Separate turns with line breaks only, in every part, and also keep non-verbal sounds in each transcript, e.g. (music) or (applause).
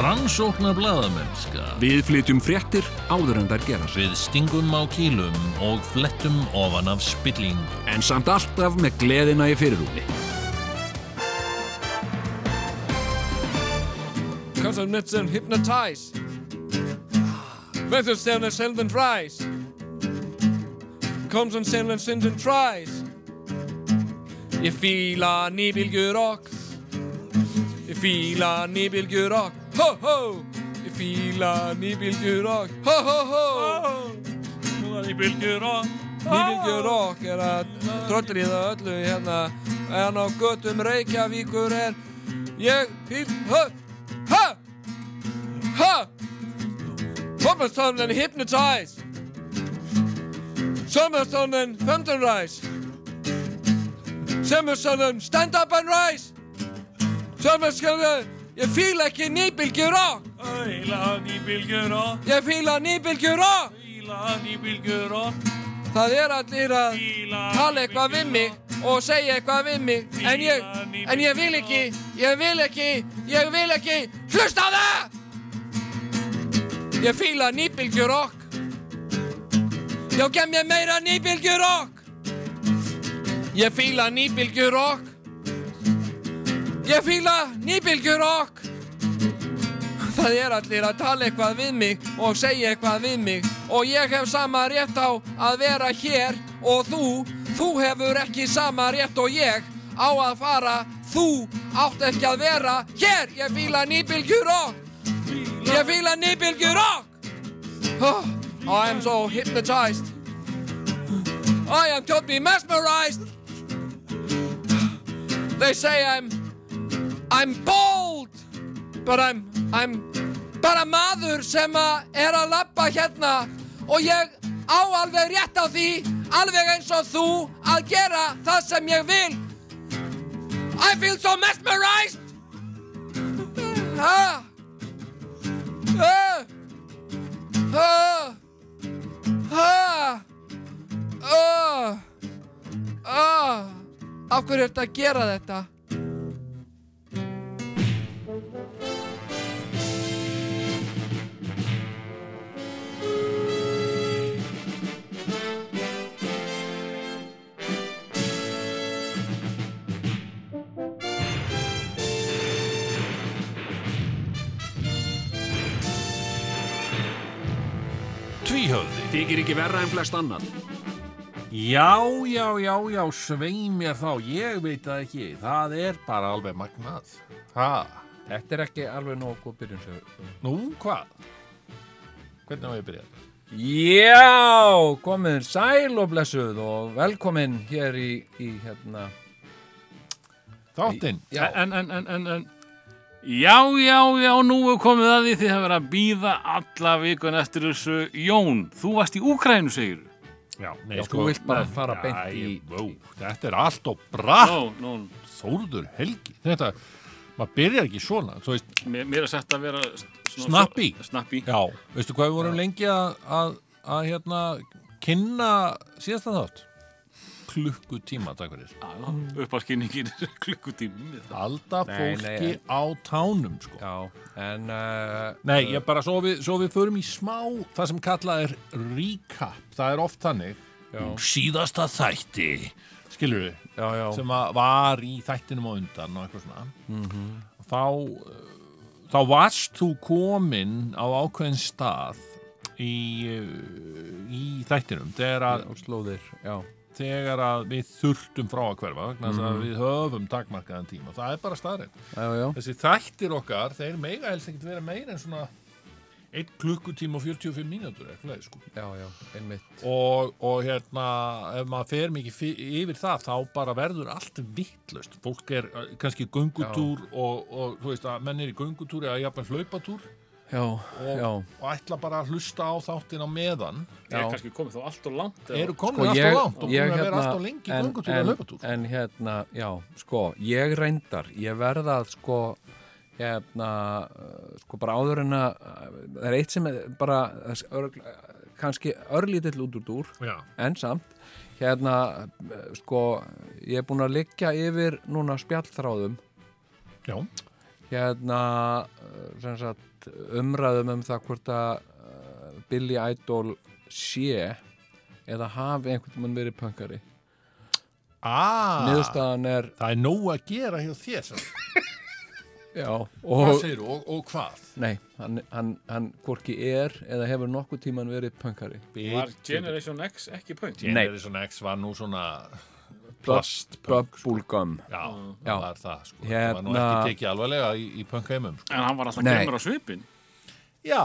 Rannsóknar blaðamennska
Við flytjum fréttir áður en þær gerast.
Við stingum á kýlum og flettum ofan af spillingu
En samt alltaf með gleðina í fyrirrúmi.
Cause I'm not so hypnotized. Weather stand and send and rise. Comes and send and send and tries. Ég fíla nýbylgjur okk. Ég fíla nýbylgjur okk. Ho ho! Ég fíla nýbylgjur okk. Ho ho ho! Nýbylgjur okk. Nýbylgjur okk er að tröllriða öllu hérna. En á göttum Reykjavíkur er ég fíl... Ha! Ha! Ha! Sommerstonnen hypnotized. Sommerstonnen fountain rise. Sommerstonnen stand up and rise. Sommerstonnen ég fíla ekki nýbylgjur á.
Æla nýbylgjur og
Ég fíla nýbylgjur á.
Æla nýbylgjur og
Það er allir að tala eitthvað við mig og segja eitthvað við mig. En ég, en ég vil ekki, ég vil ekki, ég vil ekki, hlusta á það! Ég fíla nýbylgjur okk. Já, gem ég meira nýbylgjur okk. Ég fíla nýbylgjur okk. Ég fíla nýbylgjur okk. Það er allir að tala eitthvað við mig og segja eitthvað við mig og ég hef sama rétt á að vera hér og þú, þú hefur ekki sama rétt og ég á að fara, þú átt ekki að vera hér, ég fíla nýbylgjur okk, ég fíla nýbylgjur okk. Oh, I am so hypnotized, I am totally mesmerized, they say I'm, I'm bold. Bara, I'm, I'm, bara maður sem að er að lappa hérna og ég á alveg rétt á því, alveg eins og þú, að gera það sem ég vil. I feel so mesmerized! Ha? Ha? Ha? Ha? Ha? Ha? Af hverju ertu að gera þetta?
Tvíhöfði
Þykir ekki verra en flest annan.
Já, já, já, já, svei mér þá, ég veit það ekki, það er bara alveg magnað. Ha,
Þetta er ekki alveg nóg góð byrjunsögur.
nú hvað? Hvernig á ég að byrja?
Já, komin sæl og blessuð og velkomin hér í, í hérna.
Þáttinn,
Já.
En, en, en, en, en Já, já, já, nú er komið að því þið hafa verið að býða alla vikun eftir þessu Jón, þú varst í Úkrænu, segir
já, nei,
Já, þú vilt bara fara beint
Æ,
í-
vó, þetta er allt og bratt,
Nó, nó,
Þórður Helgi, þetta, maður byrjar ekki svona, þú veist,
mér, mér er sett að vera svona-
Snappi.
Snappi
já, veistu hvað við vorum lengi að, að, að hérna, kynna síðasta þátt? Klukkutíma, takk fyrir.
Uppaskinningin er (laughs) klukkutími
Alda
Nei,
fólki
nei,
á tánum, sko.
Já, en uh,
Nei, ég bara, svo við, svo við förum í smá það sem kallað er recap, það er oft þannig
Já.
síðasta þætti skilur við,
já, já,
sem að var í þættinum á undan og eitthvað svona
Mhm.
-hmm. þá eh, þá varst þú komin á ákveðin stað í, eh, í þættinum þegar að,
og slóðir, já. Mhm.
þegar að við þurftum frá að hverfa vegna þess að við höfum takmarkaðan tíma það er bara staðrætt
Já, já,
þessi þættir okkar, þeir mega helst ekkert vera meira en svona 1 klukkutíma og 45 mínútur eitthvað, leið, sko.
já, já, einmitt.
og, og hérna ef maður fer mikið fi- yfir það þá bara verður allt vittlust fólk er eh, kannski í göngutúr og, og þú veist að menn er í göngutúr eða jafnvel hlaupatúr
Já,
og,
já.
og ætla bara að hlusta á þáttin á meðan
Ég
Já.
er kannski komið þá allt og langt eða-
eru komin allt
Sko, ég-
og langt og búin
ég
að vera
hérna-
allt og lengi í
en-
göngutúr eða
en-
hlaupatúr
En hérna, já, sko, ég reyndar, ég verða að sko, hérna, uh, sko bara áður en að, það er eitt sem er bara, það er örgl- kannski örlítill út úr dúr,
já,
en samt, hérna, uh, sko, ég er búin að liggja yfir núna spjallþráðum
já,
hérna eh, sem sagt, umræðum um það hvort að uh, Billy Idol sé eða hafi einhvern mann verið pöngari
Ah,
niðurstaðan er
það er nóg að gera hjá þér sem.
já,
Hvað
og,
segir og, og hvað?
nei, hann, hann, hann hvorki er eða hefur nokkuð tíman verið pöngari
Var Generation X ekki pöng?
Generation X var nú svona plastpunk
Bubblegum
Já,
Já.
það var það sko. Það var nú
Hérna-
ekki tekið alvarlega í, í punkheimum sko.
En hann var alltaf
Nei.
gemur á svipin.
Já,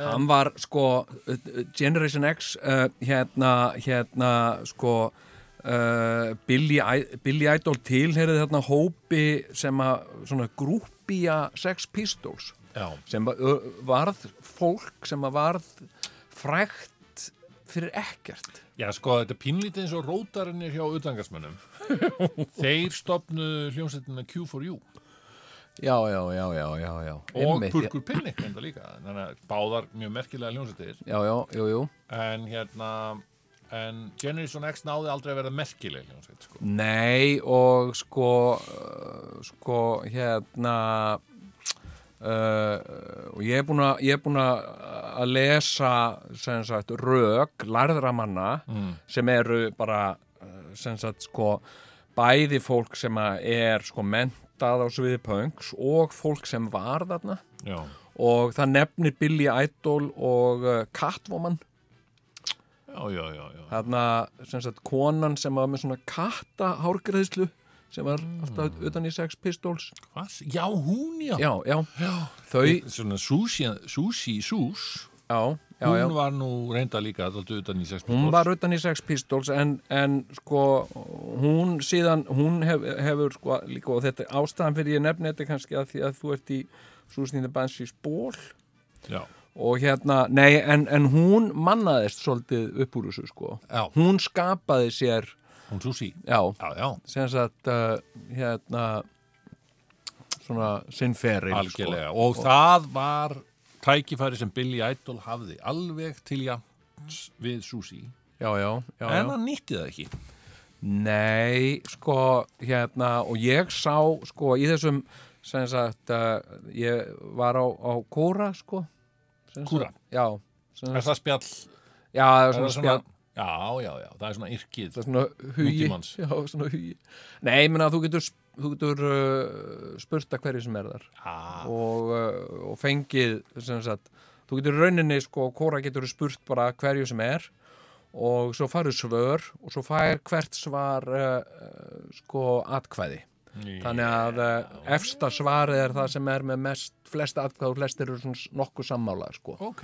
hann var sko uh, uh, Generation X uh, hérna, hérna sko uh, Billy, I- Billy Idol tilherið þarna hópi sem að svona grúppía Sex Pistols
já,
sem var, ö, varð fólk sem að varð frægt fyrir ekkert
já, sko, þetta er pínlítið eins og rótarinnir hjá utangarsmönnum. Þeir stopnu hljómsveitina Q4U
já, já, já, já, já, já
og
Einmitt,
Purkur Pinnik enda líka. Þannig að báðar mjög merkilega hljómsveitir.
já, já, jú, jú
En hérna, en Generation X náði aldrei að vera merkileg hljómsveit sko.
Nei og sko uh, sko hérna uh, og ég er búin að ég er búin að að lesa sem sagt rök lærðra manna sem eru bara uh, sem sagt sko bæði fólk sem að er sko mentað á sviði pöngs og fólk sem var þarna
Já,
og það nefnir Billy Idol og uh, Catwoman
já, já, já, já.
þarna sem sagt konan sem var með svona katta hárgreðslu sem var
Hmm.
alltaf utan í Sex Pistols
Hvað? Já, hún já.
já, já, þau já,
Svona Susi, Susi Sus,
já,
hún
já
var nú reynda líka alltaf utan í 6
hún var utan í Sex Pistols en, en sko hún síðan, hún hef, hefur sko líka og þetta er ástæðan fyrir ég nefni þetta kannski að því að þú ert í Susan in the Banshees ból
Já,
og hérna, nei, en, en hún mannaðist svolítið upp úr þessu sko
Já.
hún skapaði sér,
hún Susi.
já,
Já, já,
sem sagt uh, hérna svona sko. sinnferil
algjörlega. Og, það var tækifæri sem Billy Idol hafði alveg til jafns við Susi.
sko. já, já, já,
En
já.
hann nýtti það ekki.
nei, sko hérna, og ég sá sko í þessum sem sagt uh, ég var á, á kóra sko sem sagt-
Kúra.
já, sem
Er
sagt,
það spjall?
já, það er
Er það
svona spjall
Já, já, já, það er svona yrkið.
það er svona hugi
Nútímans.
já, svona hugi nei, ég meina að þú getur, sp- þú getur uh, spurt að hverju sem er þar
Já,
og, uh, og fengið sem sagt, þú getur í rauninni sko, kóra getur spurt bara hverju sem er og svo farið svör og svo fær hvert svar uh, uh, sko atkvæði þannig að uh, efsta svarið er það sem er með mest flesta atkvæði og flestir eru svona s- nokkuð sammála sko.
ok.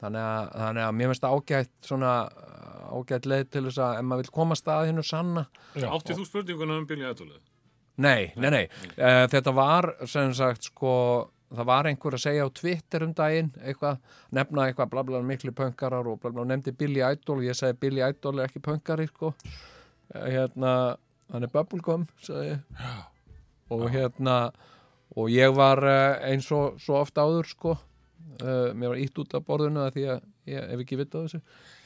þannig, að, þannig að mér finnst ágætt svona uh, ágætt leið til þess að ef maður vil komast að hennu sanna
Áttið þú spurninguna um Billy Idol?
Nei, nei, nei. Uh, þetta var sem sagt sko það var einhver að segja á Twitter um daginn eitthvað, nefna eitthvað bla bla miklu pönkarar og bla bla, og nefndi Billy Idol og ég segi Billy Idol er ekki pönkari sko. Eh, hérna, hann er bubblegum sagði ég og hérna, og ég var eh, eins og svo oft áður sko uh, mér var ítt út af borðinu af því að ég hef ekki vitað þessu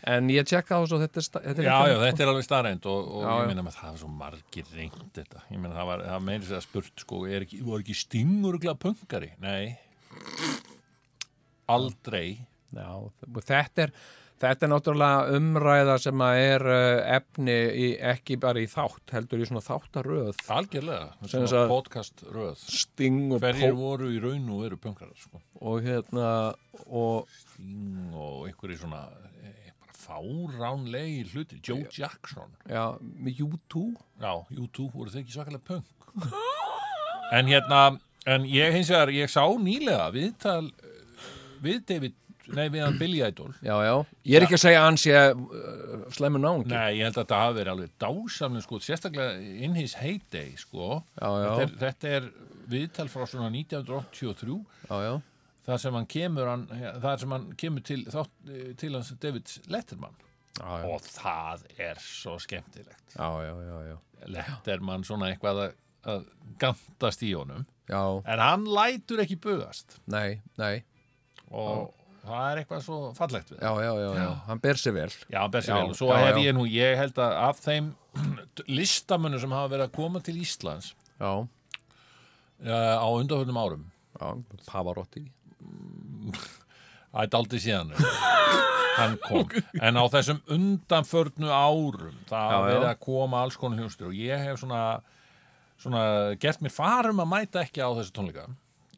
en ég tjekka á þessu og þetta er, sta- þetta er
Já,
ekki-
já, þetta er alveg starrend og, og
Já, já.
ég meina með það var svo margir reynd þetta. Ég meina það var, það meiri sér að spurt sko, er ekki, voru ekki stingurugla pöngari? Nei. Aldrei.
Já, og þetta er, þetta er náttúrulega umræða sem að er uh, efni í, ekki bara í þátt, heldur í svona þáttaröð.
Algjörlega.
Sem
Svona
sagt-
podcast röð.
Sting og
Hverjir
pó
voru í raun og veru pöngarar, sko.
og hérna og
Sting og einhverjir svona eh, bara fáránlegi hluti. Joe Jackson.
já, með U2
Já, YouTube voru þau ekki svakalega pöng. (laughs) En hérna, en ég hins vegar, ég sá nýlega viðtal eh, við David, nei, við hann Billy Idol.
Já, já, ég er ekki að segja að hans ég uh, slemmu náungi
Nei, ég held að þetta hafi verið alveg dásamlega sko, sérstaklega in his heyday sko.
Já, já.
Þetta, er, þetta er viðtal frá svona 1983
Já, já,
þar sem hann kemur, hann, þar sem hann kemur til, þátt, eh, til hans David Letterman
já, já,
og það er svo skemmtilegt
já, já, já, já.
Letterman svona eitthvað að, að gantast í honum
já
en hann lætur ekki bugast
nei, nei,
og það er eitthvað svo fallegt við það.
já, já, já, já, hann ber sér vel
Já, besti
Já,
vel. Og Svo
já,
hef
já.
ég nú, ég held að af þeim (clears throat) listamönnum sem hafa verið að koma til Íslands
Já,
uh, á undanfjörnum árum
já, Pavarotti
Það er aldrei síðan hann kom, en á þessum undanförnu árum það hafa
Já, já.
verið að koma alls konar hljómsveitir og ég hef svona, svona gert mér farum að mæta ekki á þessu tónleika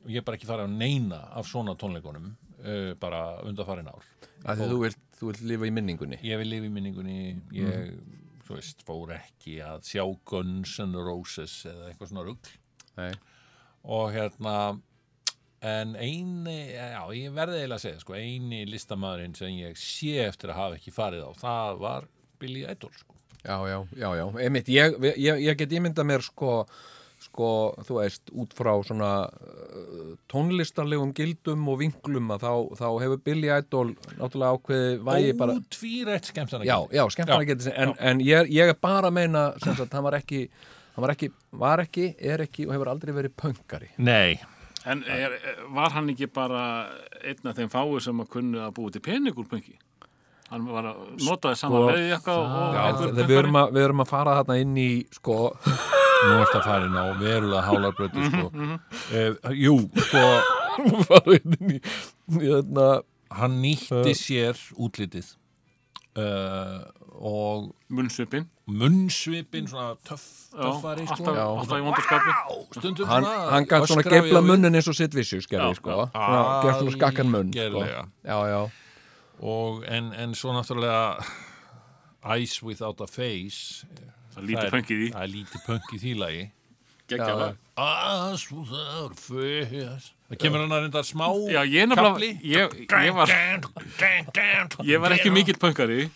og ég er bara ekki farið að neina af svona tónleikunum uh, bara undanfarin ár
af því þú vilt, þú vilt lifa í minningunni
ég vil lifa í minningunni ég,
Mhm.
þú veist, fór ekki að sjá Guns N' Roses eða eitthvað svona rugl
Nei.
og hérna en eini, já, ég verði eiginlega að segja sko, eini listamæðurinn sem ég sé eftir að hafa ekki farið á, það var Billy Idol, sko
já, já, já, já, einmitt ég, ég, ég get ímyndað mér sko sko, þú veist, út frá svona uh, tónlistarlegum gildum og vinglum að þá, þá hefur Billy Idol náttúrulega ákveði vægi bara
ótvírætt skemmt hann
já, já, skemmtana getur sem en, en ég, er- ég er bara að meina sem sagt, hann var ekki hann var ekki, var ekki, er ekki og hefur aldrei verið pöngari
Nei,
En er, er- var hann ekki bara einn af þeim fáu sem að kunnu að búi til pening úr pöngi? Hann var að notaði saman
Sko,
veði eitthvað og
Já,
einhver
við, erum
pönkari.
að, við erum að fara þarna inn í sko,
nú ertu að farin á verulega hálarbröti, sko uh, Jú, sko, (laughs)
fara inn í, Eh, í hérna- þarna,
hann
Uh.
nýtti sér útlitið uh, og
munnsvipin
munnsvipin, svona töff,
Já,
töffari,
alltaf,
sko
alltaf í vondarskapi
stundum
hann,
svona
hann gætt svona
öskraði
geifla
og-
munnin eins og sitt vissjus gerði sko, svona, gerði svona skakkan munn sko.
Algerlega.
já, já,
og en, en svo náttúrulega Eyes Without a Face
Það lítið pöngið í,
það er lítið punk í því lagi
geggja
já.
það
Eyes Without a Face það kemur hann að reynda smá
Já, ég nefnilega,
Kafli.
ég, ég var Ég var ekki mikill pöngari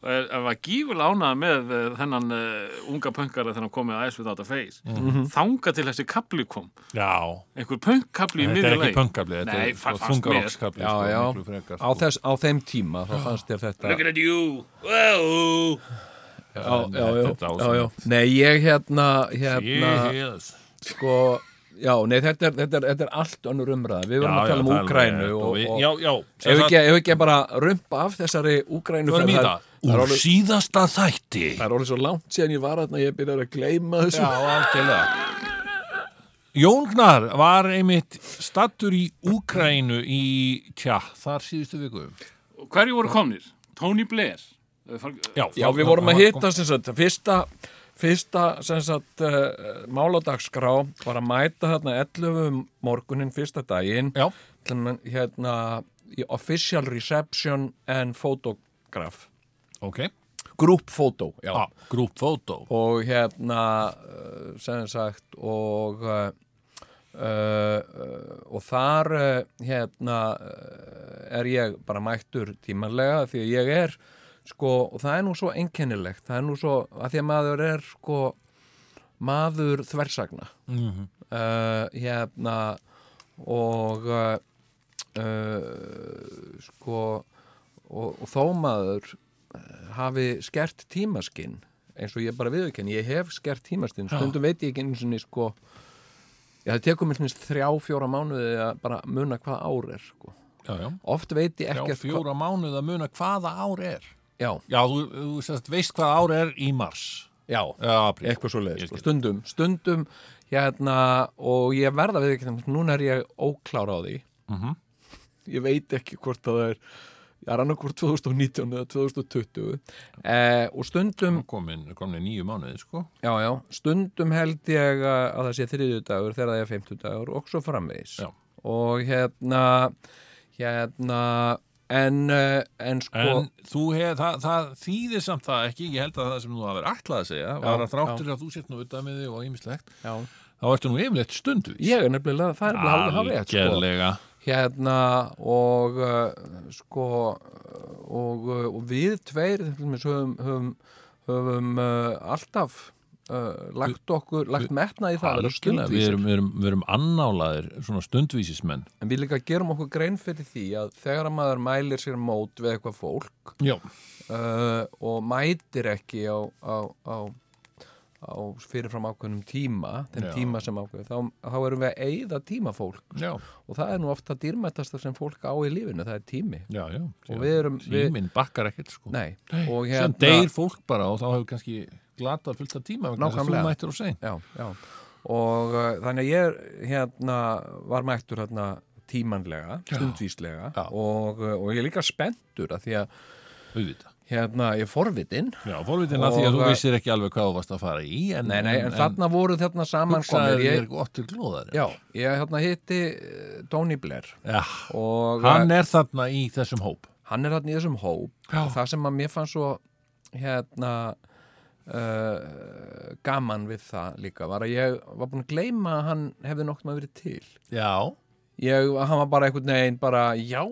en en var gífulega ánað með eh, þennan uh, unga pöngara þegar hann komið að æs við þetta feis
Mhm.
þanga til þessi kapli kom
já,
einhver pöngkapli í
þetta er
miðjum
ekki punkabli þetta
Nei,
er
fa-
sko
fannst mér.
þungarokkskabli
já, já.
sko, miklu frekar,
Á,
sko.
þess, á þeim tíma þá fannst þér þetta
at you wow.
já, já, já,
Þetta er
já, já. nei, ég hérna, hérna
yes.
sko, já, nei, þetta er, þetta er, þetta er allt önnur umræða, við
Já,
vorum að
já,
tala um
það er
Úkrænu
alveg rétt
og,
við-
og
já, já, sem
ef
sagt,
ekki, ef ekki bara rumpa af þessari Úkrænu
förum í
það-
það.
það er
úr
alveg-
síðasta þætti
Það er orðið svo langt síðan ég var að ég byrjar að gleyma þessu.
algjörlega Jón Gnar var einmitt stattur í Úkrænu í, tja, þar síðustu viku
Og Hverju voru komnir? Tony Blair Eh, far-
Já, við vorum að hitta sem sagt, fyrsta, fyrsta sem sagt, uh, máladagskrá var að mæta þarna 11 um morgunin fyrsta daginn
Já,
til að menn, hérna í official reception and photograph
ok
group photo, já
ah, Grúpfótó
og hérna eh, sem sagt og uh, uh, og þar uh, hérna eh, er ég bara mættur tímanlega því að ég er sko og það er nú svo einkennilegt það er nú svo að því að maður er sko maður þversagna mm hérna og uh, uh, sko og, og þó maður eh, hafi skert tímaskinn eins og ég bara viðurkenn, ég hef skert tímaskinn stundum veit ég ekki einu sinni sko já það tekur mér sinni þrjá fjóra mánuði að bara muna hvað ár er sko.
Já, já
oft veit ég
Já,
ekkert
fjóra mánuð að muna hvaða ár er
hvað já,
Já, þú, þú sérst, veist hvaða ár er í mars
já,
Já, apríl
eitthvað svo
Ég
leiðis
skil.
sko. stundum, stundum hérna og ég verða við ekki sko, núna er ég óklára á því
Mhm.
ég veit ekki hvort að það er ég er annarkvort 2019 eða 2020 eh, og stundum
komin, komin nýju mánuði, sko
Já, já, stundum held ég að að það sé þriðjudagur þegar það er fimmtudagur og svo framvegis.
Já.
Og hérna, hérna, en, eh, en sko,
En þú hef, það, það þýðir samt það ekki, ég held að það sem þú hafðir ætlað að segja var að þráttur að þú sért nú utan með þig og ímislegt
já.
þá ertu nú yfirleitt stundvís
ég er nefnilega, það er nefnilega hálfa hálfa rétt, sko.
Algerlega
Hérna, og eh, sko, og, eh, og við tveir, þeim, höfum, höfum, höfum uh, alltaf uh, lagt okkur, lagt metna í það að vera
Algjörlega, við
stundvísir.
erum, við, erum, við erum annálaðir svona stundvísismenn
En við líka gerum okkur grein fyrir því að þegar að maður mælir sér mót við eitthvað fólk
Já,
uh, og mætir ekki á, á, á, á fyrirfram ákveðnum tíma, þeim
Já.
tíma sem ákveður, þá, þá erum við að eyða tíma fólk
já,
og það er nú ofta dýrmættasta sem fólk á í lífinu, það er tími.
já, já
Og við erum- við-
Tíminn bakkar ekkert sko
Nei,
Sem
og hérna...
deyr fólk bara og þá hefur kannski glatað fullt af tíma vegna þess að þú
Nákvæmlega.
mættir og segn
Já, já. og uh, þannig að ég er, hérna var mættur hérna tímanlega, stundvíslega
Já.
og, uh, og ég er líka spenntur að því að
auðvitað.
hérna ég er forvitinn
Já, forvitin að því að
Og,
þú
eh,
vissir ekki alveg hvað þú varst að fara í en,
Nei, nei, en, þarna voru þarna saman
hugsaði
komir
þér
ég,
gott til glóðar
Já, ég hérna hitti eh, Tony Blair
Já,
og uh,
hann er þarna í þessum hóp
hann er þarna í þessum hóp
Já.
og það sem að mér fannst svo hérna uh, gaman við það líka var að ég var búin að gleyma að hann hefði nokt maður verið til
Já,
ég, hann var bara einhvern veginn bara já,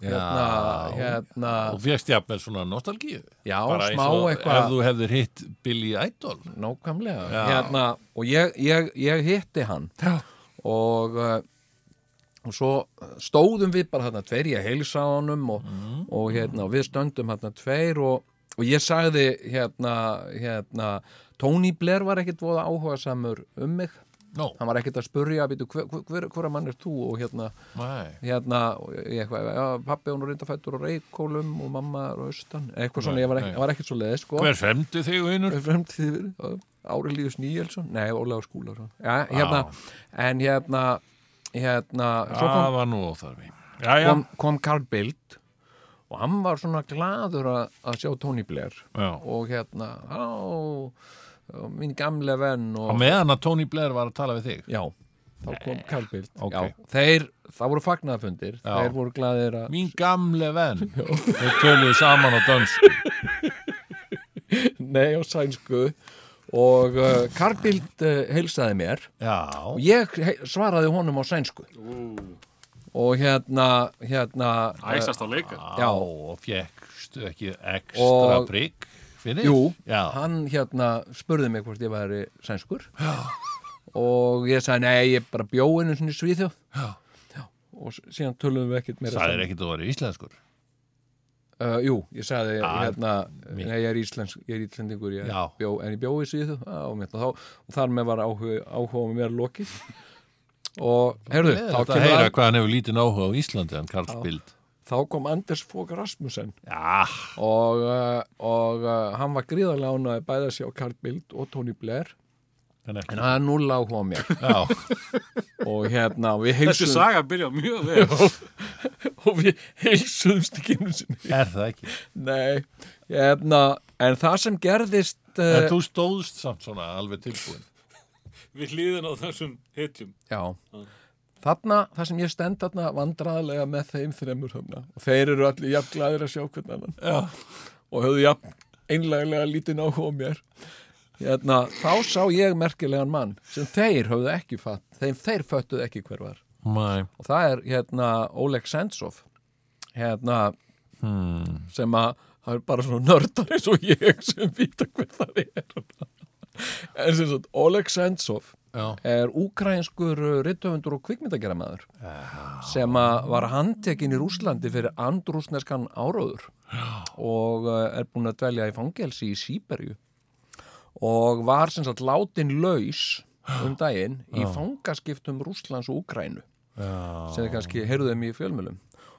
hérna,
Já.
hérna
og fegst jafnvel svona nostalgíu
já,
bara eins
smá
og ef
eitthvað
þú hefðir hitt Billy Idol
nákvæmlega
Já.
hérna, og ég, ég, ég hitti hann
Já.
og uh, og svo stóðum við bara hérna tveir, ég heilsa á honum og,
Mm.
og hérna, og við stöndum hérna tveir og, og ég sagði hérna, hérna Tony Blair var ekkit voða áhuga samur um mig,
Nó,
hann var ekkit að spurja býtu, hver, hver, hver, hverra mann er þú og hérna,
nei
hérna og ég eitthvað, já, pappi hún er reyndafættur og reykólum og mamma er á austan eitthvað svona,
Nei,
ég var,
nei.
ekki, var ekkit svo leið sko.
Hver fremdi þig vinnur?
Fremtíð verið Árelíus Níelsson, nei, Ólaður Skúlarsson Já, hérna,
Já.
en hérna hérna, svo kom,
Það var nú óþarfi Já, já,
kom, kom Carl Bild og hann var svona gladur að, að sjá Tony Blair
já.
og hérna, á minn gamle venn
Og
og,
meðan að Tony Blair var að tala við þig
já, þá kom Carl Bild
Ok.
já, þeir, það voru fagnaðfundir
Já.
þeir voru gladir að
Mín gamle venn Þeir töluðu saman á dönsku
nei, á sænsku og uh, Carl Bild uh, heilsaði mér og
Já,
ég he- svaraði honum á sænsku og hérna hérna eh,
Æsast á leika
já
Já.
og fjekkstu ekki ekstra
Og-
prigg fyrir?
jú,
Já,
hann hérna spurði mig hvort ég væri sænskur og ég sagði nei, ég bara bjó einu svona í Svíþjóð já. og s- síðan töluðum við ekkert meira
það er ekkit að vera íslenskur
uh, jú, ég sagði
Ah,
hérna
mitt.
nei, ég er íslensk, ég er íslendingur ég
Já.
bjó, en ég bjó í Svíþjóð á, og, mitt, og, þá, og þar með var áhuga, áhuga með mér lokið (laughs) og heyrðu,
Þetta
þá
að
kemur
heyra
að,
hvað hann hefur lítinn áhuga á Íslandi hann Karls Bild
þá kom Anders Fók Rasmussen
Já,
og, uh, og uh, hann var gríðarlega ánæði bæði að sjá Carl Bild og Tony Blair
en ekki
en hann er núl áhuga á mér
Já,
(laughs) og hérna, og við
Þessi
heilsuðum
saga byrja mjög
(laughs)
vel
og við heilsuðumst ekki einu sinni
er það ekki
nei, hérna, en það sem gerðist
En
uh,
þú stóðst samt svona alveg tilbúin
Við hlýðin á þessum hitjum
já Þarna, það sem ég stend þarna vandraðlega með þeim þremur höfna og þeir eru allir jafn glæðir að sjá hvernig annan
Já,
og höfðu jafn einlæglega lítinn áhuga á mér hérna, þá sá ég merkilegan mann sem þeir höfðu ekki fatt þeim þeir föttuðu ekki hver var
mæ
og það er hérna Oleg Sentsov hérna sem að það er bara svona nördar eins og ég sem vita hver það er en sem sagt Oleg Sentsov
Já.
er úkrænskur rittöfundur og kvikmyndageramaður sem að var handtekinn í Rúslandi fyrir andrúsneskan áróður og eh, er búin að dvelja í fangelsi í Sýberju og var sem sagt látin laus um daginn í fangaskiptum Rúslands og Úkrænu sem þið kannski heyrðum í fjölmjölum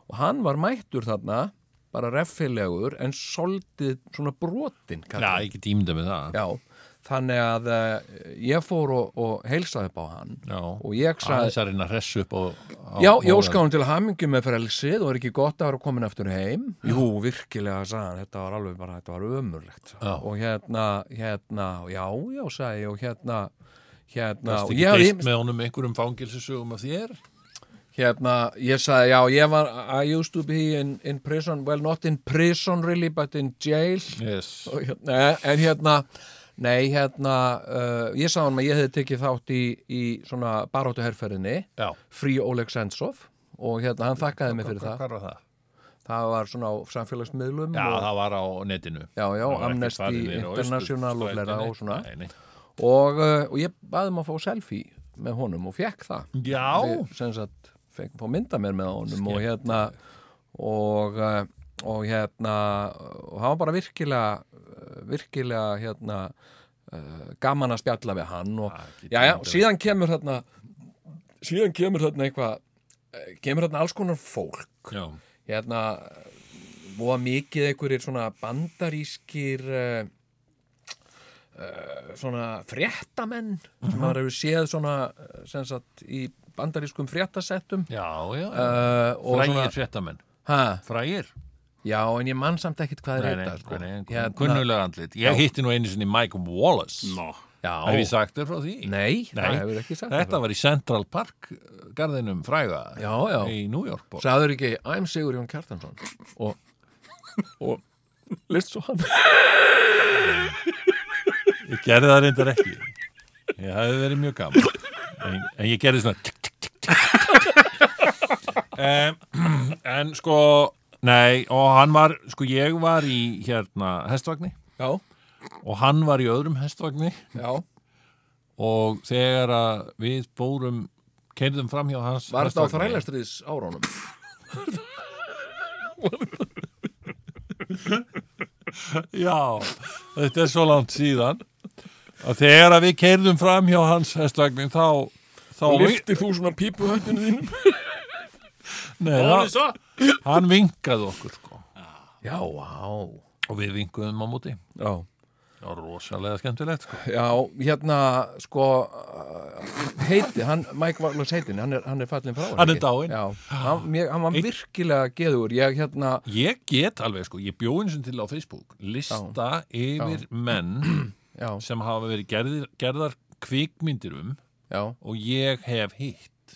og hann var mættur þarna bara reffilegur en soldið svona brotinn
Já,
kallar.
ekki tímda með það
Já, þannig að uh, ég fór og, og heilsaði upp á hann
Já.
og ég
Aðeins
sagði
að reyna að hressu upp á, á
Já, ég óska hún til hamingju með frelsið og er ekki gott að vera komin eftir heim Jú, virkilega, sagði hann, þetta var alveg bara, þetta var ömurlegt
Já.
og hérna, hérna, já, já, sagði ég og hérna, hérna
Gast
og
ekki
ég hafði
deilt
ýmis-
með honum einhverjum fangilsisögum af þér
hérna, ég sagði, já, ég var I used to be in, in prison well, not in prison really, but in jail
Yes
og hérna, en hérna nei, hérna uh, ég sagði hann að ég hefði tekið þátt í, í svona baróttu herrferðinni
Já
Free Oleg Sentsov og hérna, hann þakkaði mig fyrir það
Hvað var það?
það var svona á samfélagsmiðlum
Já,
og,
það var á netinu
já, já,
Það var ekki farið
Amnesty
niður á
International og
Austurstræti,
fleira
nei.
og svona
Nei, nei.
og, uh, og ég baði maður að fá selfie með honum og fekk það
Já,
við, sem sagt, fengum fá mynda mér með honum og hérna og, eh, og hérna og hann var bara virkilega eh, virkilega hérna uh, gaman að spjalla við hann og, já, já, og síðan kemur hérna síðan kemur hérna eitthvað eh, kemur hérna alls konar fólk
já,
hérna voða mikið einhverjir svona bandarískir uh, uh, eh, svona fréttamenn sem maður hefur séð svona eh, sem sagt í bandarískum fréttasettum
Já, já, Eh,
uh, og
frægir
svona
fréttamenn
ha,
Frægir?
já en ég mann samt ekkit hvað
Nei,
er
nei,
þetta sko.
nei, nei,
Hérna-
kunnulega andlit Ég hitti nú einu sinni Mike Wallace
Nó.
Hef ég
já,
sagt þér frá því?
nei, það
Nei.
hefur ekki sagt
Þetta var í Central Park uh, garðinum fræga
já, já,
í New York borg.
Sæður ekki, I'm Sigur Jón Kjartansson og, og list svo hann
Ég gerði það reyndar ekki Ég hafði verið mjög gaman En, en ég gerði svona tík, tík, tík, tík. Um, (clears throat) En sko Nei, og hann var Sko ég var í hérna hestvagni
Já,
Og hann var í öðrum hestvagni
já,
Og þegar að við bórum Keirðum fram hjá hans
var þetta á
hestvagni-
þrælastriðis árónum
Já, þetta er svo langt síðan að þegar að við keirðum fram hjá hans hestvagnin þá, þá
þú svona pípu höndinu þínum
nei, hann,
Svo,
hann vinkaði okkur sko
Já, á
og við vinkuðum á móti
Já,
það var rosalega skemmtilegt sko
já hérna sko uh, heiti, hann, Mike Wallace heitin hann er, hann er fallin frá
Hann er
ekki?
dáinn.
Já, hann, mér, hann var virkilega geður ég hérna,
Ég get alveg sko, ég bjóðin sem til á Facebook lista yfir menn
já,
sem hafa verið gerðir, gerðar kvikmyndir um
já
og ég hef hitt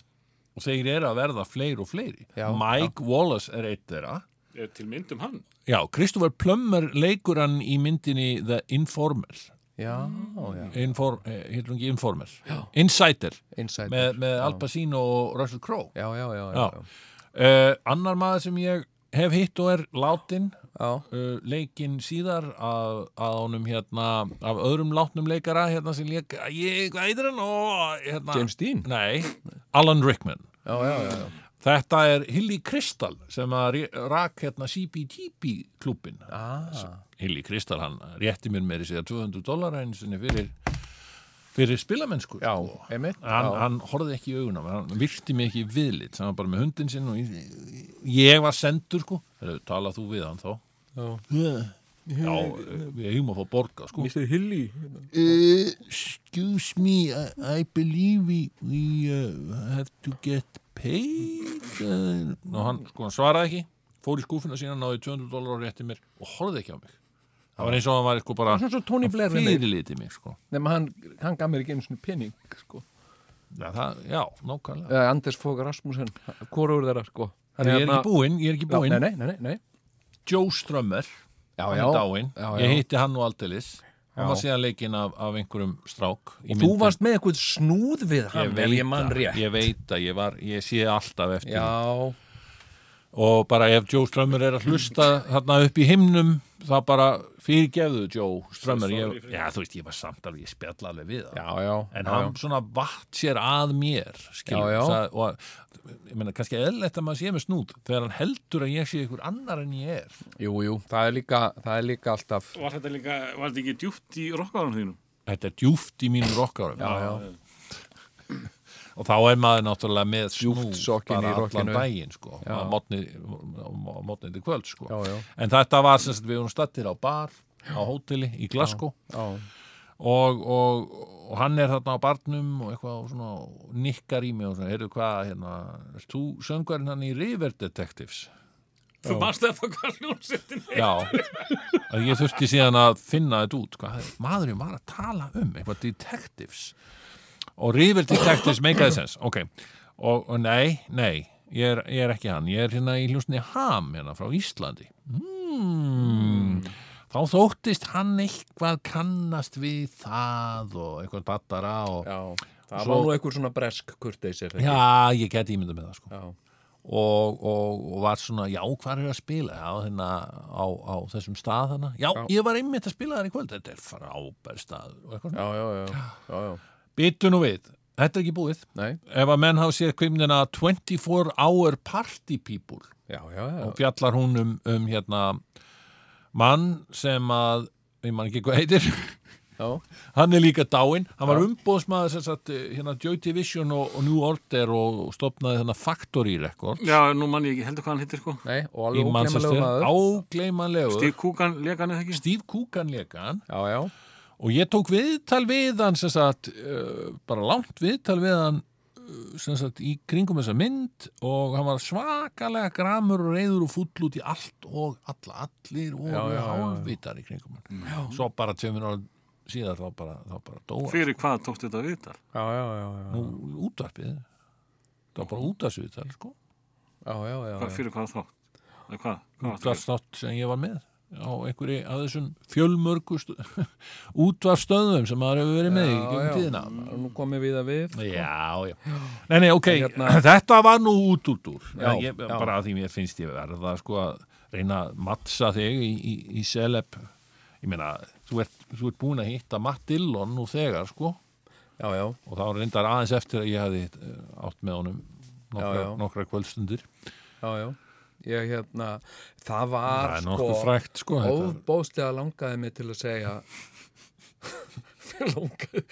og þeir eru að verða fleiri og fleiri
Já,
Mike Wallace er eitt þeirra
er til mynd um hann.
Já, Kristoffer Plummer leikur hann í myndinni The Informer
Já, já,
Inform, hér hún ekki Informer Insider
insight
með, með Al Pacino og Russell Crowe
Já, já, já, já,
Já. uh, Annar maður sem ég hef hitt og er látin
já.
uh, leikinn síðar að, að honum hérna af öðrum látnum leikara hérna sem leik, ég, hvað heitir hann og hérna,
James Dean
Nei, Alan Rickman
Já, já, já, já.
Þetta er Hilly Kristall sem að ré- rak hérna CBGB klúbin. Ah. Hilly Kristall, hann rétti mér meiri sér 200 dólar einu sinni fyrir, fyrir spilamennsku.
Já,
sko.
einmitt
Hann,
já.
hann horfði ekki í augunum, hann virti mig ekki viðlit, hann var bara með hundin sinn og ég, ég var sendur, sko. Heru, tala þú við hann þá? Já. Já, við eigum að fá borga, sko.
Mr. Hilly
Uh, excuse me, I, I believe we, we uh, have to get paid. Uh, Ná, hann, sko, hann svaraði ekki, fór í skúfuna sína, náði 200 dólar og rétti mér og horfði ekki á mig. Það var eins og hann var sko bara
Svo svo Tony Blair við mig
fyrirliti mig, sko.
Nefnir hann, hann gaf mér ekki einu svona pening sko.
Já, það, já nákvæmlega.
Eða Anders Fogg Rasmussen Hvorur þeirra sko
Þannig ég er ekki búinn, ég er ekki búinn.
Nei, nei, nei, nei
Joe Strömmer,
Já,
hann er dáinn.
já, já.
Ég hitti hann nú aldeilis. Hann
Já.
var síðan leikinn af, af einhverjum strák. í
Þú
myndinni.
varst með eitthvað snúð við hann ef Ég mann
að-
rétt
ég veit að ég var, ég sé alltaf eftir því.
Já,
og bara ef Joe Strömmur er að hlusta þarna upp í himnum það bara fyrirgefðu Joe Strömmur ég, já þú veist ég var samt alveg ég spjalla alveg við það
já, já
en
já,
hann svona vatt sér að mér skilur,
Já, já.
Það, og ég meina kannski eðlætt að maður sé með snúð þegar hann heldur að ég sé ykkur annar en ég er
já. Jú, jú, það er líka, það er líka alltaf
Var þetta líka, var þetta ekki djúpt í rockaðanum þínum?
þetta er djúft í mínu rockárum
já.
og þá er maður náttúrulega með snúð
sokkin
bara
í rokkinu.
allan daginn sko, á mótni á mótni til kvöld sko.
Já, já.
en þetta var sem sagt við vorum stattir á bar á hóteli í Glasgow
Já,
og, og, og hann er þarna á barnum og eitthvað og svona og nikkar í mig og svona, heyrðu hvað hérna, ert þú söngvarinn hann í River Detectives
Þú manst þetta hvað hljómsettin er.
já, að ég þurfti síðan að finna þetta út, hvað, maðurinn var að tala um eitthvað detectives og River Detectives make a sense ok, og, og nei, nei ég er, ég er ekki hann, ég er hérna í hljósni Ham hérna frá Íslandi mm. þá þóttist hann eitthvað kannast við það og eitthvað dattara og
já Það
Svo-
var nú eitthvað svona bresk kurteisir ekki?
Já, ég geti ímynda með það sko.
Já.
og, og, og var svona, já, hvað er að spila á, hérna, á, á þessum stað hana já, ég var einmitt að spila þar í kvöld þetta er frábær staður og eitthvað svona.
já, já, já, já, já.
Býtu nú við, þetta er ekki búið
Nei,
ef að menn hafa séð kvimnina 24 Hour Party People
já, já, já
og fjallar hún um, um hérna mann sem að ég man ekki hvað heitir (laughs)
Já,
hann er líka dáinn, hann var umbóðsmaður sem sagt, eh, hérna Joy Division og, og New Order og, og stopnaði þarna Factory Record
Já, nú mann ég ekki heldur hvað hann hittir, sko.
nei, og
í
alveg óglemalegu
Manchester,
maður
ágleymanlegur
Steve Coogan legan eða ekki?
Steve Coogan lekan
Já, já,
og ég tók viðtal við hann sem sagt, uh, bara langt viðtal við hann uh, sem sagt í kringum þessa mynd og hann var svakalega gramur og reyður og fúll út í allt og alla allir
Já,
og
já, já, Mm. já.
hálfvitar í kringum hann svo bara tveimur ára síðar þá bara, þá bara dóa
Fyrir hvað tóktu þetta viðtal?
já, já, já, já,
Nú, útvarpið það var bara útvarpsviðtal sko
já, já, já,
Hvað,
já.
fyrir hvað þátt? Eða hvað? hvað varstu að-
útvarsnátt sem ég var með á einhverju að þessum (laughs) fjölmörgust útvarsstöðum sem maður hefur verið með í
Já, já.
gegnum tíðina
og nú komum við að við
Já, já. Nei, nei, ok,
Sko. hérna-
þetta var nú út út úr.
Já,
ég,
já.
Bara að því mér finnst ég verða sko að reyna að mattsa þig í, í, í seleb. Ég meina, þú ert, þú ert búin að hitta Matt Dillon nú þegar, sko.
já, já,
Og þá reyndar aðeins eftir að ég hafði eh, átt með honum nokkra,
Já, já.
nokkra kvöldstundir.
já, já ég hérna, það var
Það er
sko,
nokkuð frægt, sko. þetta.
óbóðslega langaði mig til að segja (laughs) Mér langaði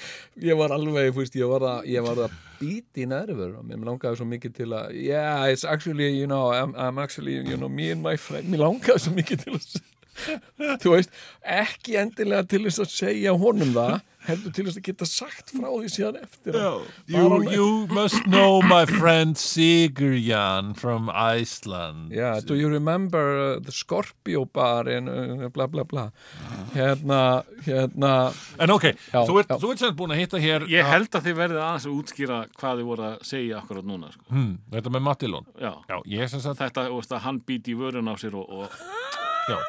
ég var alveg, fúst, ég var að ég var að býti í nervur mér langaði svo mikið til að yeah, it's actually, you know, I'm, I'm actually you know, me and my friend, mér langaði svo mikið til að þú veist, ekki endilega til þess að segja honum það heldur til þess að geta sagt frá því síðan eftir á.
You,
Bara-
you must know my friend Sigurjan from Iceland.
Yeah, do you remember uh, the Scorpio bar in uh, bla bla bla
Ah.
hérna, hérna
En ok,
Já,
þú ert,
já.
þú ert sem búin að hitta hér
Ég held að þið verðið aðeins að útskýra hvað þið voru að segja akkurat núna sko.
hmm, Þetta með Mattilón
Já,
Já, ég sem sagt
þetta, þú veist að hann býti í vörun á sér og, og
já.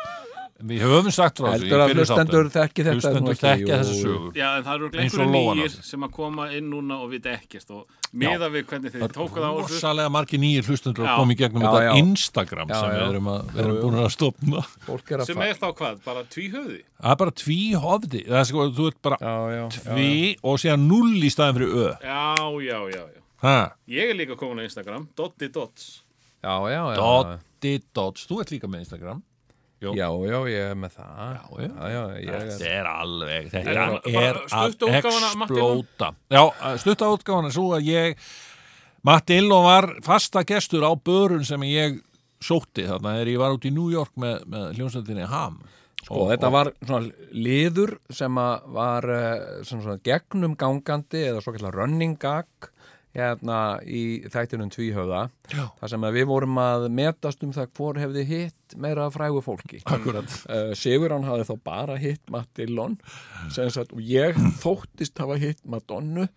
Við höfum sagt frá þessu í
heldur að
fyrri þáttum.
hlustendur þekki þetta nú
Hlustendur
ekki,
þekkja
jú.
þessu sögur
Já, en það eru
Eins og
einhverju
lóan á
nýjir
sér.
sem að koma inn núna og vita ekkert og miða við hvernig þið tókuð á þessu
Rosalega margir nýjir hlustendur
Já.
að koma í gegnum
Já,
þetta
já.
Instagram
Já,
sem
já.
við erum, að, við erum búin að stopna
fólk er að
sem
fara
er þá hvað, bara tvíhöði
Það er bara tví hofdi Það er sko, þú ert bara
já, já,
tví og séðan null í staðin fyrir ö
Já, já, já, já
ha.
Ég er líka komin á Instagram, Doddi Dots
já, já, já, já,
Dotti Dots, þú ert líka með Instagram
já, já, ég er með það
Já, já.
já, ég
Þetta er alveg, þetta
En
er,
hann-
er
bara
að
stutta útgáfuna, Matti Ló?
explóta. Já, stutta útgáfana svo að ég, Matti Illó var fasta gestur á börun sem ég sótti þarna þegar ég var út í New York með, með hljómsveitinni Ham.
Sko, þetta var svona liður sem að var eh, sem svona gegnum gangandi eða svo kallar running gag hérna í þættinum tvíhöfða
Já.
þar sem að við vorum að metast um það hvor hefði hitt meira frægu fólki
Akkurat.
uh, Sigurán hafði þá bara hitt Matt Dillon sem sagt, og ég þóttist hafa hitt Madonnu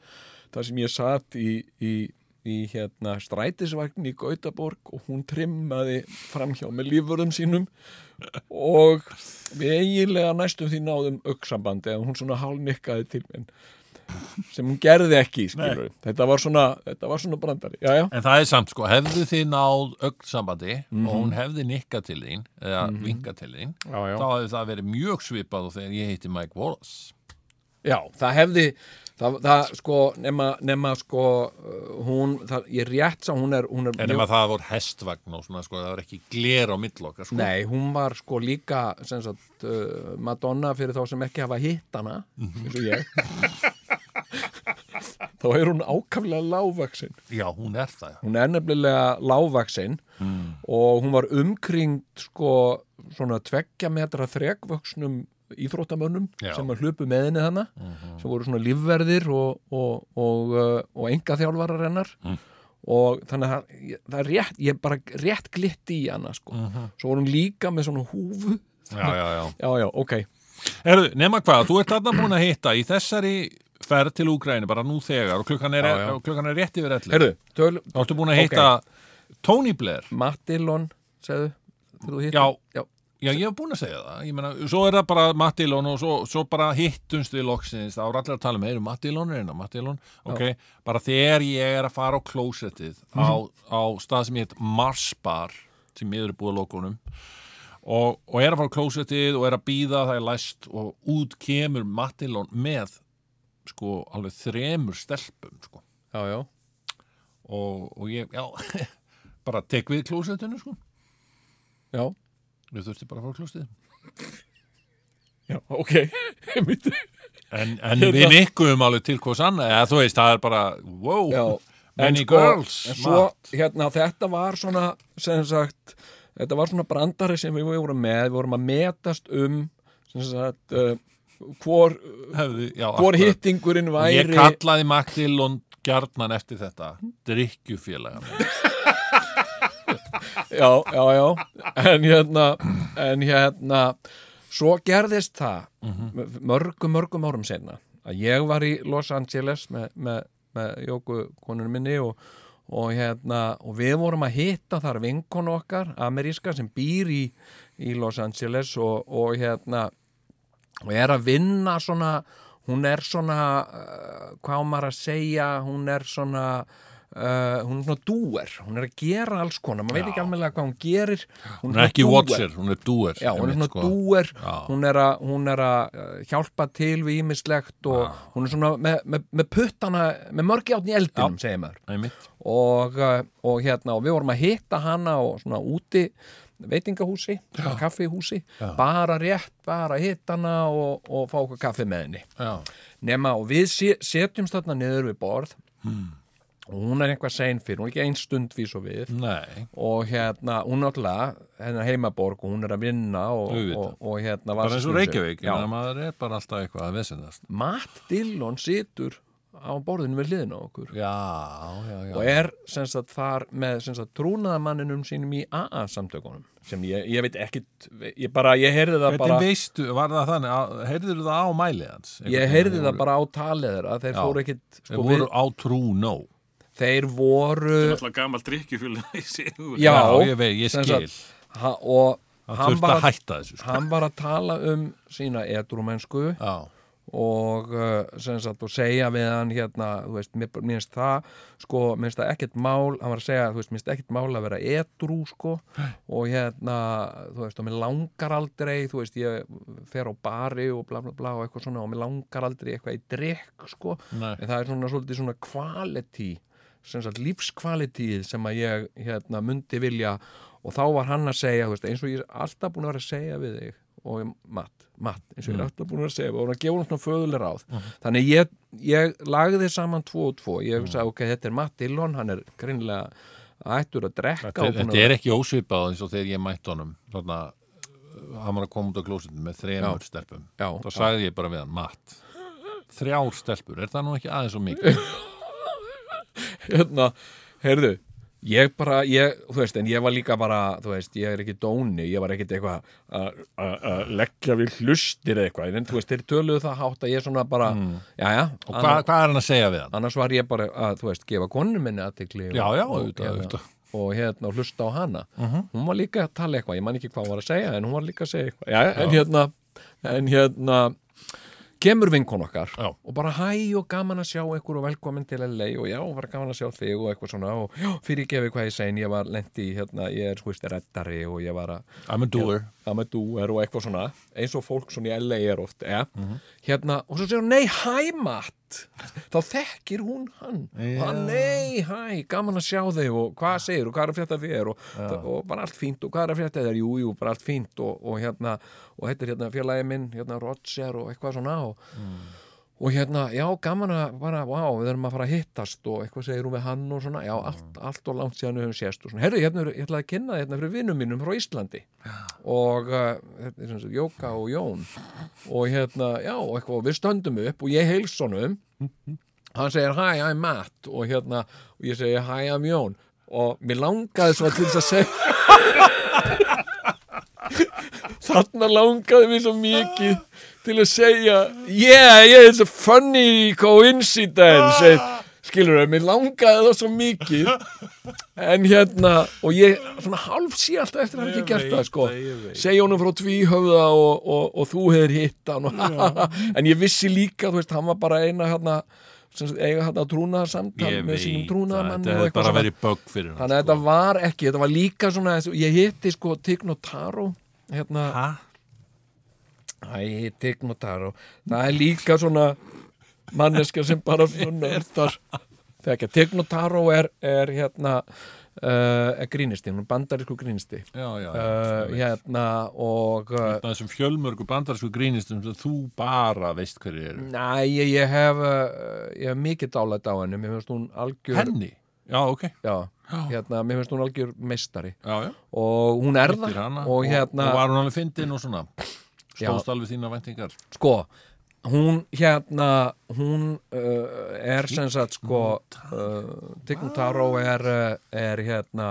þar sem ég satt í, í, í hérna, strætisvagn í Gautaborg og hún trimmaði framhjá með lífurum sínum og við eiginlega næstum því náðum auksambandi en hún svona hálnikkaði til minn sem hún gerði ekki, skilur þetta var, svona, þetta var svona brandari já, já,
En það er samt, sko, hefðu þið náð ögn sambandi og hún hefði nikkað til þín, eða mm vinkað til þín,
Já, já.
þá hefði það verið mjög svipað og þegar ég hitti Mike Wallace.
Já, það hefði það, það sko, nema, nema sko uh, hún, það, ég rétt sá hún er, hún er
En ef að það voru hestvagn og svona, sko, það var ekki gler á millokkar, sko.
Nei, hún var sko líka sem sagt, uh, Madonna fyrir þá sem ekki hafa hitt hana eins og ég (laughs) þá er hún ákaflega lágvaksin
Já, hún er það.
hún er nefnilega lágvaksin og hún var umkringd sko svona tveggja metra þrekvöksnum íþróttamönnum
Já.
sem að hlupu með henni hana sem voru svona lífverðir og, og, og, uh, og enga þjálfarar hennar og þannig að það- ég- það er rétt, ég bara rétt glitti í hana sko, svo voru hún líka með svona húfu
Já, já, já.
já, já, ok
Herðu, nema hvað, þú ert þarna búin að hitta í þessari ferð til Úgræni bara nú þegar og klukkan er,
Já, já.
og klukkan er rétt yfir ellir.
Herðu, töl,
Þá ertu búin að hitta Tony Blair.
Mattilon segðu, þegar þú hittir
Já.
já,
Já, ég hef búin að segja það. Ég meina, svo er það bara Mattilón og svo, svo bara hittumst við loksins. Það voru allir að tala með, eru Mattilón reyna, Mattilón? Ok, bara þegar ég er að fara á klósettið á, á stað sem ég heit Marsbar, sem ég er búið að lokunum, og, og er að fara á klósettið og er að býða það er læst og út kemur Mattilón með, sko, alveg þremur stelpum, sko.
já, já,
Og, og ég, já, (laughs) bara tek við klósettinu, sko.
já,
Við þurfti bara að fara á klósettið.
já ok (laughs) Einmitt.
(laughs) En, en við mikkuðum alveg til hvers annað, eða þú veist, það er bara, wow,
já,
many
en sko,
girls.
en svo, hérna, þetta var svona sem sagt, þetta var svona brandari sem við vorum með, við vorum að metast um sem sagt, uh, hvor,
hefði, já,
hvor
akkurat.
hittingurinn væri
Ég kallaði Matt Dillon gjarnan eftir þetta drikkjufélaga
já, já, já en hérna, en hérna svo gerðist það mörgum, mörgum árum senna að ég var í Los Angeles með, með, með Jóku konunum minni og, og hérna og við vorum að hitta þar vinkonu okkar ameríska sem býr í, í Los Angeles og, og hérna og er að vinna svona hún er svona uh, hvað á maður að segja hún er svona uh, hún er svona dúer, hún er að gera alls konar maður veit ekki alveg hvað hún gerir
Hún er ekki
svona doer.
watcher, hún er doer
Já, hún er
einmitt,
svona
sko.
dúer,
Já.
hún er, að, hún er að uh, hjálpa til við ímislegt og hún er svona með, með, með puttana, með mörgjáttn í eldinum, segir maður
Einmitt.
og, uh, og hérna og við vorum að hitta hana og svona úti veitingahúsi, kaffihúsi bara rétt, bara að hitta hana og, og fá okkur kaffi með henni
Já.
nema og við sé- setjumst þarna niður við borð
Hmm.
og hún er eitthvað sein fyrir, hún er ekki ein stund vís og við
Nei,
og hérna, hún náttúrulega hennar heimaborg og hún er að vinna og,
Auðvitað.
og, og hérna
bara eins og
vasaklúsið.
Reykjavík
Já.
en maður er bara alltaf eitthvað að vesendast
Matt Dillon situr á borðinu við hliðina á okkur
Já, já, já
og er sem sagt þar með sem sagt trúnaðamanninum sínum í AA samtökunum sem ég, ég veit ekkit ég bara, ég heyrði það
Hvernig
bara
veistu, var það þannig, að- heyrðirðu það á mæli hans?
ég heyrði það bara á talið þeirra þeir
Já.
fóru ekkit
Þeir
sko,
voru
við,
á trú nó
þeir voru
Alltaf gammal drikkjufélag í sigur.
já,
ég veit, ég
sem
skil
ha, og
Það
hann
þurfti
var,
að
að,
hætta þessu sko.
hann var að tala um sína edrumennsku
Já,
og, uh, sem sagt, og segja við hann hérna, þú veist, mér mér finnst það sko, mér finnst það ekkert mál hann var að segja, þú veist, mér finnst ekkert mál að vera edrú sko, og hérna þú veist, og mér langar aldrei þú veist, ég fer á bari og bla bla bla og eitthvað svona, og mér langar aldrei í eitthvað í drikk, sko,
Nei.
en það er svona svolítið svona quality sem sagt lífskvalitíð sem að ég hérna mundi vilja og þá var hann að segja, þú veist, eins og ég er alltaf búin að vera að segja við þig og ég, Matt, Matt, eins og ég er
Mm.
alltaf búin að vera að segja við og hann að gefa hann svona föðuleg ráð
Mm-hmm.
þannig ég, ég lagði saman tvo og tvo ég
Mm.
sagði, ok, þetta er Matt Dillon hann er greinilega ættur að
þetta,
drekka og búinn að-
þetta er ekki ósvipað eins og þegar ég mætti honum Þannig að hann var að koma út á klósitinu með þremur stelpum
Já,
Þá
já.
sagði ég bara við hann, Matt Þrjár stelpur, er það nú ekki aðeins og (laughs) mikið?
hérna, heyrðu ég bara, ég, þú veist, en ég var líka bara þú veist, ég er ekki dóni, ég var ekkit eitthvað að- að að leggja við hlustir eða eitthvað, en þú veist, þeir töluðu það hátt að ég svona bara, jæja
Og hvað, hvað er hann að segja við hann?
annars var ég bara að, þú veist, gefa konunum minni aðtikli og,
Já, já,
og,
auðvitað, auðvitað. Mhm.
og hérna, og hlusta á hana hún var líka að tala eitthvað, ég man ekki hvað hún var að segja en hún var líka að segja eitthvað, já, en hérna en hérna kemur vinkon okkar
Já.
og bara hæ og gaman að sjá ykkur og velkomin til LA og já, var gaman að sjá þig og eitthvað svona og já, fyrir gefi hvað ég segin, ég var lendi hérna, ég er, þú veist, reddari og ég var að
I'm a doer
að með dú er og eitthvað svona eins og fólk svona í LA er oft ja. hérna, og svo segir hún, nei, hæ Matt þá þekkir hún hann og hann, nei, hæ, gaman að sjá þig og hvað segir og hvað er að frétta þér og, og bara allt fínt og hvað er að frétta þér jú, jú, bara allt fínt og, og hérna og þetta er hérna félagi minn, hérna Roger og eitthvað svona og og hérna, já, gaman að bara, vá, við erum að fara að hittast og eitthvað segir hún við hann og svona, já, allt, allt og langt síðan við höfum sést og svona, herru, hérna, er- ég ætlaði að kynna þér hérna fyrir vinnum mínum frá Íslandi og uh, þetta er sem sagt Jóka og Jón og hérna, já, og eitthvað, og við stöndum upp og ég heils honum hann segir, hi, I'm Matt og hérna, og ég segi, hi, I'm Jón og mér langaði svona til þess að segja þarna langaði mér svo mikið til að segja yeah, yeah, it's a funny coincidence eh, skilur þau, mér langaði það svo mikið en hérna og ég svona hálf sé alltaf eftir að hafa ekki gert það sko, segja honum frá tvíhöfða og, og, og þú hefur hitt hann og, (laughs) en ég vissi líka, þú veist, hann var bara eina hérna, sem sagt, eiga hérna trúnaðar samtal
Ég
með sínum
veit það,
trúnaðamann
Þetta hefði bara verið bögg fyrir hann
Þannig að þetta var ekki, þetta var líka svona, ég hitti sko Tignotaro, hérna,
Hæ?
Æ, Tignotaro Það er líka svona manneska sem (laughs) bara svona þar Þegar Tignotaro er, er hérna uh, er grínisti, hún er bandarísku grínisti
Já, já, já
uh, hérna og uh,
Það er sem fjölmörgu bandarsku grínistum sem þú bara veist hverju eru
næ, ég, ég hef uh, ég hef mikið dálætt á henni mér finnst hún algjör
Henni? Já, ok
já, hérna, mér finnst hún algjör meistari
Já, já
og hún er
Hittir
það
hana
og hérna,
og var hún alveg fyndin og svona
Já.
Stóðst alveg þína væntingar
sko hún hérna hún uh, er sem sagt sko uh, Tikkun Taró er, uh, er hérna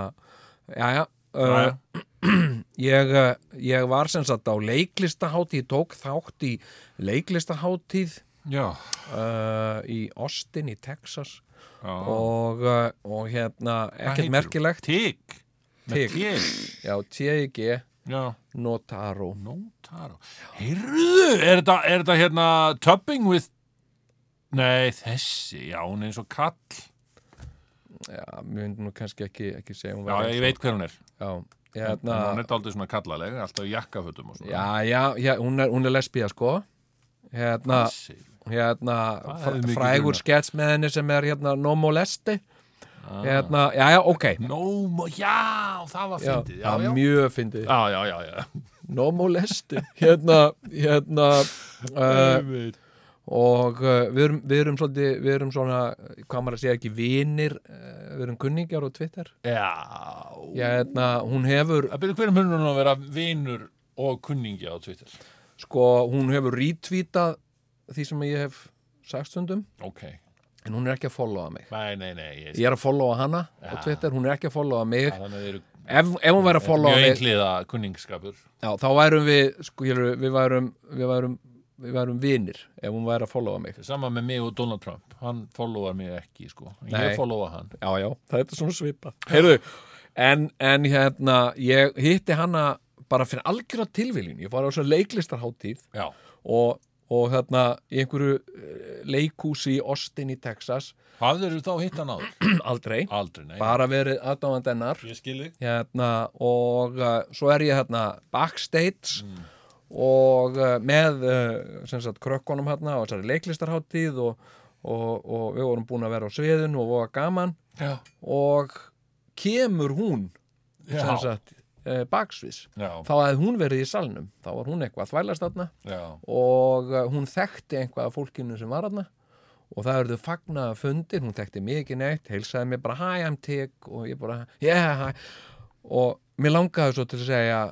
jæja uh, ég, uh, ég var sem sagt á leiklistahátíð ég tók þátt í leiklistahátíð
Já,
uh, í Austin í Texas
já.
og, uh, og hérna ekkert
heitir hún?
merkilegt
Tigg
Tigg. já, T.I.G.
Já,
Notaro
Notaro Heyrðu, er þetta, er þetta hérna Tubbing with Nei, þessi, já, hún er eins og kall
já, mér myndi nú kannski ekki, ekki segja hún
Já,
væri
ég veit hver hún er
já,
En
hérna,
Hún er daldið svona kallaleg, alltaf í jakkafötum og svona
Já, já, já hún, er, hún er lesbía sko hérna,
Þessi.
hérna
Það
fr-
hefði mikið
frægur
grunað.
skets með henni sem er hérna no molesti
Ah.
hérna, já, já, ok
No, mo- já, það var
já,
fyndið Já, já,
mjög fyndið,
já, já, já, já.
no molesti hérna,
(laughs)
hérna uh,
Einmitt.
og uh, við erum, við erum svolítið, við erum svona hvað maður að segja ekki, vinir uh, við erum kunningjar og Twitter
já.
já, hérna, hún hefur,
Það byrja hverjum munur hún að vera vinur og kunningi á Twitter
sko, hún hefur rítvítað því sem ég hef sagt stundum,
Ok,
en hún er ekki að followa mig
nei, nei, nei ég,
ég er að followa hana á Twitter, hún er ekki að followa mig
Þannig að það eru
ef, ef hún væri að followa
mjög
mig
einhliða kunningsskapur
já, þá værum við, sko, ég, við værum við værum, við værum vinir ef hún væri að followa mig
Sama með mig og Donald Trump Hann followar mig ekki, sko En
Nei.
Ég followa hann
já, já, það er svona svipa Heyrðu, en, en hérna ég hitti hana bara fyrir algjörða tilviljun, ég var á svo leiklistarháttíð
Já,
og, og hérna í einhverju eh, leikhúsi í Austin í Texas (clears throat)
hafður þú þá hitt hann áður?
aldrei,
Aldrei, nei
bara verið aðdáðan dennar
Ég skil þig
hérna, og uh, svo er ég hérna backstage og uh, með uh, sem sagt krökkunum hérna og þessari leiklistarháttíð og, og, og við vorum búin að vera á sviðinu og voga gaman
Já,
og kemur hún sem
já,
sagt uh, baksviðs
já,
þá að hún verið í salnum þá var hún eitthvað að þvælast þarna
já.
og uh, hún þekkti eitthvað af fólkinu sem var þarna og það verður fagnaða fundir, hún þekkti mig ekki neitt heilsaði mér bara, hi, I'm Tick og ég bara, yeah, hi og mér langaði svo til að segja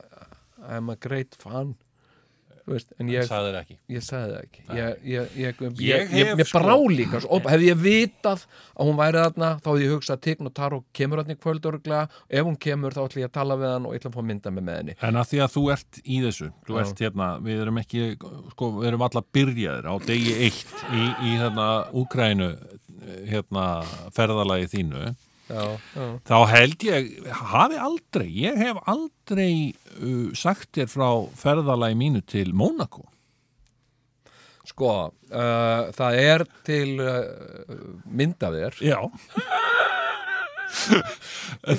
I'm a great fan Þú veist, en ég,
Sæður ekki
ég sagði það ekki ég, ég, ég, ég,
Ég
ég,
hef
mér
sko-
brá líka svo, og hefði ég vitað að hún væri þarna þá hefði ég hugsað að Tick og Taró kemur þarna í kvöld örgulega, ef hún kemur þá ætla ég að tala við hann og ég ætla að fá að mynda mig með henni
En að því að þú ert í þessu Þú ert hérna, við erum ekki Sko, við erum alla byrjaðir á degi eitt Í, í hérna, Úkrænu Hérna, ferðalagi þínu
já, já.
Þá held ég, hafi aldrei Ég hef aldrei uh, sagt þér frá ferðalagi mínu til Mónako
Sko, uh, það er til uh, myndaðir
Já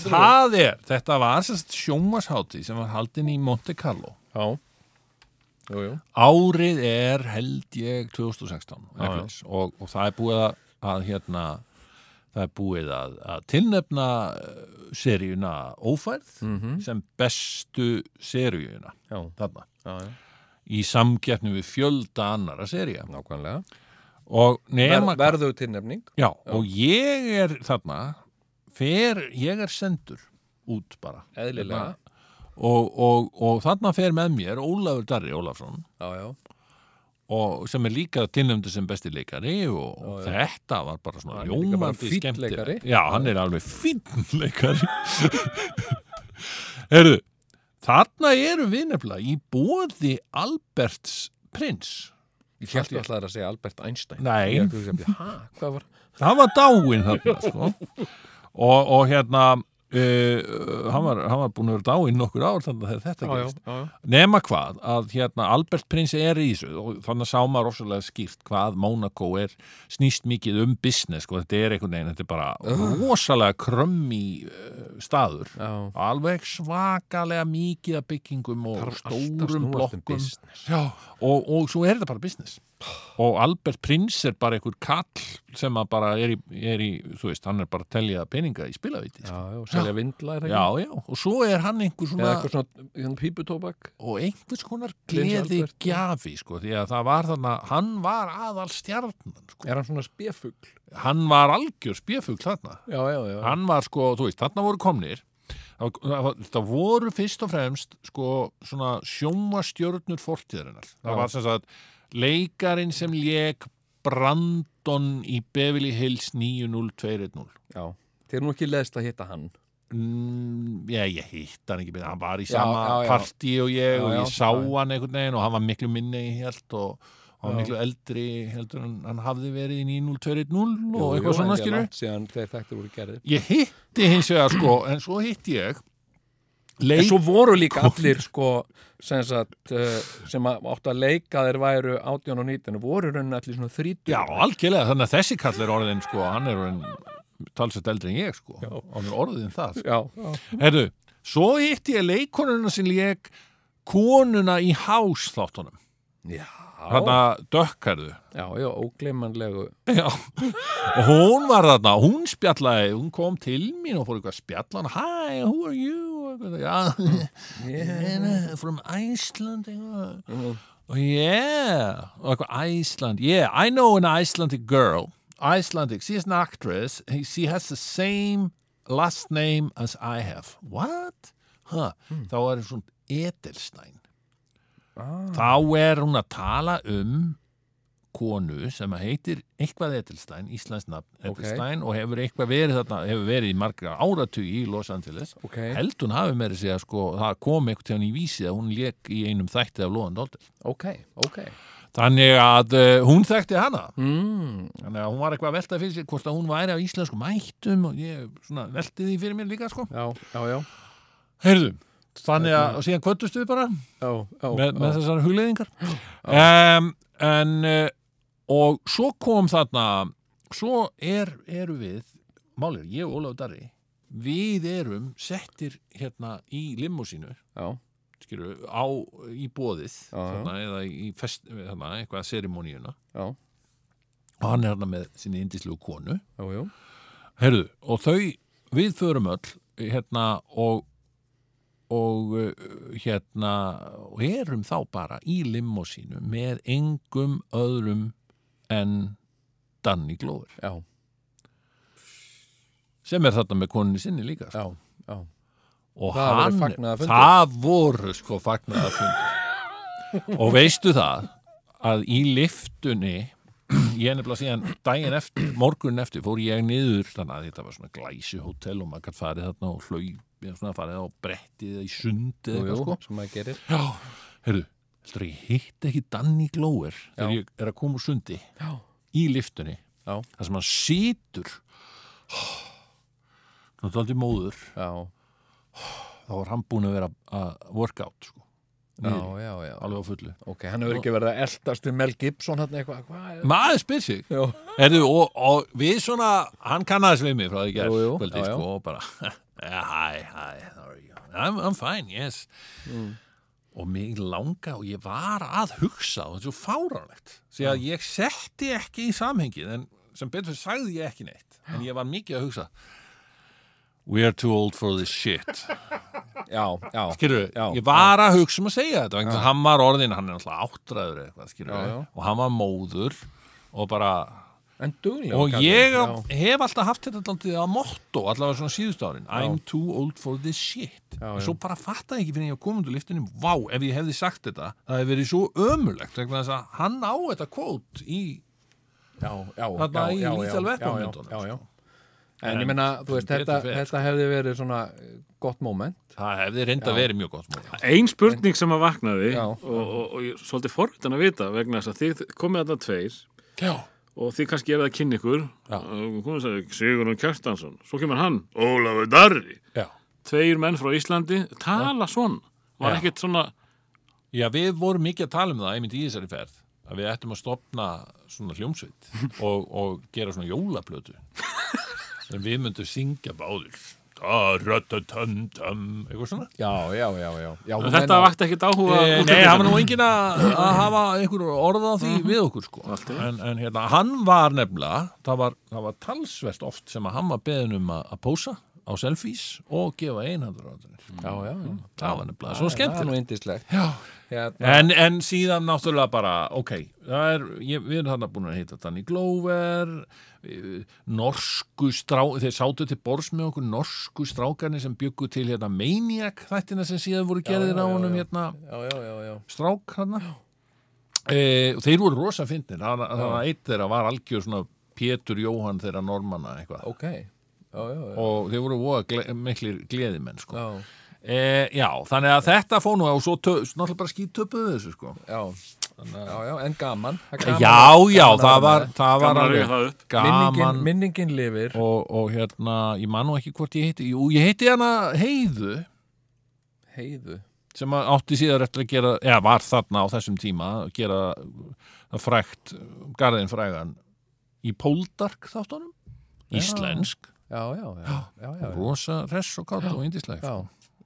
Það er, þetta var sérst sjónvarshátti sem var haldin í Monte Carlo
Já Jú, jú
Árið er held ég 2016 ah, og, og það er búið að, að hérna það er búið að, að tilnefna eh, seríuna Ófærð sem bestu seríuna
Mhm. Já,
þarna
já, já
í samkeppni við fjölda annara seríja
Nákvæmlega
og nema
Ver, Verðu tilnefning
Já, og ég er þarna fer, ég er sendur út bara
Eðlilega
og, og, og þarna fer með mér Ólafur Darri Ólafsson
Já, já
og sem er líka tilnæmdu sem besti leikari og þetta var bara svona
er líka bara
ljómandi
fínn
skemmtilegt.
leikari.
Já, hann er alveg fínn leikari (laughs) Herðu, þarna eru við nefnilega í bóði Alberts prins
Ég held ég ætlaði að segja Albert Einstein
Nei.
Ég hugsaði að Hæ, hvað var
hann var dáinn þarna sko. og, og hérna uh, hann, var, hann var búin að vera dáinn nokkur ár þannig að þetta gerist
já,
nema hvað að hérna Albert Prins er í þessu og þannig að sá maður rosalega skýrt hvað Monaco er snýst mikið um business sko. þetta er einhvern veginn, þetta er bara rosalega krömmi uh, staður
já
alveg svakalega mikið að byggingum og
Þarf alltaf
stórum
snúast um
blokkum
business.
Já, og, og svo er þetta bara business og Albert Prins er bara einhver kall sem að bara er í, er í þú veist, hann er bara að telja peninga í spilavíti
Já,
sko.
já, selja vindla er það
já, já, og svo er hann einhver
Eða
svona
eitthvað svona, hérna, svona píputóbak
og einhvers konar
Prins
gleði
Albert,
gjafi sko, því að það var þarna hann var aðal stjarnan sko.
Er hann svona spjefugl?
hann var algjör spjöfugl þarna
Já, já, já
hann var sko, þú veist, þarna voru komnir það var- það voru fyrst og fremst sko svona sjóma stjörnur fortíðarinnar það var sem sagt leikarin sem lék Brandon í Beverly Hills 90210
já, þið er nú ekki leðst að hitta hann
Mm, já, ég hitt hann ekki betur, hann var í sama
já, já.
partí og ég
Já,
og
já,
ég sá
já, já.
hann einhvern veginn og hann var miklu minni í held og hann var
Já.
miklu eldri heldur en hann hafði verið í 90210 og
Jú, jú,
eitthvað svona
en ég er
skilur
langt síðan þeir þættir voru gerðir
ég hitti hins vegar sko en svo hitti ég leik,
En svo voru líka allir sko, sem, sagt, uh, sem að áttu að leika þeir væru 18 og 19 voru raunin allir svona 30
já algjörlega þannig að þessi kall er orðin sko hann er orðin talsett eldri en ég sko hann er orðin það sko.
já,
herru, svo hitti ég leikonuna sem leik konuna í hás þáttunum
já,
hann að dökkarðu
já, já ógleymanlegu
Já, og hún var þarna, hún spjallaði, hún kom til mín og fór eitthvað að spjalla hann, hi, who are you? Og eitthvað,
(laughs)
Já, yeah, from Iceland, eitthvað. Og Oh, yeah, og eitthvað Iceland, yeah, I know an Icelandic girl, Icelandic, she is an actress, she has the same last name as I have. What? Huh, þá er hún Edelstein. Þá er hún að tala um konu sem að heitir eitthvað Edelstein, Íslands nafn Edelstein og hefur eitthvað verið þarna, hefur verið í margra áratugi í Los Angeles
Ok.
held hún hafi meiri sig að segja, sko, það kom eitthvað til hann í vísi að hún lék í einum þætti af Lóðan Dóldel.
ok, ok
Þannig að uh, hún þekkti hana
mm,
þannig að hún var eitthvað að velta fyrir sér hvort að hún væri af íslensku mættum og ég svona, velti því fyrir mér líka sko.
já, já, já,
Heyrðu, þannig að og síðan kvöldustu við bara
já, já,
með, með
já.
þessar hugleiðingar um, en uh, og svo kom þarna svo er, eru við málið, er, ég og Ólaf Darri við erum settir hérna í limmúsínu
já.
skilur, á, í bóðið
Já, já.
þarna, eða í fest, þarna, eitthvað serimóníuna
Já.
og hann er hérna með sinni indislegu konu
Jú, jú.
Herðu, og þau, við förum öll hérna og og uh, hérna og erum þá bara í limmósínu með engum öðrum en Danny Glover
Já,
sem er þarna með konunni sinni líka sko.
já, já.
og
Það verður
hann,
fagnaðarfundur.
það voru sko fagnaða
(laughs)
og veistu það að í liftunni ég nefnilega síðan daginn eftir morgun eftir fór ég niður þannig að þetta var svona glæsi hótel og maður gætt farið þarna og hlaup eða svona farið á brettið eða í sundi eða
Jú,
eitthvað
jú,
sko
sem maður gerir
já, heyrðu, heldur ég hitt ekki Danny Glover þegar
Já.
ég er að koma úr sundi
Já.
í liftunni
Já.
þar sem hann situr hann er aldrei móður
Já,
þá var hann búin að vera að workout sko,
já,
niðri,
já, já
alveg á fullu
Ok, hann hefur ekki verið að eldast við Mel Gibson hann eitthvað, hvað er
maður spyr sig
Já,
Heyrðu, og, og við svona, hann kannaðist við mig frá því gerð
Jú, jú,
kvöldi,
já, já.
sko, og bara (laughs) "Yeah, hi, hi, how are you I'm, I'm fine, yes
Mm.
og mig langa og ég var að hugsa og þetta er svo fáránlegt því að ég setti ekki í samhengið en sem betur fyrir sagði ég ekki neitt en ég var mikið að hugsa We are too old for this shit
já, já,
skilur,
(laughs) Já,
ég var að hugsa um að segja þetta vegna þess að hann var orðin, hann er alltaf áttræður eitthvað, skilur,
Já, já.
og hann var móður og bara
en duglega
og
kallinn,
ég
já.
hef alltaf haft þetta alltaf að motto, allavega svona síðust árin I'm too old for this shit já, svo bara fattaði ég ekki fyrir ég að koma undir liftinu vá, ef ég hefði sagt þetta, það hefði verið svo ömulegt vegna þess að hann á þetta kvót í,
já, já,
Þarna
já,
í
já,
Lethal
já,
Weapon
já,
myndunum,
já, já.
sko.
En,
En
ég meina, þú veist,
sem
þetta,
betur fer, sko.
þetta hefði verið svona eh, gott moment
það hefði reynda verið mjög gott mót
Ein spurning sem að vaknaði
Já.
og, og, og ég er svolítið forvitin að vita vegna þess að þið komið þarna tveir
já,
og þið kannski er það að kynna ykkur og komið þess að Sigurður Kjartansson svo kemur hann, Ólafur Darri
já.
tveir menn frá Íslandi, tala svona var
Já.
ekkert svona
Já, við vorum mikið að tala um það einmitt í þessari ferð að við ættum að stopna svona hljómsveit (laughs) og, og gera svona jólaplötu en við myndum syngja báður Da-ra-ta-tum-tum eitthvað svona
Já, já, já, já, já þú
þetta
meinar-
vakti ekkert áhuga
Eh, Nei, það var nú enginn að að hafa einhver orð á
Mhm.
því við okkur sko en, en hérna, hann var nefnilega það var, það var talsvert oft sem að hann var beðin um að, að pósa á selfies og gefa einhandur á þetta
Já, já, já
það var nefnilega svo
Það er
skemmtilegt
nú indislegt
Já,
Hérna,
En, en síðan náttúrulega bara, ok, það er, ég, við erum þarna búin að hitta Danny Glover, eh, norsku strá, þeir sátu til bors með okkur norsku strákarnir sem byggu til hérna Maniac þættina sem síðan voru gerðir
já,
á
já,
honum
já.
hérna
já, já, já, já
strák hérna. e, og þeir voru rosa fyndnir það var- það var eitt þeirra var algjör svona Pétur Jóhann þeirra normanna eitthvað
ok já, já, já,
og þeir voru voða gle miklir gleðimenn sko.
já,
e, já, þannig að þetta fór nú og svo tö- náttúrulega bara skítöpuðu þessu sko.
já. já, já, en gaman, það er
já,
gaman
já,
gaman að
það
vera
var,
með.
það var
Gaman að
alveg
rifja það upp.
gaman
minningin, minningin lifir
og, og hérna, ég man nú ekki hvort ég heiti jú, ég heiti hana Heiðu
heiðu
sem að átti síðar eftir að gera eða var þarna á þessum tíma að gera það frægt garðin frægan í Póldark þáttunum íslensk,
já, já, já, já, já, já.
rosa hress og kátt og indisleg
já.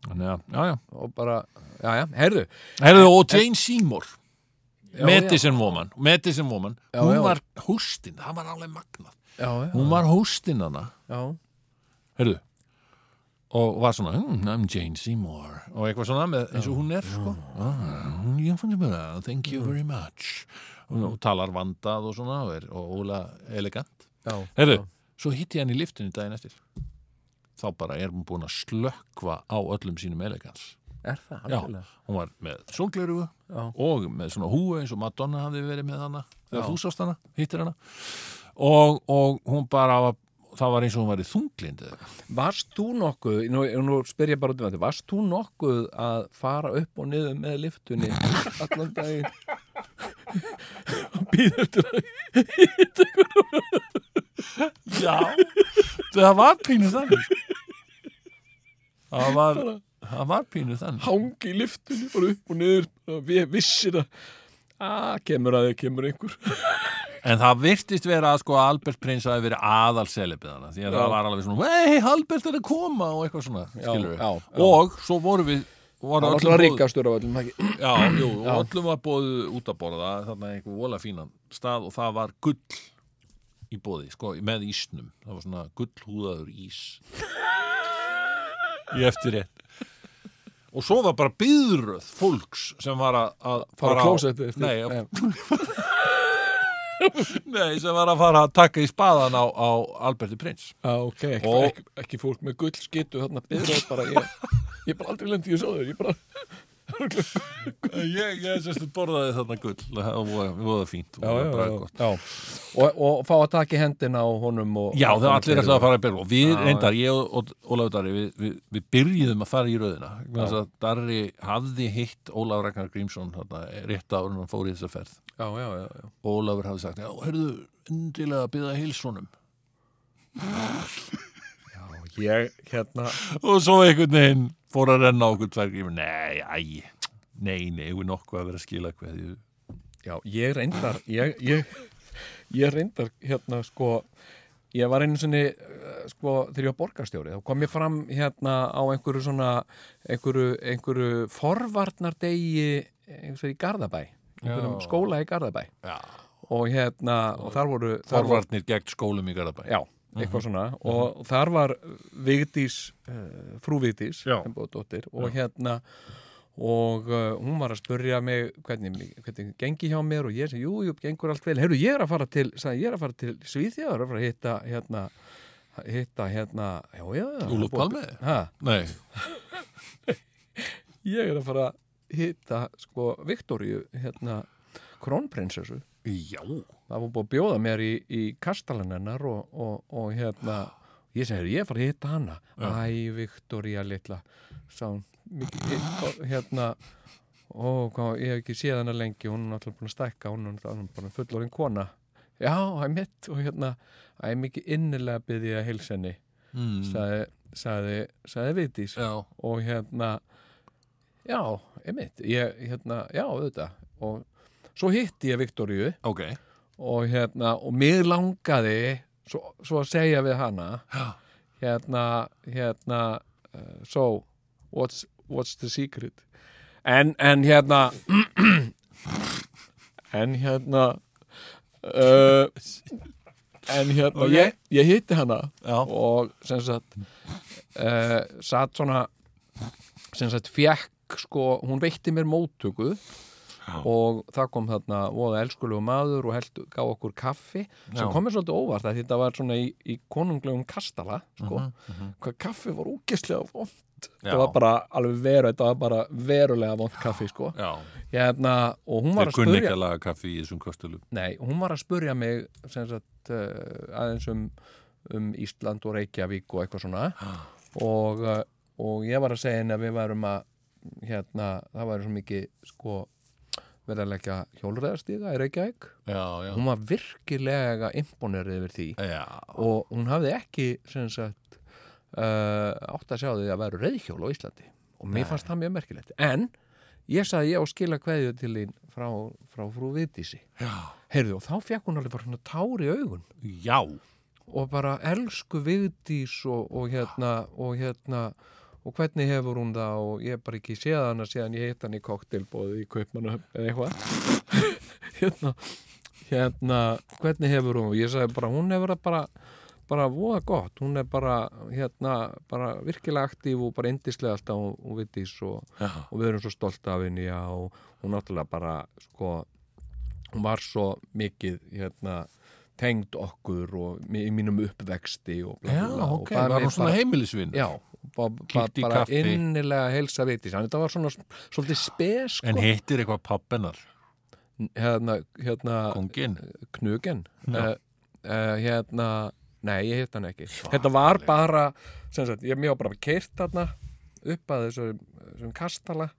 Þannig að, já, já.
og bara, já, já, heyrðu
Herðu, og Jane Seymour
já.
Medicine Woman, Medicine Woman
Já,
hún
já.
var hústinn, það var alveg magnað
já, já,
hún var hústinn hana
já,
Herðu og var svona, hmm, I'm Jane Seymour og eitthvað svona með eins og hún er sko. Mm. ah, ég fann þetta bara, thank you very much og, og talar vandað og svona og er og óla elegant
já,
Herðu, svo hitti ég hann í liftinu daginn eftir þá bara er hún búin að slökva á öllum sínum elegans
er það
Já,
algjörlega
hún var með sólglerugu og með svona húu eins og Madonna hafði verið með hana þegar þú sást hana, hittir hana og, og hún bara var, það var eins og hún var í þunglind eða eitthvað.
Varst þú nokkuð, nú, nú spyr ég bara út um þetta, varst þú nokkuð að fara upp og niður með
(laughs)
liftunni allan daginn og býða eftir að
Já, það var pínu
(laughs)
þannig sko. það var, það var pínu þannig
hangi í liftunni bara upp og niður og við vissir að að kemur að þið kemur einhver
en það virtist vera að sko að Albert Prins hafi verið aðal hana því að
Já.
það var alveg svona, hei, Albert er að koma og eitthvað svona, skilur við
já, já.
og svo vorum við
Það
voru
var
öllum
alltaf
boðið-
ríkastur af öllum ekki
Já, jú, og öllum var bóðið út að borða þarna einhver vola fínan stað og það var gull í bóði, sko, með ísnum það var svona gullhúðaður ís í eftir einn og svo var bara byðröð fólks sem var að, að
Fara
á-
að klósa eftir
nei, að, nei, sem var að fara að taka í spaðan á, á Alberti
(laughs)
Prins
Já, ok, ekki,
Og-
ekki, ekki fólk með gull skytu þarna byrða bara ég, ég bara aldrei lendi í þessu áður, ég bara
ég, ég sérstu borðaði þarna gull það var, var fínt sko. og
Já, já,
var
já,
bara gott
já. Og, og fá að taka í hendina á honum og,
Já,
og
það var allir ætlaði að fara í byrjun og við reyndar, ég og- og Ólafur Darri við, við, við byrjuðum að fara í röðina vegna þess að Darri hafði hitt Ólafur Ragnar Grímsson þarna, rétt áður en hann fór í þessa ferð
Já, já, já, já.
og Ólafur hafði sagt, já, hörðu endilega að byrja hilsunum
ég, hérna
og svo einhvern veginn fór að renna á okkur tvær grímur, nei, æ nei, nei, við nokkuð að vera að skila hverju
Já, ég reyndar ég, ég, ég reyndar hérna sko ég var einu sinni eh, sko þegar ég var borgarstjóri þá kom ég fram hérna á einhverju svona einhverju, einhverju forvarnardegi einhverju í Garðabæ einhverjum skóla í Garðabæ
Já.
og hérna og þar voru þar voru-
Þorvarnir gegn skólum í Garðabæ Mhm.
já, eitthvað svona og þar var Vigdís uh, frú Vigdís
Já.
sem búið dóttir og hérna og uh, hún var að spurja mig hvernig, hvernig gengi hjá mér og ég segi, jú, jú, gengur allt vel heyrðu, ég er að fara til, sagði, ég er að fara til Svíþjóður að fara að hitta hérna hitta hérna, já, já, já
Úlf Palme?
ha,
Nei,
(laughs) ég er að fara að hitta sko Viktoríu, hérna krónprinsessu
já
það var búið að bjóða mér í, í kastalan hennar og, og, og hérna ég segir, ég fari að hitta hana æ, Viktoria litla sá hún mikið, og hérna ó, hvað, ég hef ekki séð hana lengi hún er náttúrulega búin að stækka, hún er náttúrulega búin fullorinn kona já, það er mitt og hérna, það er mikið innilega byggði að heilsa henni
mm.
sagði, sagði, sagði Vigdís
Já,
og hérna já, einmitt, ég, hérna, já, auðvitað og svo hitti ég Viktoríu
ok
og hérna, og mér langaði svo, svo að segja við hana
Já.
hérna, hérna uh, so, what's, what's the secret en, en hérna (clears throat) en hérna uh, en hérna ég, ég hitti hana
Já.
og sem sagt uh, satt svona sem sagt fjekk sko, hún veitti mér móttöku og það kom þarna voða elskulegu maður og held, gaf okkur kaffi sem
Já.
kom mér svolítið óvart
Mhm,
að þetta var svona í, í konunglegum kastala sko. hvað kaffi var úkesslega vond
Já.
það var bara alveg veru þetta var bara verulega vond kaffi sko
Já,
hérna, og hún var
þeir
að
kunni ekki
spurja
að laga kaffi í þessum kostulum
nei, hún var að spurja mig sem sagt uh, aðeins um, um Ísland og Reykjavík og eitthvað svona og, uh, og ég var að segja henni að við værum að hérna, það væri svo mikið sko verið að leggja hjólreðastíga í Reykjavík
Já, já,
hún var virkilega imponerið yfir því
já,
og hún hafði ekki sem sagt uh, átt að sjá því að vera reyðhjól á Íslandi og mér fannst það mjög merkilegt en ég sagði ég á skila kveðju til þín frá, frá frú Vitísi heyrðu og þá fekk hún alveg bara svona tár í augun
já.
og bara elsku Vigdís og, og hérna og hérna og hvernig hefur hún það og ég hef bara ekki séð hana síðan ég hitt hann í koktelbóði í kaupmannahöfn eða eitthvað hérna, hérna hvernig hefur hún og ég sagði bara hún hefur það bara bara voða gott, hún er bara hérna, bara virkilega aktíf og bara indislega alltaf og, og vitís og, og við erum svo stolt af henni já, og hún náttúrulega bara sko, hún var svo mikið hérna, tengd okkur og mi- í mínum uppvexti og bla bla bla og
ok,
bað
var
mig
hún svona
bara-
heimilisvinn
Ah, Já, ba, ba,
Kíkti í
bara
kaffi.
innilega heilsa vitís hann þetta var svona s- svolítið spes sko.
En hittir eitthvað pappennar,
hérna, hérna
kongin
knugen uh, uh, hérna, nei ég hitt hann ekki þetta var bara sem sagt, ég mjög bara keirt þarna upp að þessum, þessum
(gasps)
kastala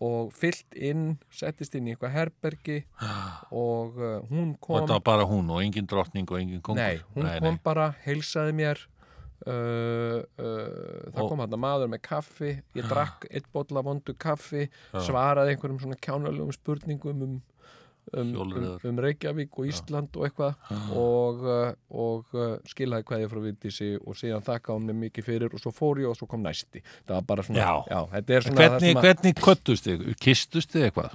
og fyllt inn settist inn í eitthvað
(gasps)
herbergi og uh, hún
Og
kom
þetta var bara hún og engin drottning og engin kongur
nei, hún kom bara, heilsaði mér Uh, uh, það kom hann maður með kaffi
Ah.
ég drakk eitt bolla vondu kaffi svaraði einhverjum svona kjánulegum spurningum um um, um,
Hjólreiðar. Ah.
um Reykjavík og Ísland og eitthvað og, uh, og uh, skilaði hvað ég frá Vindísi og síðan þakka hún mér mikið fyrir og svo fór ég og svo kom næsti það var bara svona,
Já.
þetta er svona, það
Hvernig,
svona
hvernig köttust þið? Kistust þið eitthvað?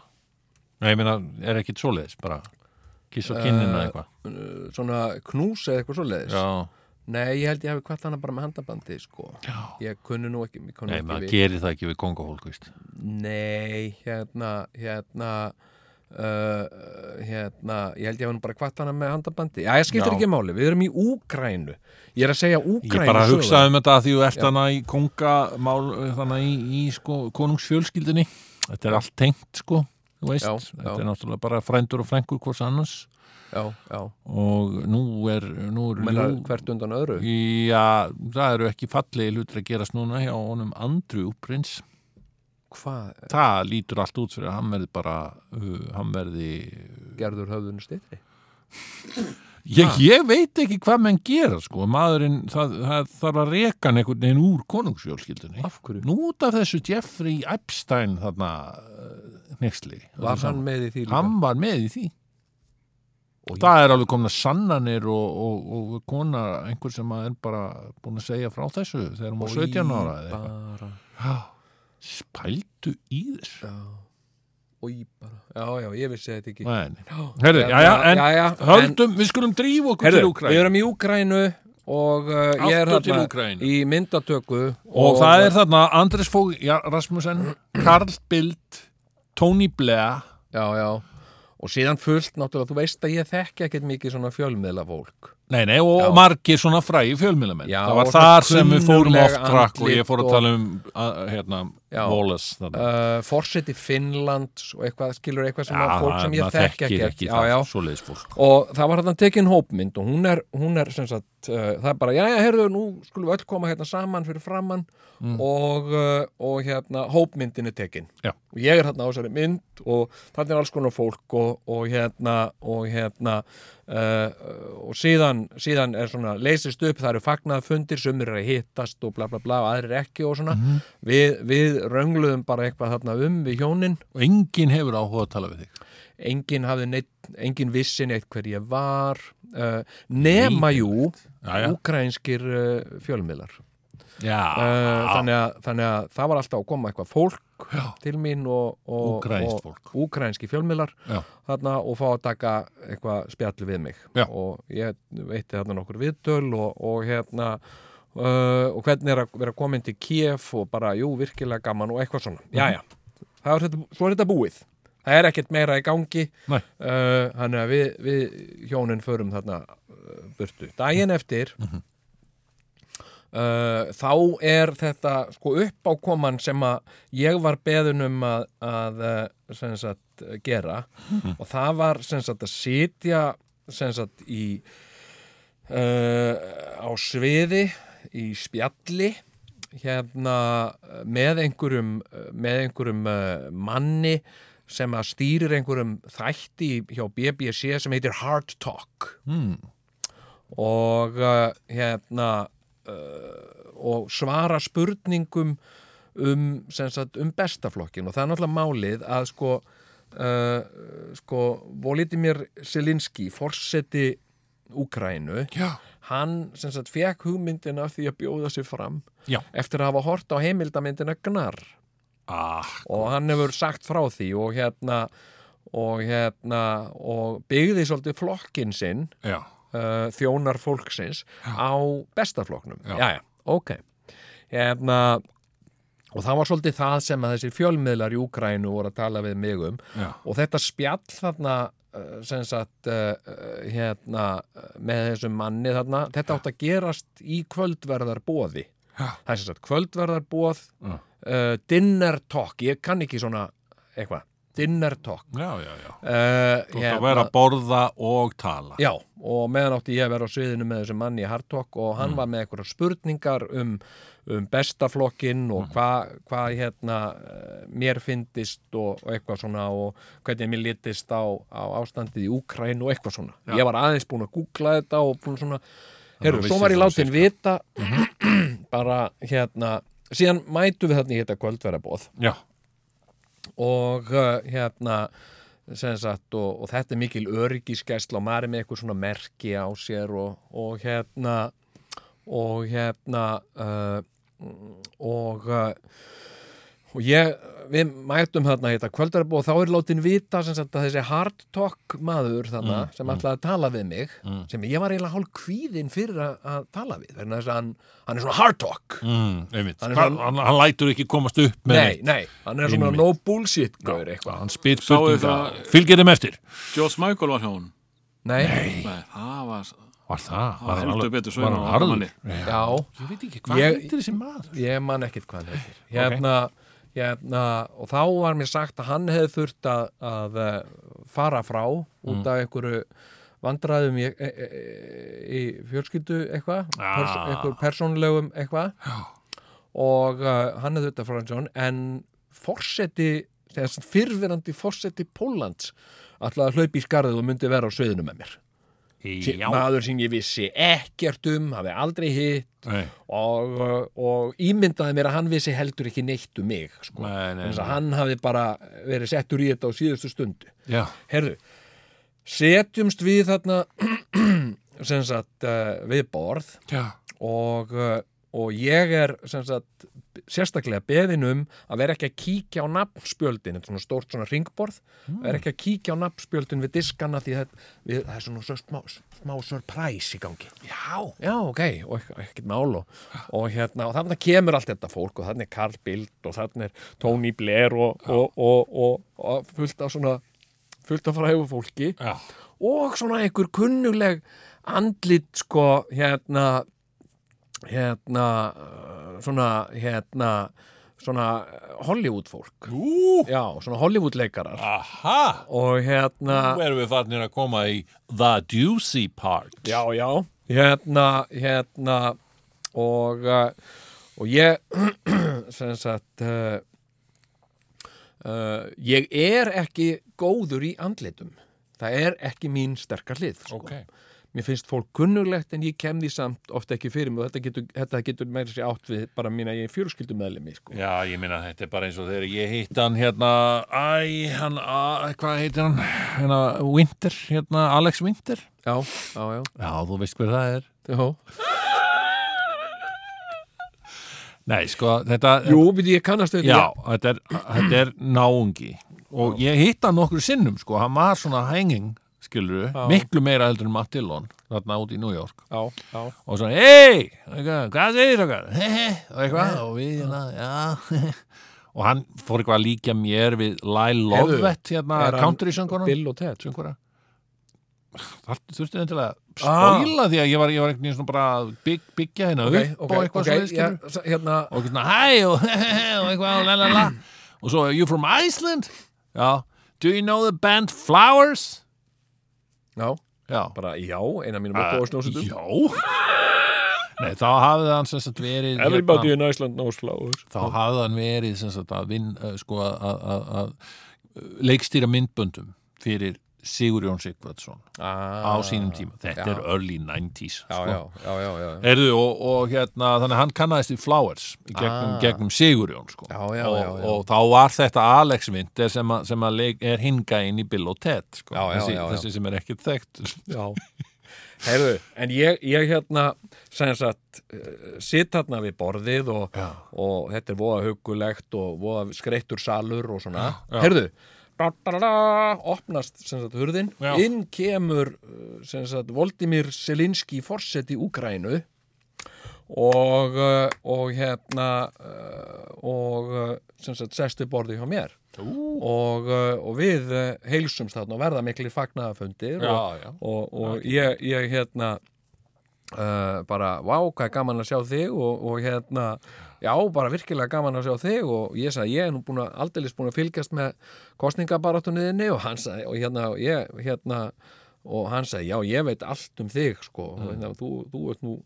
Nei, ég meina, er ekki svoleiðis, bara kiss á kinnina eitthvað
uh, svona knús eða eitthvað svoleiðis
Já,
nei, ég held ég hafi hvað hana bara með handabandi sko. ég kunni nú ekki, ég kunni
nei,
ekki
maður
við
gerir það ekki við kongahólk, veist
nei, hérna hérna Uh, hérna, ég held ég hafi nú bara hvað hana með handabandi, já ég skiptir
Já.
ekki máli við erum í Úgrænu, ég er að segja Úgrænu
Ég bara
söguna.
hugsaði um þetta að því þú ert hana í kongamál, hana í, í sko, konungsfjölskyldinni. Þetta er allt tengt, sko, þú veist.
Já,
þetta
já.
er náttúrulega bara frændur og frængur hvors annars
já, já,
og nú er, nú er
meina hvert undan öðru
Já, það eru ekki fallegi hlutir að gerast núna hjá honum Andrew prins.
hvað
Það lítur allt út fyrir að hann verði bara, uh, hann verði...
gerður höfðun styrri
Ég, ég veit ekki hvað menn gera, sko, maðurinn, það, það þarf að reka hann einhvern veginn úr konungsfjölskyldinni.
af hverju?
Nú út af þessu Jeffrey Epstein þarna uh, nexli.
var hann með í því líka?
Hann var með í því. Og það er alveg komna sannanir og, og, og kona einhver sem að er bara búin að segja frá þessu þegar hún var 17 ára eða eitthvað.
bara,
Spældu í þessu.
já og bara, já já, ég vissi þetta ekki
Nei, nei. Herðu, já, já, en
já, já,
höldum, við skulum drífa okkur
Heyrðu,
til
við
Úkræn.
erum í Úgrænu og uh, ég er
Aftur til
hérna
Úkraínu.
í myndatöku
Og, það er þarna Andres Fóg ja, Rasmussen, Karl Bild, Tony Blair.
já, já. og síðan fullt náttúrulega, þú veist að ég þekki ekkert mikið svona fjölmiðla fólk
Nei, nei, og
Já.
margir svona fræði fjölmjölamenn.
Já,
Það var
og svona
þar sem við fórum oft
kunnugleg
trakk og ég fór að
andlit
tala um, að, hérna,
Já.
Wallace. þarna.
uh, forseti Finnlands og eitthvað, skilur eitthvað sem að
Já,
fólk sem
maður
ég þekki
þekkir
ekkert
ekki
já, já,
það, svoleiðis fólk.
og það var þarna tekin hópmynd og hún er, hún er sem sagt uh, það er bara, jæja, heyrðu, nú skulum við öll koma hérna saman fyrir framann og, uh, og hérna, hópmyndin er tekin
Já.
og ég er hérna á þessari mynd og þarna er alls konar fólk og, og hérna, og hérna uh, og síðan, síðan er svona, leysist upp, það eru fagnaðfundir sumir eru að hittast og bla bla bla og aðrir ekki og svona, við, við röngluðum bara eitthvað þarna um við hjónin
Og enginn hefur áhuga að tala við þig.
enginn hafði neitt, enginn vissi neitt hver ég var uh, nema jú
Jæja.
ukrainskir uh, fjölmiðlar uh,
Já,
þannig, að, þannig að það var alltaf að koma eitthvað fólk Já. til mín og, og,
Úkraínskt
og ukrainski fjölmiðlar
Já.
þarna og fá að taka eitthvað spjall við mig
Já.
og ég veitti þarna nokkur viðtöl og, og hérna Uh, og hvernig er að vera komin til Kiev og bara, jú, virkilega gaman og eitthvað svona Jæja, Það er þetta, svo er þetta búið það er ekkert meira í gangi
Nei.
uh, þannig að við, við hjónin förum þarna uh, burtu daginn eftir uh, þá er þetta sko uppákoman sem að ég var beðin um að, að eh, sem sagt, gera og það var sem sagt að sitja sem sagt í uh, á sviði í spjalli hérna eh, með einhverjum eh, með einhverjum uh, manni sem að stýrir einhverjum þætti hjá BBC sem heitir Hard Talk og uh, hérna uh, og svara spurningum um, sem sagt, um bestaflokkin og það er náttúrulega málið að sko uh, sko Volodymyr Selinski forseti Úkrænu
Já.
hann sem sagt fekk hugmyndina af því að bjóða sig fram
Já.
eftir að hafa hort á heimildamyndina Gnar
Ah,
og hann hefur sagt frá því og hérna og hérna og byggði svolítið flokkin sinn
já.
uh, þjónar fólksins á bestafloknum
Já.
já, ok Efna, og það var svolítið það sem að þessir fjölmiðlar í Úkrænu voru að tala við mig um
Já.
og þetta spjall þarna uh, sem sagt uh, uh, hérna, uh, með þessum manni þarna þetta átt að gerast í kvöldverðarbóði
Já.
það er sem sagt kvöldverðarbóð uh, dinner talk, ég kann ekki svona eitthvað, dinner talk
Já, já, já.
uh,
Þú ætti að vera að borða og tala.
Já, og meðan átti ég að vera á sviðinu með þessum manni í Hardtalk og
Mm.
hann var með einhverjar spurningar um, um bestaflokkin
Mm.
og hvað hva, hérna eh, mér fyndist og, og eitthvað svona og hvernig mér litist á, á ástandið í Úkræn og eitthvað svona. Ég var aðeins búin að googla þetta og búin svona, herru,
þú Mhm.
svo
vissir
var ég
svona
látin vita (clears throat) bara hérna, síðan mætu við þarna í þetta kvöldverabóð
Já.
og uh, hérna sem sagt og, og þetta er mikil öryggisgæsla og maður er með eitthvað svona merki á sér og, og hérna og hérna uh, mm, og uh, og ég, við mætum þarna hérna kvöldarbú og þá er látin vita sem sagt að þessi hard talk maður þarna
Mm,
sem ætlaði að tala við mig sem ég var eiginlega hálf kvíðin fyrir að, að tala við, vegna þess að hann, hann er svona hard talk
Mm, einmitt. Hann,
Hann er
hann,
svona-
hann lætur ekki komast upp með
nei,
neitt.
nei, hann er svona
Einmitt.
no bullshit gaur eitthvað
Hann spyr
Sáu þið
spurninga.
það-
Fylgir þeim eftir.
George Michael var hjá hún
nei.
Nei, það var
Var það?
var heldur
alveg-
betur
var
sveinar
hann
á
harður?
manni.
Já.
já
Ég veit ekki, hvað
Ég-
heitir þessi maður?
Ég man ekkert hvað hann heitir. Hérna, hérna, og þá var mér sagt að hann hefði þurft að, að eh, fara frá út af einhverju vandræðum í, e, e, í fjölskyldu eitthvað, pers,
Ah.
einhverju persónulegum eitthvað og uh, hann hefði þetta frá hans jón en forseti, þess fyrfirandi forseti Póllands ætlaði að hlaupa í skarðið og myndi vera á sviðinu með mér. Sí, maður sem ég vissi ekkert um, hafi aldrei hitt
Nei,
og, eh, og ímyndaði mér að hann vissi heldur ekki neitt um mig sko.
nei, nei.
Þannig að
nei.
hann hafi bara verið settur í þetta á síðustu stundu
Já,
Herðu, setjumst við þarna (clears throat) sem sagt uh, við borð
já.
og, uh, og ég er sem sagt sérstaklega beðin um að vera ekki að kíkja á nafnspjöldin, þetta er svona stórt svona ringborð
Hmm.
vera ekki að kíkja á nafnspjöldin við diskana því það, við, það er svona svo smá, smá surprise í gangi
Já.
já, ok, og ekk- ekkert mál og, og hérna, og þannig kemur allt þetta fólk og þannig er Carl Bildt og þannig er Tony Blair og, og, og, og, og fullt af svona fullt af fræðu fólki
Já.
og svona einhver kunnuleg andlit sko hérna hérna uh, svona hérna svona eh, Hollywood fólk
Ú, Ah.
já, svona Hollywood leikarar
aha.
og hérna
Nú erum við farnir að koma í The Juicy Part.
Já, já, hérna, hérna og, uh, og ég (clears throat) sem sagt uh, uh, ég er ekki góður í andlitum það er ekki mín sterkar hlið sko.
Ok.
mér finnst fólk kunnulegt en ég kem því samt ofta ekki fyrir mig og þetta getur, þetta getur meira sér átt við bara mín að ég er fjörskildum meðlemi sko.
Já, ég minna þetta er bara eins og þegar ég hitt hann hérna, æ, hann, a, hvað heitir hann, hérna, Winter, hérna, Alex Winter.
já, já, já,
Já, þú veist hver það er.
já.
Nei, sko, þetta,
jú, við ég kannast við
já, þetta er, þetta er náungi. Og ég hitt hann nokkur sinnum, sko, hann var svona hanging, skilur
Já.
miklu meira heldur en Mattilón, þarna út í New York.
já, já,
og svona, hei, hvað segir okkar? He he, og (laughs) eitthvað, og við, hérna, já, (laughs) og hann fór eitthvað að líka mér við Lyle
Heyrðu,
Lovett, hérna,
er hann
country sönguna,
Bill og Ted
sönguna.
þar þurfti þetta til að spóla því að ég var, ég var einhvern veginn svona bara að bygg, byggja hérna
Ah. ok,
upp
ok,
og eitthvað
ok,
okay, svo
ja, s- hérna,
og eitthvað svona hæ og, (laughs) og eitthvað la la la og svo you from Iceland já, do you know the band Flowers
já,
já,
bara já, eina mínum uppáðsnósutum
já Nei, þá hafði hann sem sagt verið hérna,
Everybody
Hérna.
in Iceland knows flowers
þá hafði hann verið sem sagt að vinn eh, sko að- að að- að eh, leikstýra myndböndum fyrir Sigur Jón Sigvardsson á
ah,
sínum tíma, þetta er early 90s
já,
sko.
já, já, já, já, já.
Erðu, og, og hérna, þannig að hann kannaðist í Flowers í gegnum,
Ah.
gegnum Sigurjón sko.
Já, já,
og,
já, já.
og þá var þetta Alex Vinter sem, að, sem að leik, er hinga inn í Bill og Ted sko.
Já, já,
þessi,
já, já.
þessi sem er ekkert þekkt
Já Heyrðu, en ég, ég hérna sem sagt, eh, sit hérna við borðið og,
Já.
og þetta er voða hugulegt og voða skreittur salur og svona Heyrðu, da, da, da, da, opnast sem sagt hurðin
Já.
inn kemur eh, sem sagt Voldimir Selinski forsett í Úgrænu og, eh, og hérna eh, og eh, sem sagt sestu borðið hjá mér og, eh, og við eh, heilsumst þarna og verða miklir fagnaðafundir
Já,
og,
já.
og, og ég, ég hérna uh, bara, vá, hvað er gaman að sjá þig og, og hérna, já, bara virkilega gaman að sjá þig og ég sagði, ég er nú búin að aldeilis búin að fylgjast með kostningabarátunniðinni og hann sagði, og hérna, og ég, hérna og hann sagði, já, ég veit allt um þig sko, mm. þú, þú ert nú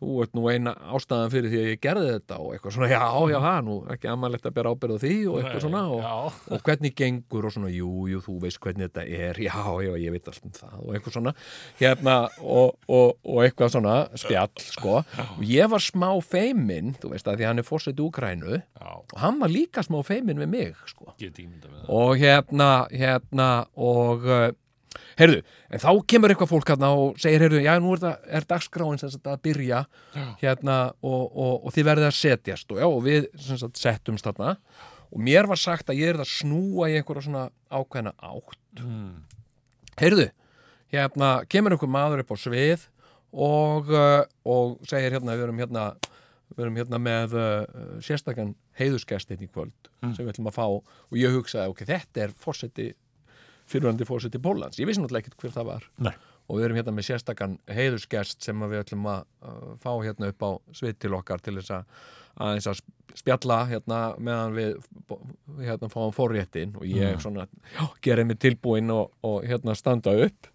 þú ert nú eina ástæðan fyrir því að ég gerði þetta og eitthvað svona, já, já, ha, nú ekki amalegt að bera ábyrð á því og eitthvað svona og,
já.
og hvernig gengur og svona, jú, jú, þú veist hvernig þetta er, já, já, ég veit allt um það og eitthvað svona, hérna og, og, og eitthvað svona spjall, sko og ég var smá feiminn, þú veist að því hann er fórsett Úkrænu já. og hann var líka smá feiminn við mig, sko
Get ímynda með það.
og hérna, hérna og uh, heyrðu, en þá kemur eitthvað fólk hérna og segir, heyrðu, já, nú er, það, er dagskráin sem sagt að byrja hérna og, og, og þið verðið að setjast og já, og við sem sagt settumst þarna og mér var sagt að ég er að snúa í einhverja svona ákveðna átt heyrðu, hérna kemur einhver maður upp á svið og, uh, og segir hérna, við erum hérna við erum hérna með uh, sérstakann heiðusgæstin í kvöld sem við ætlum að fá og ég hugsaði, ok, þetta er fórseti, fyrirandi fórseti Pólans, ég vissi náttúrulega ekkert hver það var
Nei.
og við erum hérna með sérstakann heiðusgæst sem að við ætlum að uh, fá hérna upp á svið til okkar til þess að aðeins að spjalla hérna meðan við bo- hérna fáum forréttin og ég svona já, gerði mig tilbúinn og, og hérna standa upp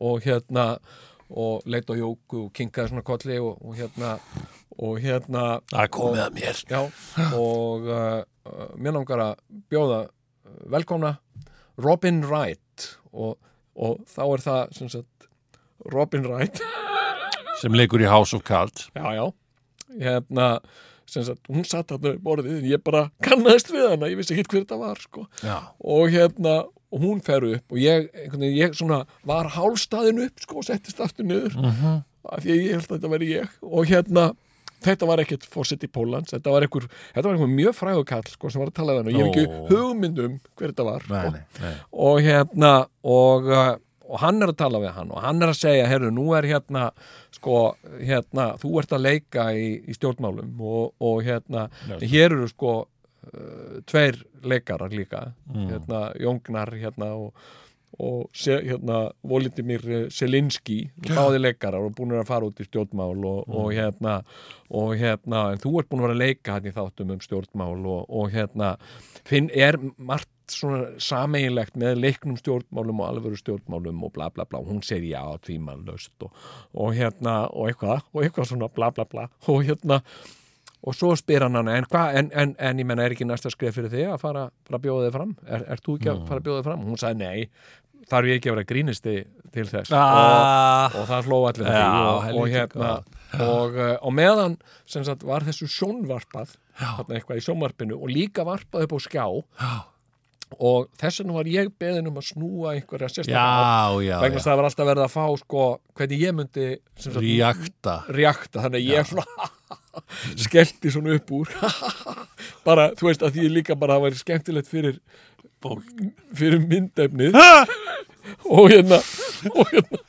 og hérna og leit á jóku og kinkaði svona kolli og, og hérna og hérna
það komið að mér
Já, og uh, uh, mér langar að bjóða uh, velkomna Robin Wright og, og þá er það sem sagt Robin Wright
sem leikur í House of Cards
Já, já, hérna sem sagt, hún satt þarna við borðið en ég bara kannaðist við hana, ég vissi ekki hver þetta var sko.
já.
og hérna og hún fer upp og ég, einhvern veginn, ég svona var hálstaðin upp sko og settist aftur niður
Mhm.
af því að ég held að þetta veri ég og hérna þetta var ekkert fórsett í Pólans þetta var einhver, þetta var einhver mjög frægur kall sko sem var að tala við hann og ég hef ekki
Ó.
hugmyndum hver þetta var sko.
Nei, nei, nei.
og hérna og, uh, og hann er að tala við hann og hann er að segja, herru, nú er hérna sko, hérna, þú ert að leika í, í stjórnmálum og, og hérna, hér eru sko uh, tveir leikarar líka hérna, Jóngnar hérna og, og se, hérna, Volitimir Selinski báði leikarar og búin að fara út í stjórnmál og, og hérna og hérna, en þú ert búin að vera að leika hérna í þáttum um stjórnmál og, og hérna, finn, er margt svona sameiginlegt með leiknum stjórnmálum og alvöru stjórnmálum og bla bla bla og hún segir já, tvímanlaust og, og hérna, og eitthvað og eitthvað svona bla bla bla og hérna, og svo spyr hann hann en, hva, en, en, en ég menna er ekki næsta skref fyrir þig að fara, fara að bjóða þig fram er, er þú ekki að fara að bjóða þig fram? hún sagði nei þarf ég ekki að vera grínisti til þess
Ah.
og, og það hló allir að
Já,
því og, og
helvíti
hérna og, uh, og meðan sem sagt var þessu sjónvarpað þarna eitthvað í sjónvarpinu og líka varpað upp á skjá já. og þess vegna var ég beðin um að snúa einhverja sérstaklega
já, já, já.
vegna þess að það var alltaf verið að fá sko, hvernig ég myndi sem sagt,
Reacta
reakta, þannig að ég svona (laughs) skellti svona upp úr (laughs) bara, þú veist að því líka bara það væri skemmtilegt fyrir fyrir myndefnið (laughs) og hérna og hérna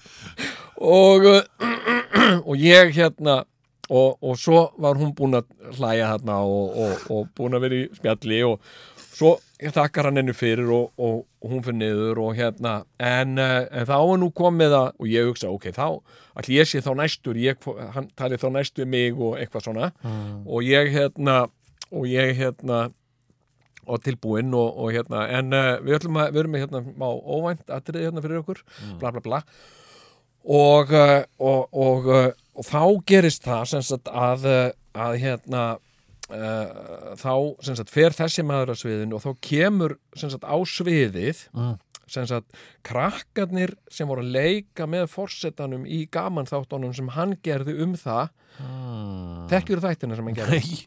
og, uh, (clears throat) og ég hérna og, og svo var hún búin að hlæja hérna og, og, og búin að vera í spjalli og svo þakkar hann henni fyrir og, og, og hún fyrir niður og hérna en, eh, en þá er nú komið að og ég hugsa, ok, þá allir ég sé þá næstur ég, hann tali þá næstu við mig og eitthvað svona og ég hérna og ég hérna og tilbúinn og, og hérna en uh, við ætlum að, við erum með hérna á óvænt atriði hérna fyrir okkur, bla bla bla og uh, og, og, uh, og þá gerist það sem sagt að, uh, að hérna uh, þá sem sagt fer þessi maður að sviðinu og þá kemur sem sagt á sviðið
Mm.
sem sagt krakkarnir sem voru að leika með forsetanum í gaman þáttunum sem hann gerði um það mm. þekkjur þættina sem hann gerði
Nei.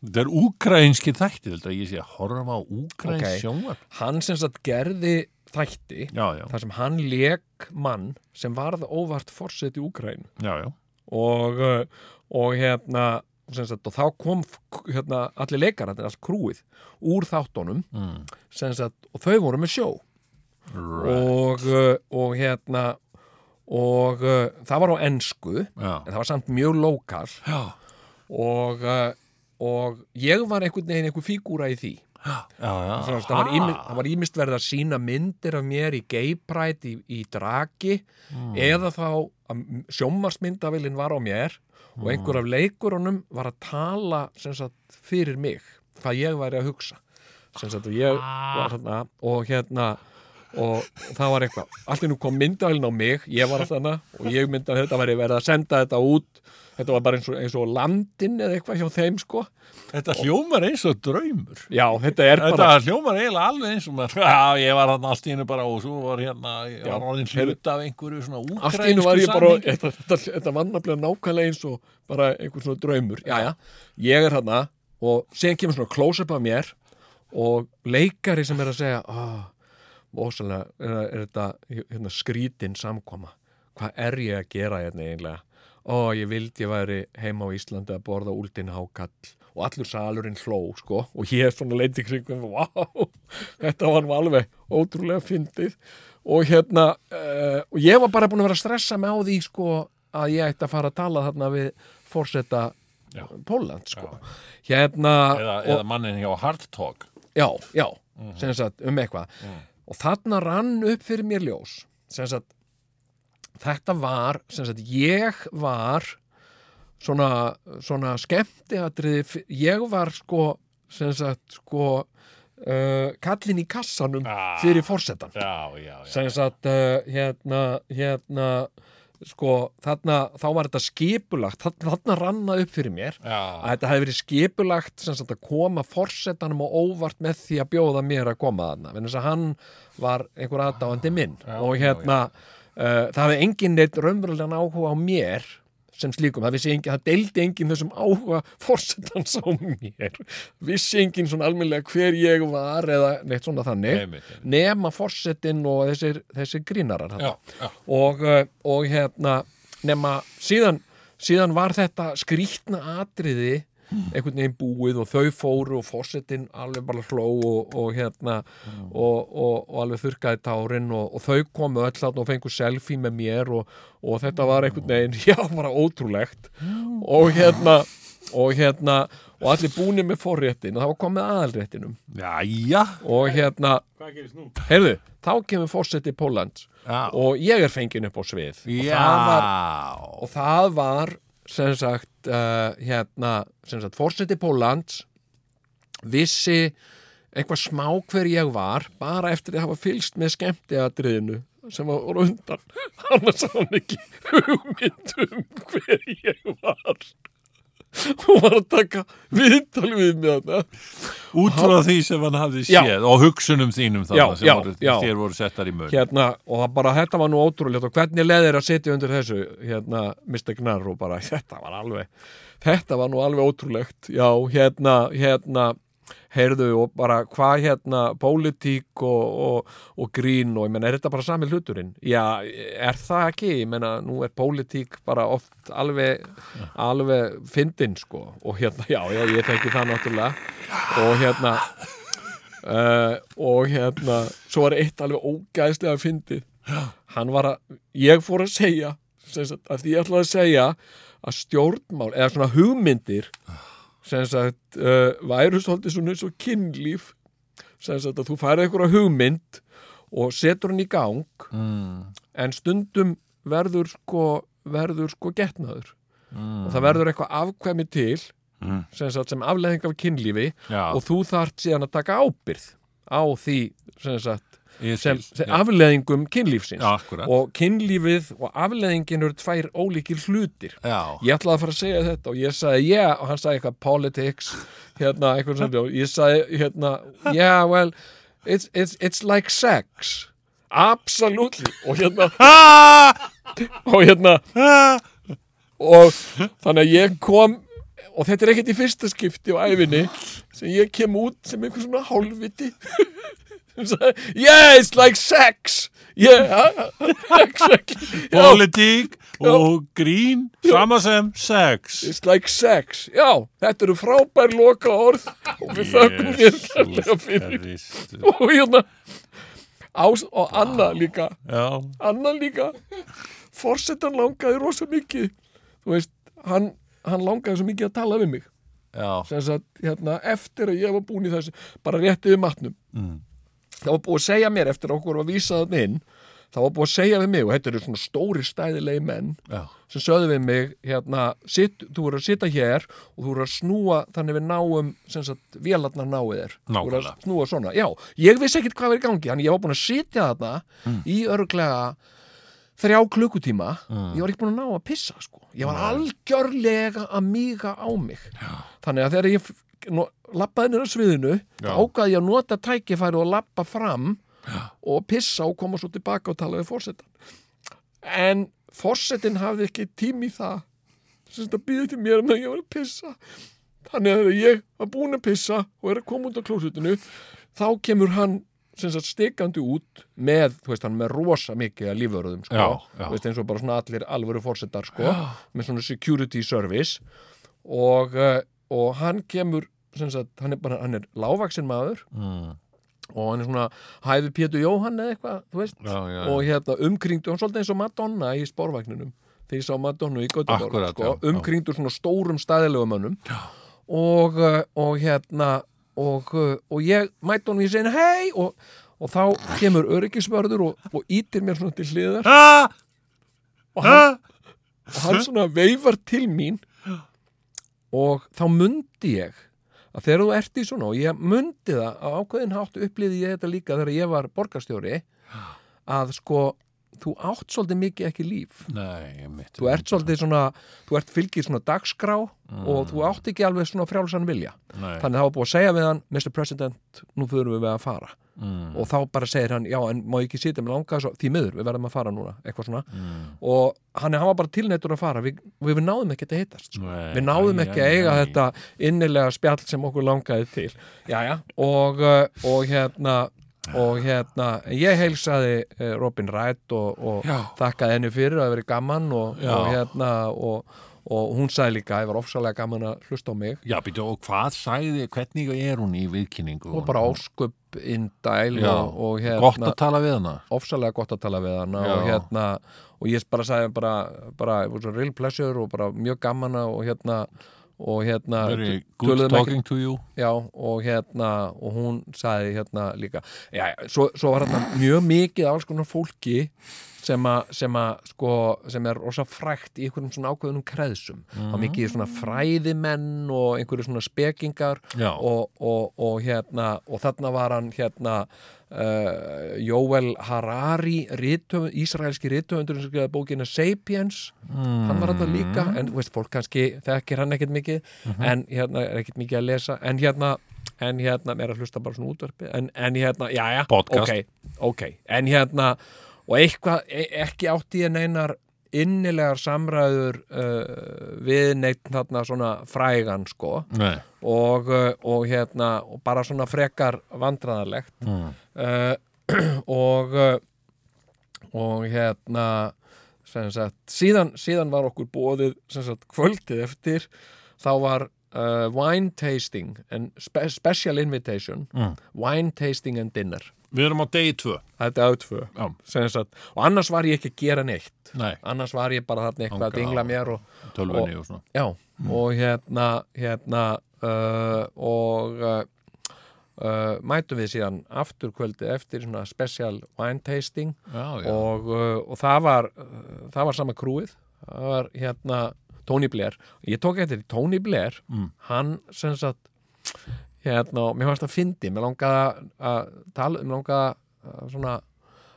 Þetta er úkrainski þætti, þetta ég sé að horfa á úkrainsk okay.
Ok. hann sem sagt gerði þætti
Já, já,
þar sem hann leik mann sem varð óvart forsett í Úkræn
já, já.
og, uh, og hérna sem sagt, og þá kom f- hérna, allir leikararnir, allt krúið úr þáttunum
Mm.
sem sagt, og þau voru með sjó
Right.
og, uh, og hérna og uh, það var á ensku en
já.
það var samt mjög lokal
Já,
og, uh, og ég var einhvern veginn einhver fígúra í því
já, já.
Svona, það, var ími- það var ímist verið að sína myndir af mér í geipræt í, í draki eða þá að sjómarsmyndavillin var á mér og einhver af leikurunum var að tala sem sagt, fyrir mig hvað ég væri að hugsa Sem sagt, og, ég, var, þarna, og hérna og það var eitthvað allt í nú kom myndavillin á mig, ég var alltaf hana og ég myndi að þetta væri verið að senda þetta út þetta var bara eins og, eins og landin eða eitthvað hjá þeim sko
Þetta hljómar eins og draumur.
já, þetta er
Þetta
bara
hljómar eiginlega alveg eins og maður, já, ég var hann allt í hennu bara og svo var hérna, ég var orðin hlut af einhverju svona
allt
úkrainsku
í einu var ég bara þetta, þetta, þetta var nafnilega nákvæmlega eins og bara einhver svona draumur já, ég er hana og síðan kemur svona close-up af mér og leikari sem er að segja ah, ósalega er, er þetta hérna, skrítin samkoma hvað er ég að gera hérna eiginlega ó, ég vildi ég væri heima á Íslandi að borða úldin hákall og allur salurinn hló, sko og ég er svona leiti kringum, vá þetta var nú alveg ótrúlega fyndið og hérna uh, og ég var bara búin að vera að stressa með á því sko að ég ætti að fara að tala þarna við forseta Póland, sko hérna
Eða,
og-
eða mannin hjá Hard Talk.
já, já,
Mhm.
sem sagt um eitthvað og þarna rann upp fyrir mér ljós sem sagt þetta var, sem sagt ég var svona, svona skemmtiatriði, f- ég var sko, sem sagt sko uh, kallin í kassanum fyrir forsetan
Já, já, já.
sem sagt uh, hérna, hérna sko, þarna, þá var þetta skipulagt þarna, þarna ranna upp fyrir mér
Já,
að þetta hefði verið skipulagt sem sagt að koma forsetanum og óvart með því að bjóða mér að koma þarna vegna þess að hann var einhver aðdáandi minn og hérna Uh, það hefði enginn neitt raunverulegan áhuga á mér sem slíkum, það, vissi enginn, það deildi enginn þessum áhuga forsetans á mér vissi enginn svona almennilega hver ég var eða neitt svona þannig
Einmitt, einmitt.
nema forsetin og þessir, þessir grínarar þarna
já, já.
og, uh, og hérna nema síðan, síðan var þetta skrýtna atriði einhvern veginn búið og þau fóru og fósettin alveg bara hló og, og hérna og, og, og alveg þurrkaði tárin og, og þau komu öll þarna og fengu selfie með mér og, og þetta var einhvern veginn (laughs) já, bara ótrúlegt og hérna og hérna og allir búnir með forréttin og það var komið aðalréttinum
Jæja.
og hérna,
Hvað gerist nú?
heyrðu, þá kemur fósetti Póland
Já.
og ég er fengin upp á svið og það var
Já.
og það var sem sagt uh, hérna, sem sagt, fórseti Pólans vissi eitthvað smá hver ég var bara eftir að hafa fylst með skemmtiatriðinu sem var voru undan annars hafði hann ekki hugmynd um hver ég var hún var að taka viðtal við mig þarna
Út frá því sem hann hafði séð og hugsunum þínum
Já,
þarna sem
já,
voru,
já.
þér voru settar í mun.
hérna, og það bara þetta var nú ótrúlegt og hvernig leðir að sitja undir þessu hérna, Mr. Gnar og bara (laughs) þetta var alveg, þetta var nú alveg ótrúlegt já, hérna, hérna heyrðu og bara hvað hérna pólitík og, og, og grín og ég menna, er þetta bara sami hluturinn? Já, er það ekki? Ég menna, nú er pólitík bara oft alveg alveg fyndin, sko og hérna, já, já, ég þekki það náttúrulega og hérna uh, og hérna svo var eitt alveg ógæðslega fyndið hann var að, ég fór að segja sem sagt, að því ég ætlaði að segja að stjórnmál, eh, eða svona hugmyndir sem sagt, uh, væru svolítið svona eins og kynlíf sem sagt að þú færið einhverja hugmynd og setur hann í gang
mm.
en stundum verður sko, verður sko getnaður
Mm.
og það verður eitthvað afkvæmi til
Mm.
sem, sagt, sem afleðing af kynlífi
Já,
og þú þart síðan að taka ábyrð á því sem, sagt,
ég
sem,
skil.
sem
Já,
afleðingum kynlífsins
já, akkurat.
og kynlífið og afleðingin eru tvær ólíkir hlutir
Já,
ég ætlaði að fara að segja þetta og ég sagði yeah og hann sagði eitthvað politics hérna eitthvað sem og ég sagði hérna yeah well it's, it's, it's like sex absolutely og hérna og hérna og þannig að ég kom og þetta er ekkert í fyrsta skipti á æfinni sem ég kem út sem einhver svona hálfviti (laughs) sem sagði yeah it's like sex yeah exactly Já.
politík og grín, sama sem sex.
(laughs) It's like sex. Já, þetta eru frábær loka orð og við þökkum þér kærlega fyrir.
Kristur.
Og hérna, ás og Anna líka,
Já,
Anna líka, forsetan langaði rosa mikið. Þú veist, hann, hann langaði svo mikið að tala við mig.
já,
Sem sagt, hérna, eftir að ég var búin í þessu, bara rétti við matnum. Það var búið að segja mér eftir að okkur var vísað þarna inn, það var búið að segja við mig, og þetta eru svona stóri stæðilegi menn,
já.
sem sögðu við mig hérna, sitt, þú eru að sitja hér og þú eru að snúa þannig við náum sem sagt, vélarnar náið þér Þú eru að
Nákvæmlega.
snúa svona, já, ég vissi ekkit hvað var í gangi þannig ég var búin að sitja þarna
Mm.
í örglega þrjá klukkutíma ég var ekki búin að ná að pissa sko. ég var algjörlega að míga á mig já. þannig að þegar ég f- no, lappaði nýra sviðinu þá
Já.
ákvaði ég að nota tækifæri og lappa fram já. og pissa og koma svo tilbaka og tala við fórsetan en fórsetin hafði ekki tími í það sem þetta býði til mér um að ég var að pissa þannig að þegar ég var búin að pissa og er að koma út á klósutinu þá kemur hann sem sagt stikandi út með, þú veist hann með rosa mikið að lífvörðum sko,
Já, já.
Þú veist, eins og bara svona allir alvöru fórsetar sko, með svona security service og, eh, og hann kemur sem sagt, hann er, bara, hann er lávaksin maður
Mm.
og hann er svona hæfi Pétur Jóhann eða eitthvað, þú veist
Já, já,
og hérna umkringdu, hann svolítið eins og Madonna í spórvagninum þegar ég sá Madonna í Göteborg
Akkúrat,
sko,
já, já.
umkringdu svona stórum staðilegum mönnum og, uh, og hérna og, uh, og ég mæti honum í seginu hei og, og þá kemur öryggisvörður og, og ítir mér svona til hliðar
Ah!
og hann, og hann svona veifar til mín og þá mundi ég að þegar þú ert í svona og ég mundi það að ákveðin hátt upplýði ég þetta líka þegar ég var borgarstjóri að sko þú átt svolítið mikið ekki líf
Nei, mitt.
þú ert svolítið svona, þú ert fylgið svona dagskrá og þú átt ekki alveg svona frjálsan vilja
Mm. Nei.
þannig að það var búið að segja við hann Mr. President, nú förum við að fara
Mm.
og þá bara segir hann, já en má ég ekki sitja með langa svo, því miður, við verðum að fara núna eitthvað svona,
Mm.
og hann, hann var bara tilneittur að fara, við, við, við náðum ekki að heitast sko.
Nei,
við náðum
æ,
ekki
æ,
að eiga
æ.
þetta innilega spjall sem okkur langaði til Jæja, og, uh, og hérna og hérna, ég heilsaði eh, Robin Wright og, og þakkaði henni fyrir að vera gaman og, og hérna og, og hún sagði líka, ég var ofsalega gaman að hlusta á mig
Já, býtu, og hvað sagði, hvernig er hún í viðkynningu?
og bara áskup indæl
Já,
og, og hérna
Gott að tala við hana.
ofsalega gott að tala við hana
Já.
og hérna og ég bara sagði bara, bara it was a real pleasure og bara mjög gaman að- og hérna og hérna
Very good
töluðum
talking to you.
já, og hérna og hún sagði hérna líka já, já, svo, svo var hérna mjög mikið af alls konar fólki sem að sem, a, sko, sem er rosa frækt í einhverjum svona ákveðunum kreðsum mm. og mikið svona fræðimenn og einhverju svona spekingar
Já.
og, og, og hérna og þarna var hann hérna uh, Jóel Harari rithöf, ísraelski rithöfundur sem skrifaði bókina Sapiens hann var þetta líka en þú veist, fólk kannski þekkir hann ekkert mikið en hérna er ekkert mikið að lesa en hérna, en hérna er að hlusta bara svona útverfi en, en hérna, já já
Podcast.
ok, ok, en hérna og eitthvað, e- ekki átti ég neinar innilegar samræður uh, við neitt þarna svona frægan sko
Nei.
og, uh, og hérna og bara svona frekar vandræðarlegt
Mm.
uh, (clears throat) og uh, og hérna sem sagt, síðan, síðan var okkur bóðið sem sagt, kvöldið eftir þá var uh, wine tasting and spe special invitation
Mm.
wine tasting and dinner
Við erum á degi tvö.
þetta er átvö
Já.
sagt, og annars var ég ekki að gera neitt
Nei,
annars var ég bara þarna eitthvað
Þangað
að dingla
á-
mér og,
tölvunni og svona.
Já, og hérna, hérna uh, og uh, uh, mætum við síðan aftur kvöldi eftir svona special wine tasting
já, já.
og, uh, og það var uh, það var sama krúið það var hérna Tony Blair ég tók eftir því Tony Blair
Mm.
hann sem sagt hérna, mér fannst það fyndi, mér langaði að- að tala, mér langaði að svona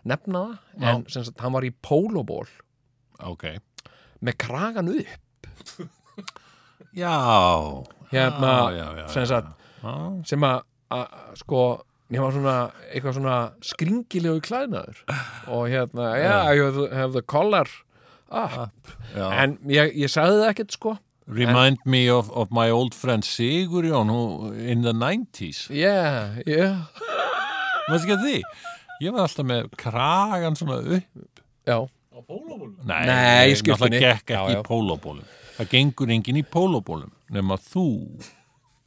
nefna það en sem sagt, hann var í pólóból
ok
með kragan upp
já,
hérna,
Já, já, já,
sem
já.
sagt
já.
sem að, að sko ég var svona, eitthvað svona skringilegu klæðnaður og hérna, já, yeah, you have- have the collar ah,
já.
en ég, ég sagði það ekkert sko
Remind me of, of my old friend Sigurjón who, in the 90s
yeah, yeah,
Maður ekki að því? Ég var alltaf með kragan svona upp
já
Nei,
Nei,
ég náttúrulega
í skyrtunni.
gekk
Já,
ekki
já.
í pólóbólum Það gengur enginn í pólóbólum nema þú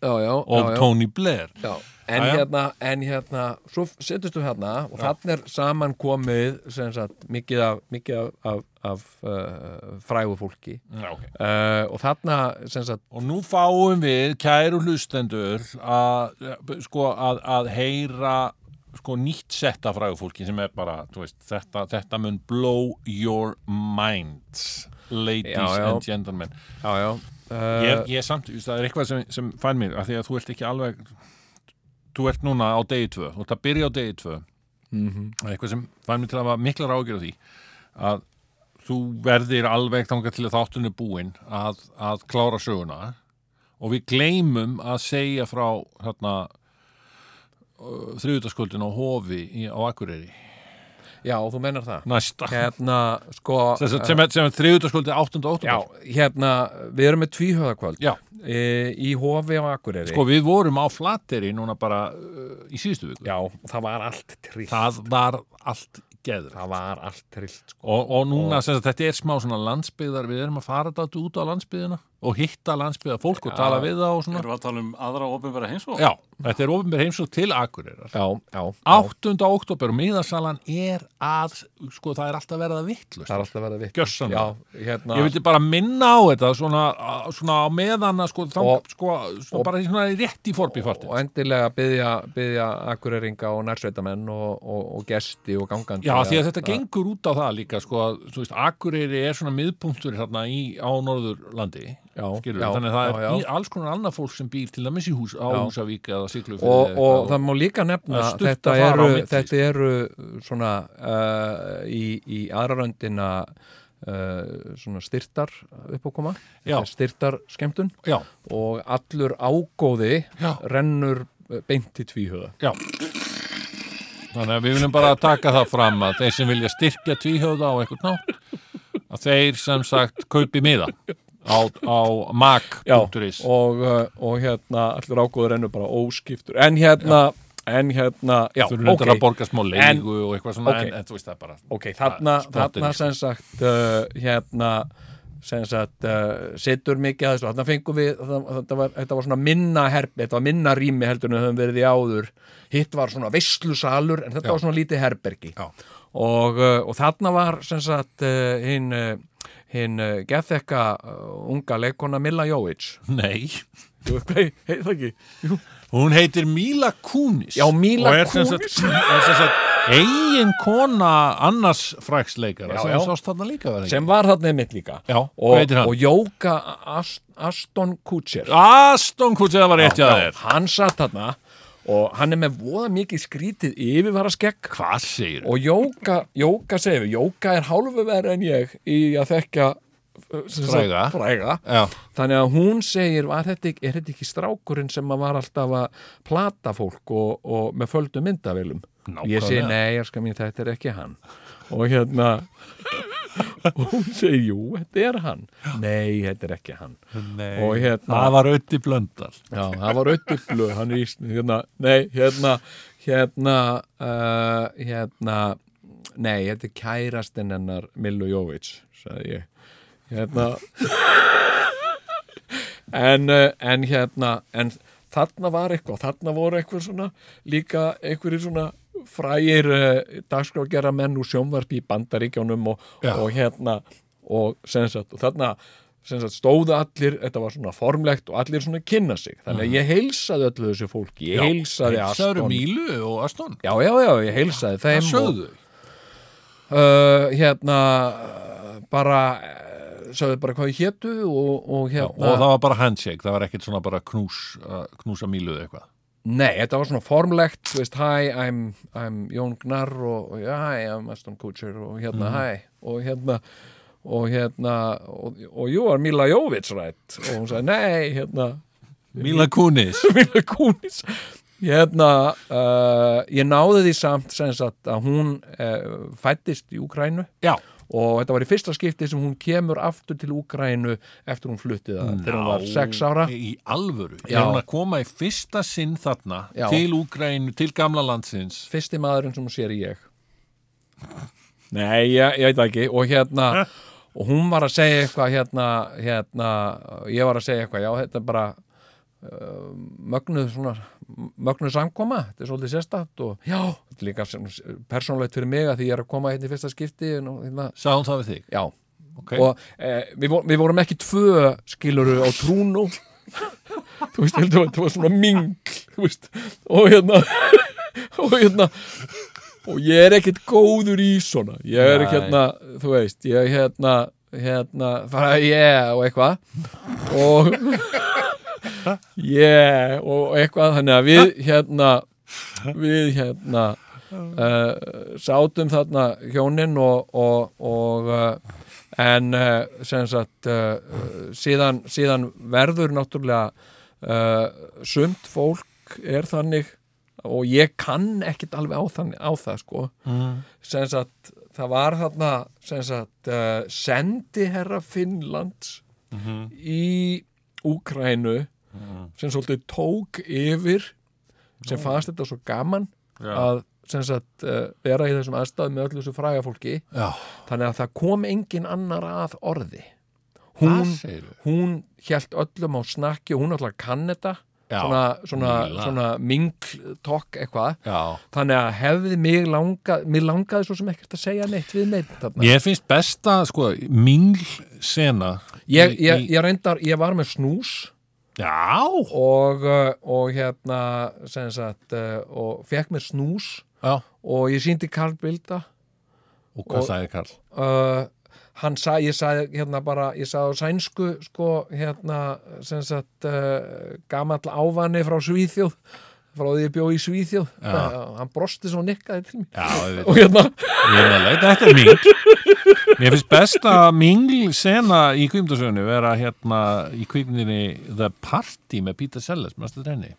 já, já,
og
já, já.
Tony Blair
Já, en
Já, já.
hérna, en hérna svo setjumst við hérna og þannig er saman komið sem sagt, mikið af, mikið af, af, af uh, frægu fólki
Já, okay.
uh, og þarna sem sagt,
Og nú fáum við, kæru hlustendur, að, sko, að, að heyra sko, nýtt setta frægufólki sem er bara, þú veist, þetta, þetta mun blow your mind, ladies
Já, já.
and gentlemen.
já, já eh,
Ég, ég samt, það er eitthvað sem, sem fann mér, af því að þú ert ekki alveg, þú ert núna á degi tvö, þú ert að byrja á degi tvö. Það er eitthvað sem fann mér til að hafa miklar ágjur á því, að þú verðir alveg þangað til að þáttunni búin að, að klára söguna og við gleymum að segja frá þarna þriðutaskvöldin á Hofi í, á Akureyri
já, þú mennar það
næsta sem,
hérna, sko
sem, sem, er- sem þriðutaskvöldin 8.
Já,
óttúber
hérna, við erum með tvíhöðakvöld
Já.
e, í Hofi á Akureyri
sko við vorum á Flateri núna bara uh, í síðustu viku
Já, það var allt trillt það,
það var allt geður
var allt trillt sko.
og, og núna sem sagt, þetta er smá svona landsbyðar við erum að fara þetta út á landsbyðina og hitta landsbyðar fólk og tala við það og svona
Erum við að tala um aðra ofinbæra heimsók?
Já, þetta er ofinbér heimsók til Akureyrar
Já, já, já,
8. oktober og miðasalan er að, sko, það er alltaf verið að vittlust.
það er alltaf verið vitt Já,
Gjörsanlega.
hérna
Ég vildi bara minna á þetta svona, á- svona á meðan að sko, þang,
Og-
sko svona bara í svona rétt í forbífartin.
og endilega byðja, byðja Akureyringa og nærsveitamenn og, og, og gesti og gangandi
Já, því að þetta gengur út á það líka, sko, að, þú veist, Akureyri er svona miðpunktur hérna í, á Norðurlandi,
Já,
skilur
já,
þannig að það
já,
er
já.
í, alls konar annað fólk sem býr til dæmis í hús, á
Já.
Húsavík eða Siglufjörði. eða
og, og
eitthvað
það má líka nefna
Það er
að
stutt
þetta
að fara
eru,
á milli, sko.
þetta eru svona uh, í, í aðraröndina uh, svona styrtar uppákoma
Já.
styrtar skemmtun
Já,
og allur ágóði
Já.
rennur eh, beint í tvíhöða
Já. Þannig að við viljum bara taka það fram að þeir sem vilja styrkja tvíhjóða á einhvern nátt að þeir sem sagt kaupi miða á, á mag.is
og, eh, og hérna allur ágóði rennur bara óskiptur en hérna, en hérna já,
þurfum okay. að
ok,
borga smá leigu og eitthvað svona
ok.
en, en þú veist það er bara
ok,
Það
þarna,
er
þarna
spottinn,
sem sagt uh, hérna sem sagt, uh, situr mikið að þessu þarna fengum við, það, þetta, var, þetta var svona minna herbi, þetta var minna rými heldur en við höfum verið í áður, hitt var svona veislusalur en þetta var svona lítið herbergi
Já.
og, uh, og þarna var sem sagt uh, hinn uh, hinn uh, geðþekka uh, unga leikona Milla Jóvits
Nei,
Jú, hvað, heit það ekki?
hún heitir Mila Kunis
Já, Mila
og er sem sagt,
Kunis.
er sem sagt eigin kona annars fræksleikara
Já,
sem
já.
sást þarna líka verið
sem var þarna einmitt líka
Já, hvað
og,
heitir hann?
og Jóka Ast, Aston Kutcher
Aston Kutsi það var rétt hjá
Já,
þér
hann satt þarna og hann er með voða mikið skrítið yfirvara skegg
Hvað segir
og Jóka, Jóka segir við, Jóka er hálfu verið en ég í að þekka uh, sem sagt,
Fræga.
fræga.
Já.
þannig að hún segir var þetta, ekki- er þetta ekki strákurinn sem að var alltaf að plata fólk og, og með földu myndavélum ég segi
Nákvæmlega.
nei, ég skal mín, þetta er ekki hann og hérna (laughs) og hún segir, jú, þetta er hann nei, þetta er ekki hann nei. og hérna
Það var Ötti Blöndal
Já, það var auðvitað, hann er ísn, hérna, nei, hérna, hérna, uh, hérna, nei, þetta er kærastinn hennar Millu Jóvits, sagði ég, hérna, en, uh, en hérna, en þarna var eitthvað, þarna voru eitthvað svona, líka einhverjir svona frægir uh, dagskráfgerra menn úr sjónvarpi í bandaríkjónum og, og hérna, og sem sagt, og þarna sem sagt stóðu allir, þetta var svona formlegt og allir svona kynna sig, þannig
Mhm.
að ég heilsaði öllu þessu fólki, ég heilsaði
Sæður
Aston
Mílu og Aston
Já, já, já, ég heilsaði þeim
Það
og-
sögðu
uh, hérna uh, bara uh, sagði bara hvað ég hétu og, og
Og
hérna
það var bara handshake, það var ekkert svona bara knús, uh, knúsa Mílu eða eitthvað
nei, þetta var svona formlegt, þú veist hi, I'm, I'm Jón Gnar og, og ja, hi, I'm Aston Kutcher og
Mhm.
hérna, hi, og hérna og hérna, og, og jú var Mila Jóvits rætt og hún sagði, nei, hérna (laughs)
Míla Kunis
Mila Kunis hérna, uh, ég náði því samt sem sagt að hún uh, fættist í Úkrænu
Já.
og þetta var í fyrsta skipti sem hún kemur aftur til Úkrænu eftir hún fluttið það þegar hún var
Ná,
sex ára
Í alvöru,
Já.
er hún að koma í fyrsta sinn þarna
Já.
til Úgrænu, til gamla landsins
fyrsti maðurinn sem hún sér í ég nei, ég, ég veit það ekki og hérna og hún var að segja eitthvað hérna, hérna ég var að segja eitthvað, já, þetta er bara uh, mögnuð svona, mögnuð samkoma þetta er svolítið sérstætt og já, þetta er líka persónulegt fyrir mig að því ég er að koma hérna í fyrsta skipti en og hérna,
Sá hún það við þig
já,
okay.
og e, við, vor- við vorum ekki tvö skiluru á trúnu þú veist, heldur að þetta var svona mingl þú veist, og hérna (laughs) og hérna og ég er ekkert góður í svona ég er ekki hérna, þú veist, ég er hérna hérna, fara yeah og eitthvað og yeah og eitthvað, þannig að við hérna við hérna uh, sátum þarna hjónin og, og, og uh, en uh, sem sagt uh, uh, síðan, síðan verður náttúrulega uh, sumt fólk er þannig og ég kann ekkit alveg á, þannig, á það sko sem sagt það var þarna sem sagt uh, sendiherra Finnlands í Úkrænu sem svolítið tók yfir sem fannst þetta svo gaman að sem sagt uh, vera í þessum aðstæðum með öllu þessu fræga fólki
Já.
þannig að það kom engin annar að orði
Það
hún,
segirðu.
hún hjælt öllum á snakki og hún alltaf kann þetta
Já,
svona, svona,
Milla.
svona mingtokk eitthvað
Já.
þannig að hefði mig langað mig langaði svo sem ekkert að segja neitt við neitt þarna
Mér finnst besta, sko, mingl sena
ég,
í-
ég,
í-
ég reyndar, ég var með snús
Já,
og, uh, og hérna sem sagt, uh, og fekk mér snús
Já.
og ég síndi Karl Bilda
og hvað
Og-
sagði Karl?
uh, hann sagði, ég sagði hérna bara, ég sagði á sænsku sko, hérna, sem sagt uh, gamall ávani frá Svíþjóð frá því ég bjó í Svíþjóð ja. (laughs) hann brosti svo og nikkaði til mér
Já, ég veit,
og hérna,
ég er að leita eftir mingl Mér finnst besta mingl sena í kvímdasögnu vera hérna í kvímdinni The Party með Peter Sellers, mérstu þenni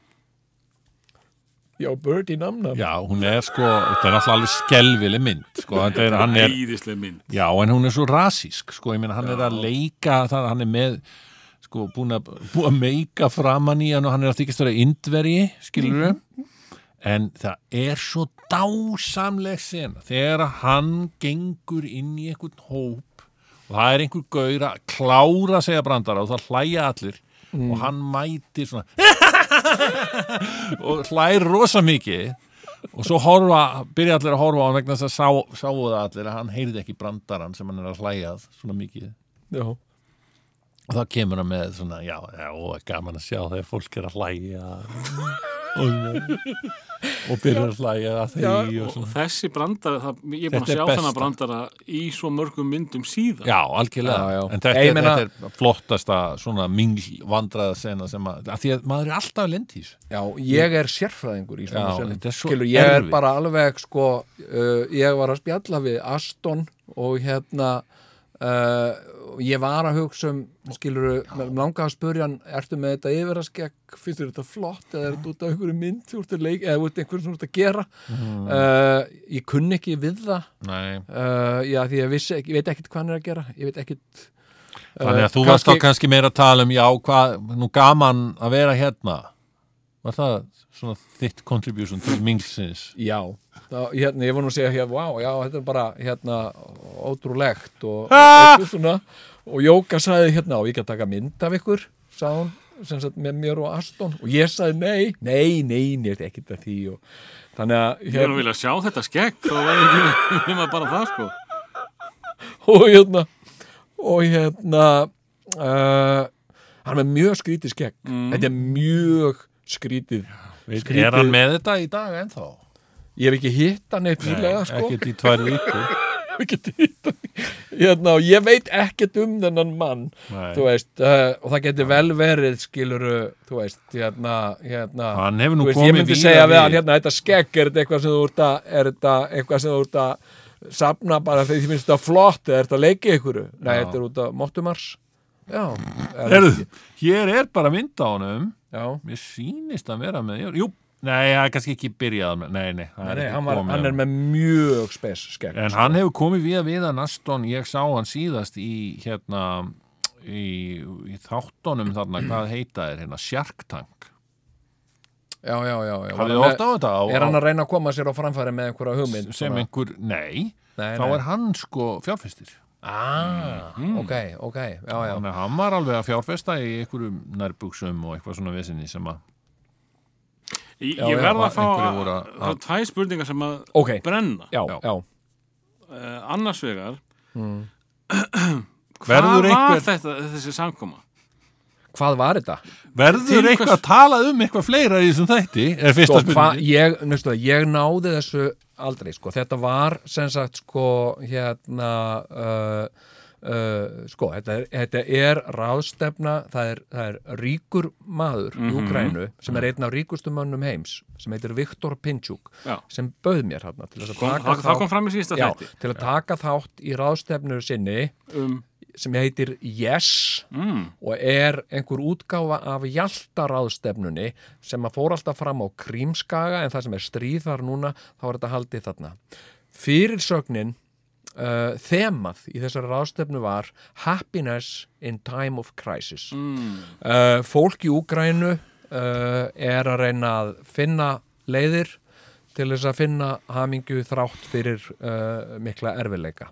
já, Birdie namna
Já, hún er sko, þetta er alltaf alveg skelvileg mynd, sko, þetta er, hann er
Íðislega mynd
Já, en hún er svo rasísk, sko, ég meina hann er að leika, það, hann er með sko, búin að, búin að meika framan í hann og hann er að þykist vera indverji skilur við en það er svo dásamleg sena þegar að hann gengur inn í einhvern hóp og það er einhver gaur að klára að segja brandara og það hlæja allir og hann mætir svona (laughs) og hlær rosa mikið og svo horfa, byrja allir að horfa á hann vegna þess að sá, sáu það allir að hann heyrði ekki brandaran sem hann er að hlæjað svona mikið
já,
og þá kemur hann með svona já, já, og gaman að sjá þegar fólk er að hlæja og, og byrja að hlæja að því og
og
svona
þessi brandara, það, ég er búin að
Þetta er
sjá
besta.
þennan brandara í svo mörgum myndum síðan
Já, algjörlega,
Já, já.
en þetta,
Ég
er-
meina-
þetta er flottasta svona mingl vandraða sena sem að, að því að maður er alltaf lendís
já, ég er sérfræðingur í svona
Já,
sem
þetta er svo
skilur, ég er
erfitt.
bara alveg sko, uh, ég var að spjalla við Aston og hérna Uh, ég var að hugsa um skilur, langa að spurja hann ertu með þetta yfiraskegg, finnst þér þetta flott eða er þetta út af einhverju mynd þú ert að leik, eða út af einhverju sem þú ert að gera
Mm.
uh, ég kunni ekki við það
Nei,
uh, já, því ég, vissi, ekki- ég veit ekkit hvað hann er að gera ég veit ekkit
þannig
Eh,
að þú
kannski-
varst þá kannski meira að tala um já, hvað, nú gaman að vera hérna Var það svona þitt contribution til minglsins?
Já, þá, hérna, ég var nú að segja hér, vá, já, þetta er bara, hérna, ótrúlegt og, og eitthvað svona, og Jóka sagði hérna, og ég kann taka mynd af ykkur, sagði hún, sem sagt, með mér og Aston, og ég sagði nei, nei, nei, nei, þetta er ekkert að því, og þannig að,
Ég er að
hérna, (laughs)
vilja sjá þetta skegg þá var ég (laughs) ekki nema bara það sko
og hérna, og hérna, uh, hann er með mjög skrítið skegg þetta er mjög skrítið skrítið,
Er hann með þetta í dag ennþá?
ég hef ekki hitt hann eitt nýlega sko
Ekkert í tvær viku (laughs)
Ég hef ekki hitt hann hérna, og ég veit ekkert um þennan mann þú veist, uh, og það geti vel verið skiluru, þú veist, hérna, hérna
Hann hefur nú
þú veist,
komið
ég myndi
víða
segja við
við.
hann, hérna, þetta skegg er þetta eitthvað sem þú ert að, er þetta eitthvað sem þú ert að safna bara þegar því finnst þetta flott eða er þetta að leika ykkur nei, þetta er út af Mottumars já, er,
Herðu, hér er bara mynd á honum
já,
Mér sýnist að vera með Jú, nei, það er kannski ekki byrjað með- Nei, nei, það er
nei,
ekki
hann, var,
komið hérna.
hann er með mjög spes skegg
En hann hefur komið við að viða Naston, ég sá hann síðast í hérna í, í þáttunum þarna, hvað heita er hérna, Shark Tank
já, já, já, já Var
Hafið
hann
þið oft á
með-
þetta? Á,
er hann að reyna að koma sér á framfæri með einhverja hugmynd
sem
svona?
einhver, nei,
Nei,
þá
nei.
er hann sko fjárfestir
ah, ok, ok, já, já
þannig að hann var alveg að fjárfesta í einhverjum nærbuksum og eitthvað svona vesinni sem að
Ég,
Já,
ég
já,
verð að fá
einhverju
að,
voru að-
það er tvæ spurningar sem að
Ok.
brenna.
já,
Já.
já,
Uh, annars vegar, hvað
verður
var
eitthvað,
þetta, þessi samkoma?
hvað var þetta?
til
verður
hvers-
eitthvað talað um eitthvað fleira í þessum þætti er fyrsta
Sko, hva,
spurningi
ég, nefnstu, ég náði þessu aldrei, sko, þetta var sem sagt, sko, hérna uh, uh, sko, þetta er, þetta er ráðstefna það er, það er ríkur maður í Ukrænu, sem er einn af ríkustu mönnum heims, sem heitir Viktor Pinchuk
Já.
sem bauð mér hérna til þess að
Kom,
taka
það, það kom fram í síðasta
já,
þætti.
til að taka þátt í ráðstefnu sinni
Um,
sem heitir Yes
mm,
og er einhver útgáfa af hjaltaráðstefnunni sem að fór alltaf fram á Krímskaga en það sem er stríð þar núna þá er þetta haldið þarna. Fyrirsögnin uh, þemað í þessari ráðstefnu var Happiness in time of crisis.
mm,
Uh, fólk í Úgrænu uh, er að reyna að finna leiðir til þess að finna hamingju þrátt fyrir uh, mikla erfileika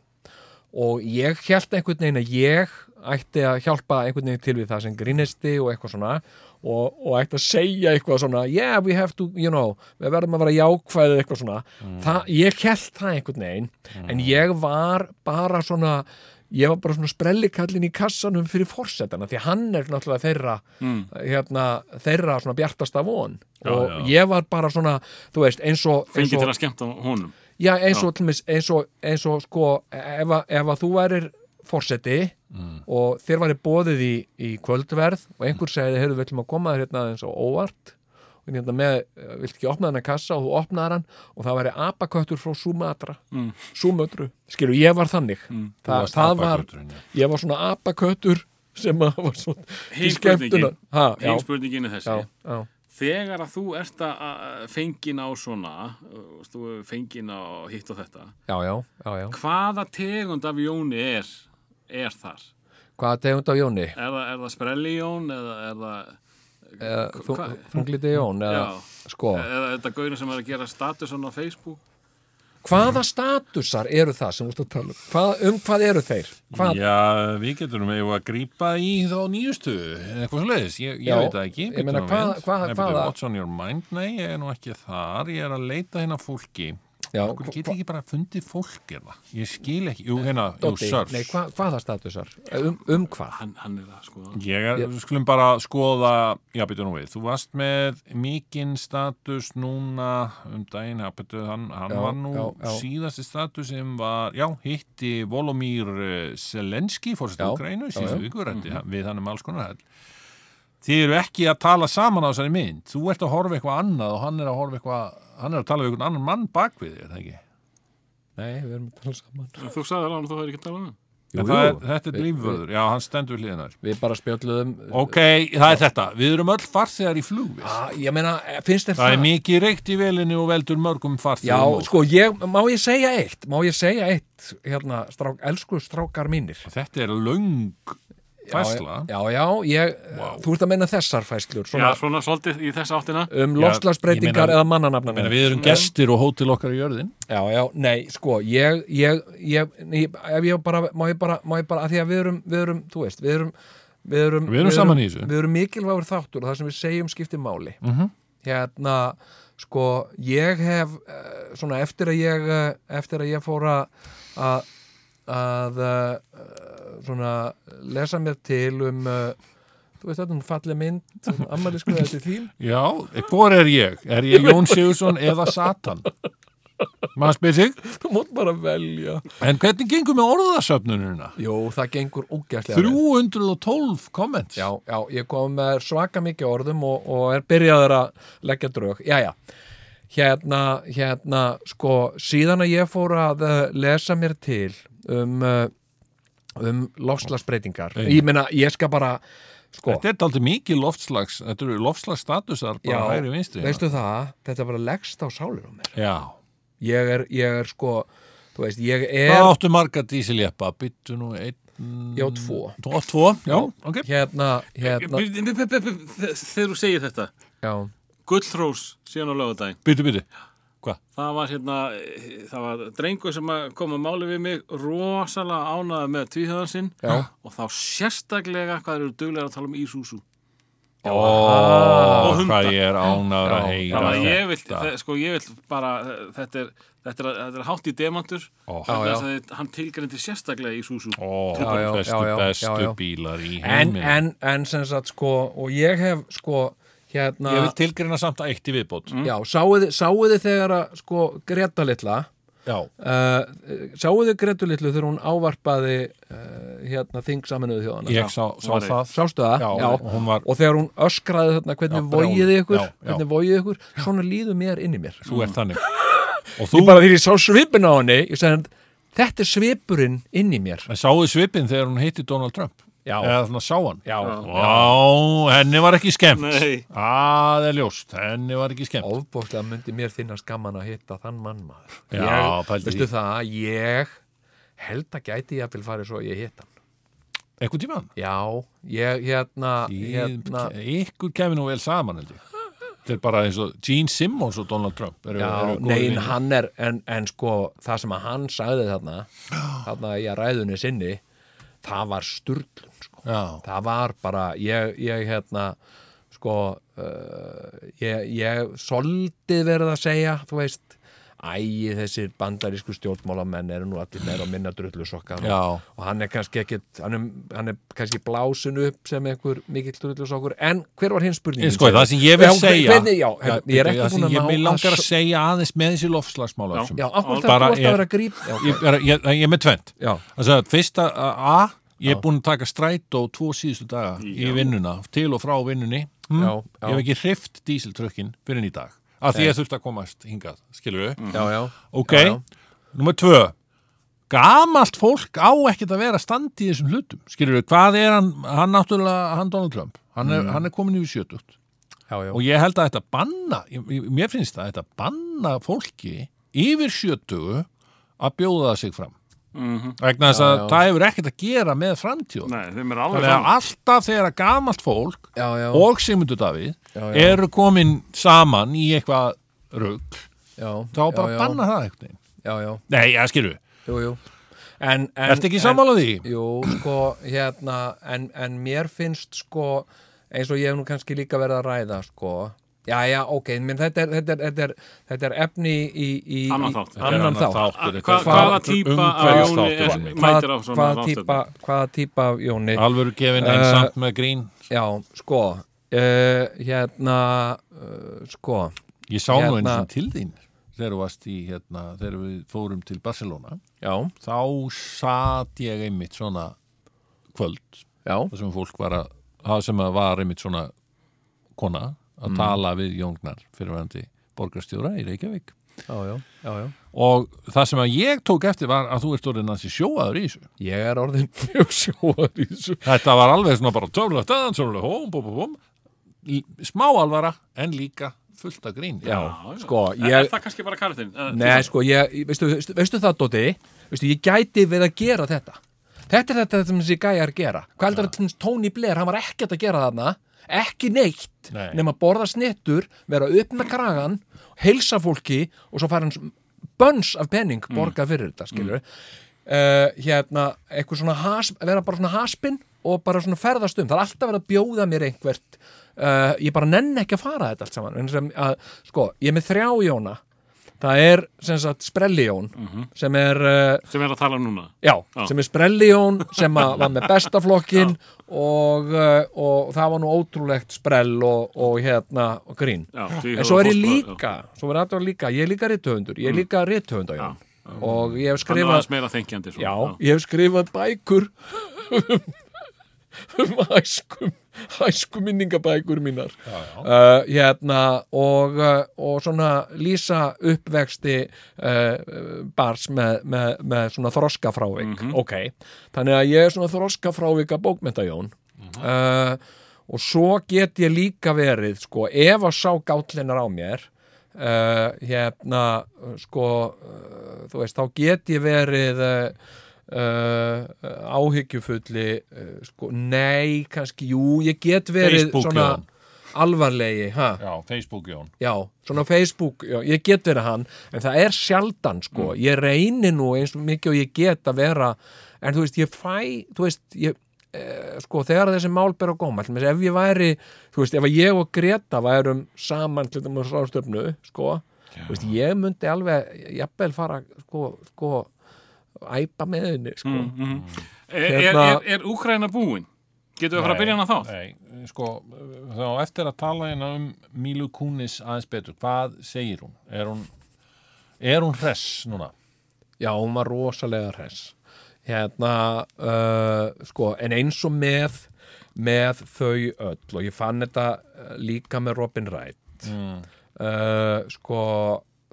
og ég held einhvern veginn að ég ætti að hjálpa einhvern veginn til við það sem grínisti og eitthvað svona og, og ætti að segja eitthvað svona yeah, we have to, you know, við verðum að vera jákvæðið eitthvað svona
Mm.
það, ég held það einhvern veginn en ég var bara svona ég var bara svona sprellikallin í kassanum fyrir forsetana því að hann er náttúrulega þeirra
mm.
hérna, þeirra svona bjartasta von
Já,
og
já.
ég var bara svona, þú veist, eins og eins
fengið
og-
til að skemmta honum.
Já, eins og, tlumis, eins og, eins og sko, ef, að- ef að þú værir forseti
Mm.
og þér væri bóðið í, í kvöldverð og einhver segði, heyrðu, við ætlum að koma þér hérna aðeins á óvart og hérna með, eh, vilt ekki opna þennan kassa og þú opnaðar hann og það væri apaköttur frá Sumatra,
Mm.
Sumötru skilu, ég var þannig Þa, það var, ég var svona apaköttur sem að var svona til
Hin spurningin,
skemmtunar. ha, já,
hin spurningin er þessi.
já, já,
Þegar að þú ert að- að fengin á svona, uh, þú fengin á hitt og þetta,
já, já, já, já.
hvaða tegund af Jóni er, er þar?
hvaða tegund af Jóni?
Er það, er það sprelli Jón eða er það,
Eh, þú-
Hva-
Þungliti Jón eða,
já, Eh,
sko
eða er þetta gaurin sem er að gera status hann á Facebook?
Hvaða statusar eru það sem þú ert að tala um? Hvað, um hvað eru þeir? Hvað,
Já, við getum með að grípa í þá nýjustu, eitthvað svo leiðis, ég, ég
Já,
veit það ekki.
ég
bíddu
meina,
nú
hvað-
við.
hvað-
Nei, bíddu,
hvaða-
What's on your mind? Nei, ég er nú ekki þar, ég er að leita hérna að fólki.
já,
Akkur get ekki bara fundið fólk hérna? Ég skil ekki, jú, hérna, jú,
Doddi,
sörf.
nei, hva, hvaða statusar? Um, um hvað?
Hann, hann er það, sko.
Ég er,
Ég-
við skulum bara skoða, já, byrju nú við, þú varst með mikinn status núna um daginn, já, byrju, hann, hann
Já,
var nú
já, já.
síðasti status sem var, já, hitti Volomír eh, Zelenski, fórstu
Já,
Ukraínu,
já, Mhm.
síðustu
já.
vikur, mm við hann um alls konar hell. Þið eru ekki að tala saman á þessari mynd, þú ert að horfa eitthvað annað og hann er að horfa eitthvað, hann er að tala við einhvern annan mann bak við þér, það ekki?
Nei, við erum að tala saman.
Þú sagði hann að þú hefur ekki talað um það.
Jú,
En það
jú,
er, þetta er
Við-
lífvörður, já, hann stendur við hliðinar.
við bara spjöldluðum.
Ok, það er þetta, við erum öll farþegar í flugvis.
Ah, ég meina, eh, finnst þér
Það
það?
er mikið reykt í velinni og veldur mörgum
Já,
farþegum og
sko, ég, má ég segja eitt? Má ég segja eitt? Hérna, strák, elsku strákar mínir.
Þetta er löng fæsla.
Já, já, ég, þú ert að meina þessar fæslur,
Já,
svona
svona svolítið í þess áttina.
um
Já, ég
lofslagsbreytingar
meina-
eða
Meina,
mannanafnanir.
Við erum gestir og hótel okkar í jörðin.
Já, já, nei, sko, ég, ég, ég, ég ef ég bara, má ég bara, má ég bara, að því að við erum, við erum, þú veist, við erum, við erum,
Við erum saman í þessu. Mhm.
Við erum mikilvægur þáttur og það sem við segjum skiptir máli. -hmm. Hérna, sko, ég hef, eh, svona, eftir að ég, eh, eftir að ég fór að, að að uh, svona lesa mér til um uh, þú veist þetta, hún falli mynd um ammæliskuða til
(laughs)
þín
Já, hvor er ég? Er ég Jón Sigursson eða Satan? Maður spyr sig,
þú mót bara velja
en hvernig gengur með orðasöfnununa?
Jú, það gengur ógæslega vel.
312 comments
já, já, ég kom með svaka mikið orðum og, og er byrjaður að leggja drög Jæja, hérna, hérna sko, síðan að ég fór að eh, lesa mér til um, eh, um lofslagsbreytingar
Ein.
ég meina, ég skal bara sko,
Þetta er aldrei mikið loftslags Þetta eru loftslagsstatusar bara
Já,
hægri vinstri
veistu það þetta bara leggst á sálir á mér
Já,
ég er, ég er sko, þú veist, ég er
hvað áttu marga dísiljeppa? Byttu nú einn
já, tvo
Tvo, tvo, já, ok
hérna, hérna,
Bíddu, bíddu, bíddu, bíddu, þe- Þegar þú segir þetta
já
Gullrós síðan á lögadaginn
Byttu, byttu
Það var hérna, eh, það var drengur sem að kom að máli við mig rosalega ánaði með tvíhöðan sinn
Já.
og þá sérstaklega hvað þeir eru duglega að tala um Ísúsú
Ó,
Og hundar.
hvað ég er ánar að heyra
Þannig að
þetta.
ég vil, þe- sko ég vil bara, eh, þetta er, þetta er, þetta er hátt í demantur
Ó,
þannig að þið- hann tilgrindi sérstaklega Ísúsú
Ó,
Já, já,
bestu,
já, já,
bestu
já, já.
bílar í
en,
heiminn
en, en sem sagt, sko, og ég hef sko, hérna
Ég vil tilgreina samt að eitt í viðbót
Já, sáuði, sáuði þegar að sko Greta litla
Já,
uh, sáuði Greta litlu þegar hún ávarpaði uh, hérna þing saminuðu þjóðana
ég sá, sá
var eitt.
það
Sástu það?
Já, og hún var-
og þegar hún öskraði þarna hvernig
Já,
vogiði
brjáluð.
ykkur,
Já, já.
hvernig vogiði ykkur svona líðu mér inn í mér
Þú ert þannig Og þú,
Ég bara því ég sá svipin á henni ég sagði, þetta er svipurinn inn í mér
en sáðu svipin þegar hún hitti Donald Trump
Já.
Eða þannig að sá hann
Já,
Vá, henni var ekki skemmt
Nei.
Það er ljóst, henni var ekki skemmt
ofbóðslega myndi mér þinnast gaman að hitta þann mann maður
Já,
ég,
pældu
Veistu
því.
það, ég held að gæti ég að vil fari svo að ég hitt hann
Ekkur tímann
Já, ég, hérna, hérna
Ykkur kemur nú vel saman held ég Þetta er bara eins og Gene Simmons og Donald Trump eru,
Já,
eru góðir
nein,
vinir.
hann er en, en sko, það sem að hann sagði þarna þarna í að ræðunni sinni það var sturlun sko.
Já.
það var bara ég, ég hérna sko, uh, ég, ég soldið verið að segja, þú veist æ, þessir bandarísku stjórnmálamenn eru nú allir meira og minna drullusokkar
Já.
og, og hann er kannski ekkit hann er, hann er kannski blásin upp sem einhver mikill drullusokkur, en hver var hins spurningin?
Ég, sko, það sem ég vil
Já,
segja
hvernig, já,
Já,
hérna, ég er
það
ekki
sem
búin að
ég-
ná
mig langar
að
að segja aðeins með þessi lofslagsmála
Já.
þessum.
Já, akkur það
Bara
er búin
er-
að vera að grípa já,
ég, er, ég, ég er með tvent
Já.
það er fyrst að A ég er búin að taka strætó tvo síðustu daga í vinnuna, til og frá vinnunni hm?
Já, já.
ég hef ekki hrift dísiltrökkin fyrir enn í dag, af því ég þurfti að komast hingað, skilur við
já, Mm. já,
ok, nummer tvö gamalt fólk á ekkert að vera standi í þessum hlutum, skilur við hvað er hann, hann náttúrulega, hann Donald Trump hann
Mm.
er, hann er komin yfir sjötugt
já, já.
og ég held að þetta banna ég- ég- mér finnst að þetta banna fólki yfir sjötugu að bjóða sig fram
Mhm.
vegna þess að það hefur ekkert að gera með framtíð
Nei, þeim er alveg
þannig að
saman
alltaf þegar að gamalt fólk
Já, já.
og Sigmundur Davíð eru komin saman í eitthvað rugg
já,
þá
já,
bara
já,
banna það eitthvað
já, já,
nei, ég skilur,
jú, jú. En, en,
ertu ekki sammála því?
En, jú, sko, hérna en, en mér finnst, sko eins og ég hef nú kannski líka verið að ræða, sko Já, já, ok, menn þetta er, þetta er, þetta er, þetta er efni í, í í-
Annan þátt.
Annan þátt. Ah,
þáttur,
Hva,
þetta er
hvaða
um-
típa af Jóni
umhverfisþáttur.
er,
Hva-
mætir á
Hvaða-
svona
Hvaða
ráðstefnu?
típa, hvaða típa af Jóni?
alvöru gefin en
Eh,
samt með grín
Já, sko uh, Hérna, uh, sko
Ég sá nú einu
Hérna-
sem til þín þegar, þú varst í, hérna, þegar við fórum til Barcelona
Já,
þá sat ég einmitt svona kvöld
já,
þar sem fólk var að það sem að var einmitt svona kona að
Mm.
tala við Jóngnar fyrirvændi borgarstjóra í Reykjavík
já, já, já, já.
og það sem að ég tók eftir var að þú ert orðin að sjóaður í þessu
Ég er orðin (laughs) mjög sjóður í þessu
þetta var alveg svona bara töflega staðan töflega hóm, bóm, bóm, bóm L- smá alvara en líka fullt af grín
Já, sko,
Er er
ég
það kannski bara eh, karatinn?
Nei, sko, ég, veistu, veistu, veistu það, Dóti Veistu, ég gæti við að gera þetta Þetta er þetta sem þessi gæjar gera Hvað heldur að tlumis Tony Blair, hann var ekkert að gera þarna Ekki neitt
Nei.
Nema borða snittur, vera upp með kragan Heilsa fólki Og svo fara hans bönns af penning Borga fyrir þetta, skilur mm. Hérna, eitthvað svona has, Vera bara svona haspin og bara svona ferðast um Það er alltaf verið að bjóða mér einhvert eh, uh, Ég bara nenn ekki að fara þetta allt saman En sem að, sko, ég er með þrjá Jóna það er sem sagt Sprellión sem er, uh,
sem er að tala um núna
já,
Mhm. Já.
sem er Sprellión sem að var með bestaflokkin og, uh, og það var nú ótrúlegt sprell og, og hérna og grín
já, því
en svo er ég
fótspor- já.
líka, svo er aðtöfum líka ég er líka rithöfundur,
Mm.
ég er líka rithöfunda já. og ég hef
hann er
skrifað
aðeins meira þengjandi svo.
Já, ég hef skrifað bækur um, um æskum, æskum minningabækur mínar já, já. hérna, og, uh, og svona lýsa uppvexti uh, bars með, með, með svona þroskafrávik Mhm, ok, þannig að ég er svona þroskafrávika bókmentajón uh, og svo get ég líka verið sko, ef að sá gátlinar á mér uh, hérna uh, sko, uh, þú veist, þá get ég verið uh, uh, áhyggjufulli uh, sko, nei, kannski, jú ég get verið
Facebook,
svona
Jón.
alvarlegi, ha?
Já, Facebook Jón.
Já, svona Facebook, já, ég get verið hann en það er sjaldan sko
Mm.
ég reyni nú eins og mikið og ég get að vera en þú veist, ég fæ þú veist, ég, eh, sko þegar þessi mál ber á góma, allmest ef ég væri þú veist, ef að ég og Greta værum saman til þess að ráðstöfnu, sko þú veist, ég myndi alveg jafnvel fara, sko, sko æpa með henni, sko
er, er,
Hérna-
er, er Úkraina búin? getur við að fara að byrja hana þá?
Nei, sko, þá eftir að tala hérna um Mílu Kunis aðeins betur, hvað segir hún? Er hún, er hún hress núna?
Já, hún var rosalega hress hérna uh, sko, en eins og með með þau öll og ég fann þetta uh, líka með Robin Wright uh, sko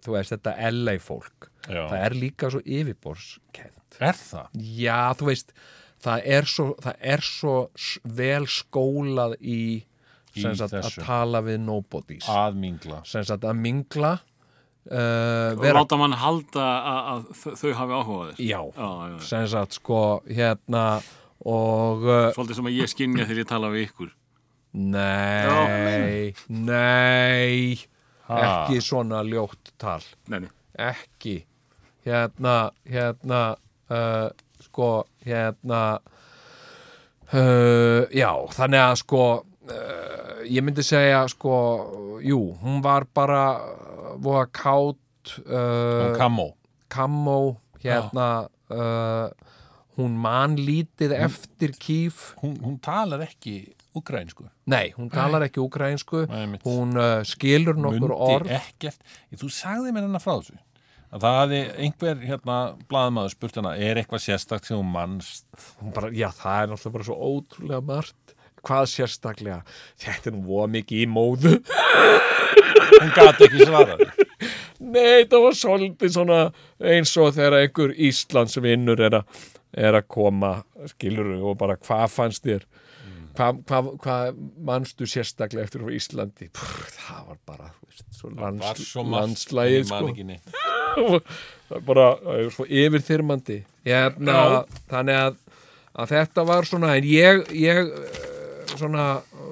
þú veist þetta LA fólk
Já.
það er líka svo yfirborskent
Er það?
já þú veist það er svo, það er svo s- vel skólað í,
Í
í sagt, að
þessu.
tala við nobodies
Aðmingla.
sem sagt að mingla uh,
og
vera
láta mann halda að, að þau- þau hafi áhuga á þess
já,
Já, já, já.
sem sagt sko hérna og uh,
svolítið sem að ég skinja þegar ég tala við ykkur
nei, nei
Ha.
ekki svona ljótt tal
Nei, nei.
ekki hérna, hérna uh, sko, hérna uh, já, þannig að sko uh, ég myndi segja sko, jú, hún var bara uh, voða kátt uh,
Hún kamó.
kammó hérna uh, hún man lítið eftir kýf
Hún, hún talar ekki ukrainsku.
nei, hún talar ekki ukrainsku
Nei, einmitt.
hún uh, skilur nokkur
Mundi
orð
ekkert. Ég, þú sagði mér hennar frá þessu. Að það hafði einhver hérna blaðmaður spurt hana, er eitthvað sérstakt sem hún mannst?
hún bara, já það er náttúrulega bara svo ótrúlega margt hvað sérstaklega, þetta er nú voða mikið í móðu
Hún gat ekki svarað.
nei, það var svolítið svona eins og þegar einhver Íslandsvinnur er, að- er að koma skilur og bara hvað fannst þér hvað hva, hva manstu sérstaklega eftir frá Íslandi Pff, það var bara þú veist, svo
Var
lands,
svo margt,
landslægið
ég man
sko.
ekki neitt.
það er bara það er svo yfirþyrmandi hérna, þannig að, að þetta var svona en ég, ég eh, svona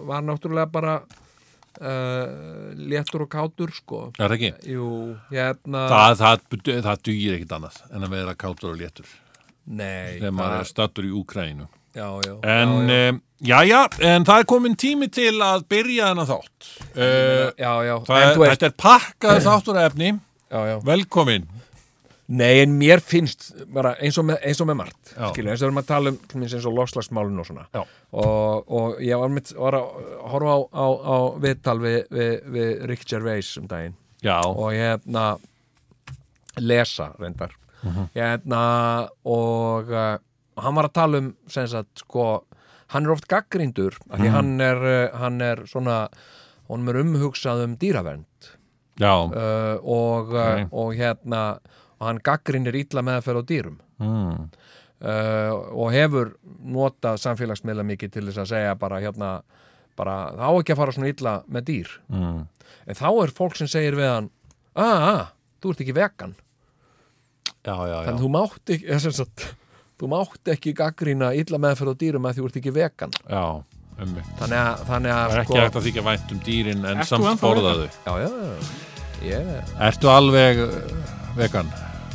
var náttúrulega bara uh, léttur og kátur sko
Er það ekki?
Jú, hérna
Það, það, það dugir ekkert annað en að vera kátur og léttur
Nei,
þegar maður er stattur í Úkrænu
já, já,
en, eh,
já, já.
já, já. en það er komin tími til að byrja hana þátt uh,
já, já,
það,
en
er-
þú veist
Þetta er pakkað þáttur efni
já, já.
Velkomin
Nei, en mér finnst bara eins og með, eins og með margt
Já.
skilur, eins og við erum að tala um til dæmis, eins og lofslagsmálun og svona
Já.
og, og ég var, mitt, var að horfa á, á, á viðtal við, við, við Rick Gervais um daginn
Já,
og hérna lesa reyndar hérna og uh, hann var að tala um sem sagt sko hann er oft gaggrindur af því hann er, uh, hann er svona honum er umhugsað um dýravernd
já,
uh, og, uh, og hérna og hann gaggrinir ítla meðferð á dýrum
mm,
uh, og hefur notað samfélagsmiðla mikið til þess að segja bara hérna bara þá ekki að fara svona illa með dýr
mm.
en þá er fólk sem segir við hann að, að, þú ert ekki vegan
já, já, já.
þannig þú mátt ekki (laughs) eða sem sagt, þú mátt ekki gaggrina illa meðferð á dýrum að þú ert ekki vegan
já einmitt.
þannig að, þannig
Það
að sko-
er ekki hægt að þykja vænt um dýrin en
Ert þú
samt
ennþá
borða þau
já, já, já, yeah,
Ertu alveg uh, vegan?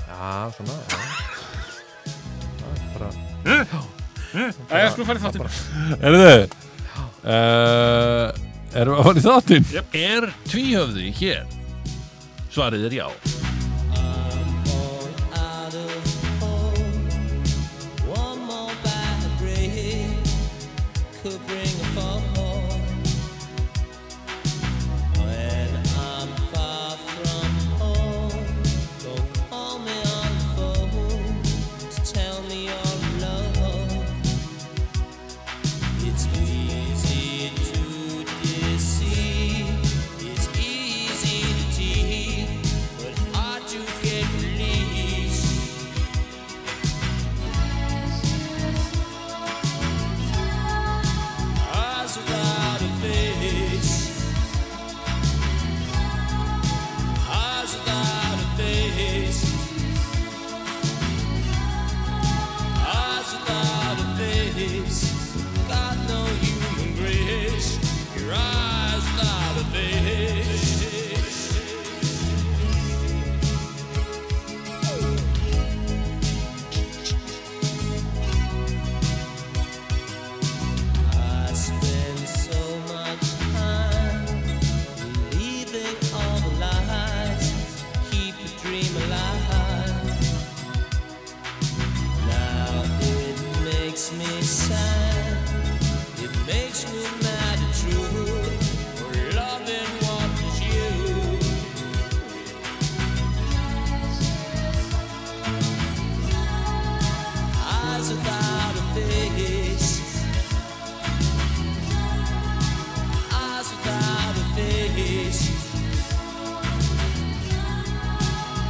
já, svona já. Það er bara
Æja, skulum farið þáttir
Erðu uh, Erum við að fara í þáttinn? Yep. Er tvíhöfði hér? Svarið er já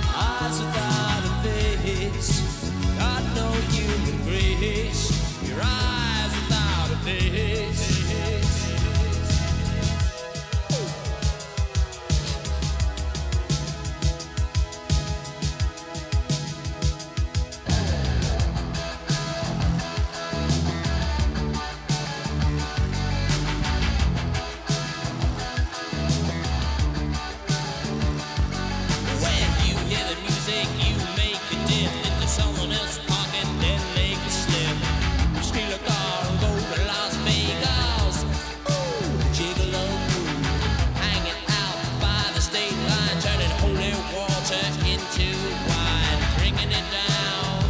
hearts without a face. Got no human grace. Your eyes without a face. When you hear the music, you make a dip into someone else's pocket, then make a slip. Steal a car and go to Las Vegas. Ooh, gigolo move. Hanging out by the state line, turning holy water into wine, drinking it down.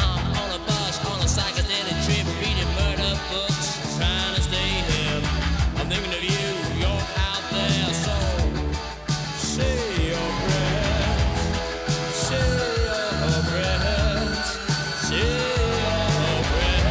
I'm on a bus on a psychedelic trip, reading murder books, trying to stay hip. I'm thinking of you, you're out there, so say your prayers, say your prayers, say your prayers.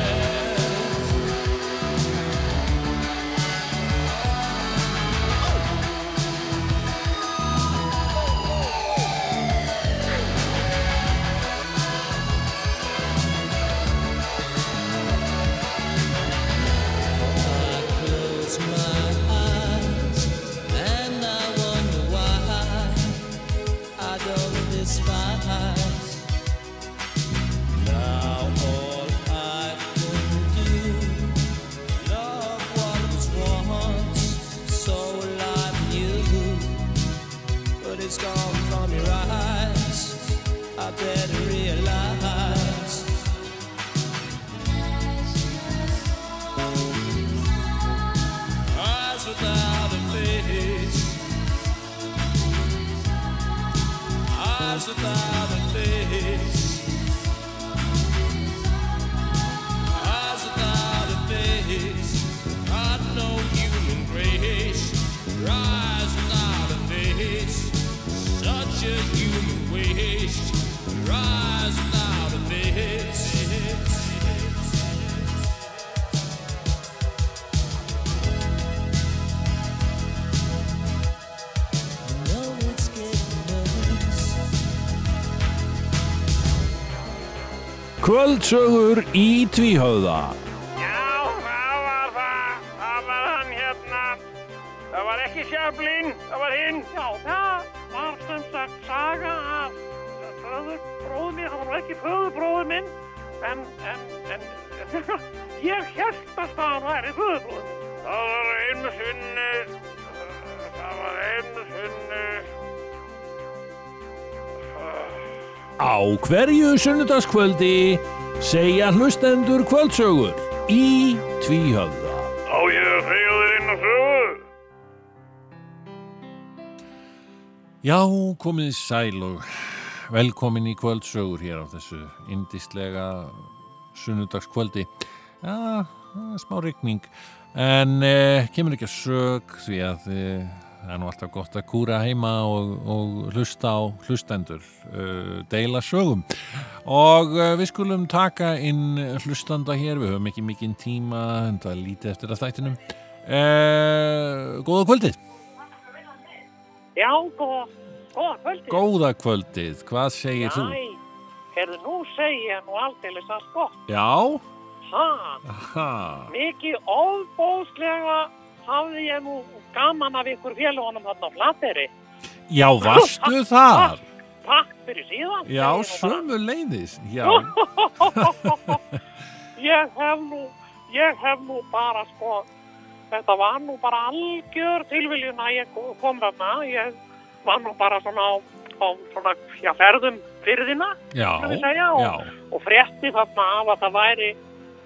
close my eyes and I wonder why I don't despise. Now all I can do, love what was once so alive in you, but it's gone from your eyes. I better realize. eyes without a face. Eyes without a face. Eyes without a face. Not no human grace. Your Eyes without a face. Such a human waste. Your Eyes without a face. know it's getting worse.
Kvöldsögur í tvíhauða
Já, það var það. Það var hann hérna. Það var ekki Sjöflin, það var hinn. Já, það var sem sagt saga af föðurbróðu minn. Það var nú ekki föðurbróðu minn, en, en, en, (laughs) ég held að það væri föðurbróðu minn. Það var einu sinni, eh, það var einu sinni.
Á hverju sunnudagskvöldi segja hlustendur kvöldsögur í tvíhauða
Á ég að segja þér einu sögu?
Já, komið þið sæl og velkomin í kvöldsögur hér á þessu indislega sunnudagskvöldi. Já, það er smá rigning, en eh, kemur ekki að sög því að eh, það er nú alltaf gott að kúra heima og, og hlusta á hlustendur, eh, deila sögum. Og eh, við skulum taka inn hlustanda hér, við höfum ekki mikinn tíma, en það er lítið eftir að þættinum. Eh, góða kvöldið!
Já, góða, góða kvöldi.
Góða kvöldið, hvað segir þú?
Æ, herðu, nú segi ég nú aldeilis allt gott.
Já,
Ha,
ha,
mikið óbóðslega hafði ég nú gaman af ykkur félagunum þarna á Flateri.
já, varstu þar?
Takk fyrir
Já,
síðan. segi ég nú bara.
sömu leiðis, já,
Ég hef nú, ég hef nú bara sko, þetta var nú bara algjör tilviljun að ég kom þarna. Ég var nú bara svona á, á svona, já, ferðum fyrðina.
já,
Skal við segja og-
já,
og frétti þarna af að það væri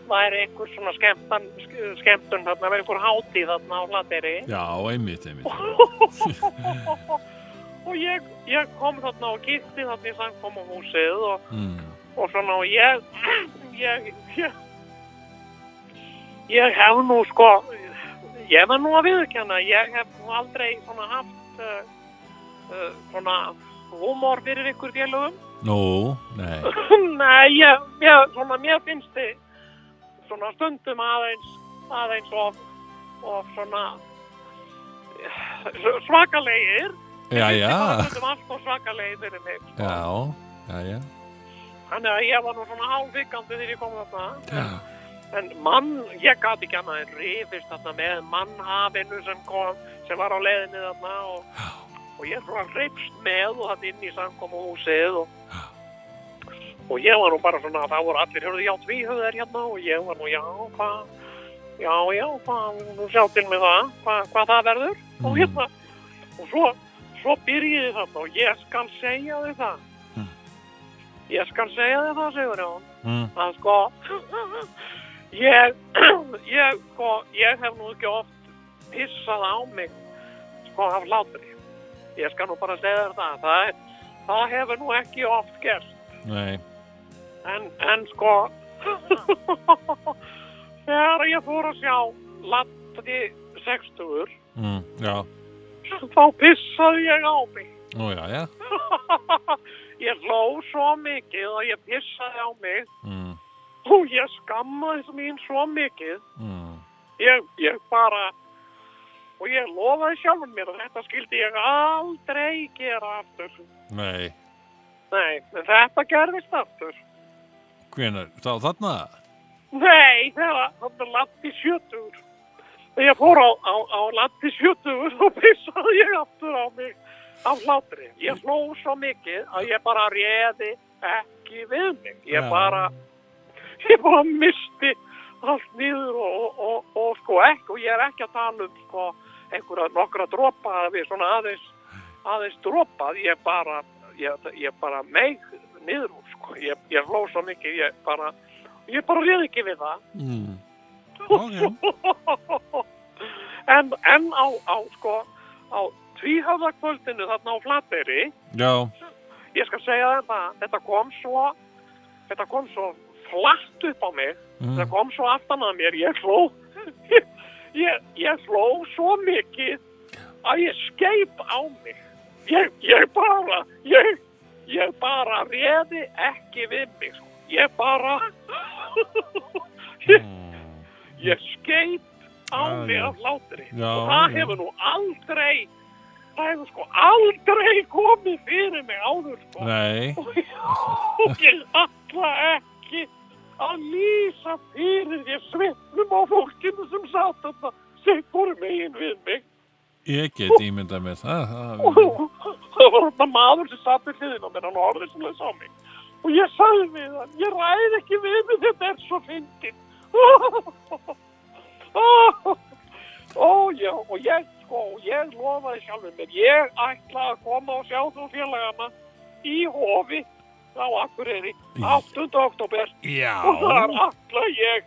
væri einhver svona skemmtan, sk- skemmtun þarna, væri einhver hátíð þarna á
(laughs)
hlateri
já, einmitt, einmitt,
og ég, ég kom þarna og gisti þarna í samkomuhúsið og,
mm,
og svona og ég ég, ég ég hef nú sko ég verð nú að viðurkenna ég hef nú aldrei svona haft uh, uh, svona húmor fyrir ykkur félögum
nú, nei,
Nei, ég, ég, svona, mér finnst þið svona stundum aðeins, aðeins og, og svona, s- eh, svakalegir
já, já,
Þetta var alltaf svakalegir fyrir mig sko.
já, já, já.
Þannig að ég var nú svona hálfvikandi þegar ég kom þarna. En mann, ég gat ekki annað en rifist þarna með mannhafinu sem kom, sem var á leiðinni þarna og, og ég svona rifst með og þarna inn í samkomuhúsið og, og ég var nú bara svona, það voru allir, hörðu, já, tvíhöðar hérna og ég var nú, já, hvað, já, já, hvað, nú sjá til mig það, hvað, hvað það verður og hérna, og svo, svo byrjiði þarna og ég skal segja þau það. Ég skal segja þér það, Sigurjón,
Mm.
að sko, (laughs) ég, (clears throat) ég, sko, ég hef nú ekki oft pissað á mig, sko, af hlátri. Ég skal nú bara segja þér það, það, er, það hefur nú ekki oft gerst.
Nei,
En, en sko, (laughs) þegar ég fór að sjá Latti 60-ur,
mm, já,
þá pissaði ég á mig. (laughs)
nú já, já,
ég hló svo mikið og ég pissaði á mig
Mm.
og ég skammaði mín svo mikið
mm,
ég, ég bara og ég lofaði sjálfum mér að þetta skildi ég aldrei gera aftur
nei,
nei, en þetta gerðist aftur
hvenær, þá þarna,
nei, þegar hann latti sjötugur þegar ég fór á, á, á latti sjötugur (laughs) þá pissaði ég aftur á mig af hlátri ég hló svo mikið að ég bara réði ekki við mig ég
Já.
bara ég bara misti allt niður og, og, og, og sko ekki og ég er ekki að tala um sko einhverja nokkra dropa við svona aðeins aðeins dropað ég bara ég, ég bara meik niður úr sko ég, ég hló svo mikið ég bara ég bara réð ekki við það
mm. ok,
(laughs) en, en á, á sko á tvíhafðakvöldinu þarna á Flateyri
já,
ég skal segja þér það, þetta kom svo þetta kom svo flatt upp á mig
Mm.
þetta kom svo aftan að mér ég sló (laughs) ég, ég sló svo mikið að ég skeip á mig ég, ég bara ég, ég bara réði ekki við mig sko. ég bara ég, (laughs) ég skeip á
Hmm. Já,
mig
já.
af látri
Já,
og það
já.
hefur nú aldrei það hefur sko aldrei komið fyrir mig áður sko
nei,
(laughs) og ég ætla ekki að lýsa fyrir ég svipnum á fólkinu sem satt þetta sem fór megin við mig
ég get ímyndað mér það, það,
það var þetta maður sem satt við hliðin á mér hann orðið sem leys á mig og ég sagði við hann, ég ræð ekki við mig þetta er svo fyndin (laughs) ó já og ég sko, ég lofaði sjálfur mér ég ætla að koma og sjá þú félagana í hofi á Akureyri 8. oktober og
já,
þar ætla ég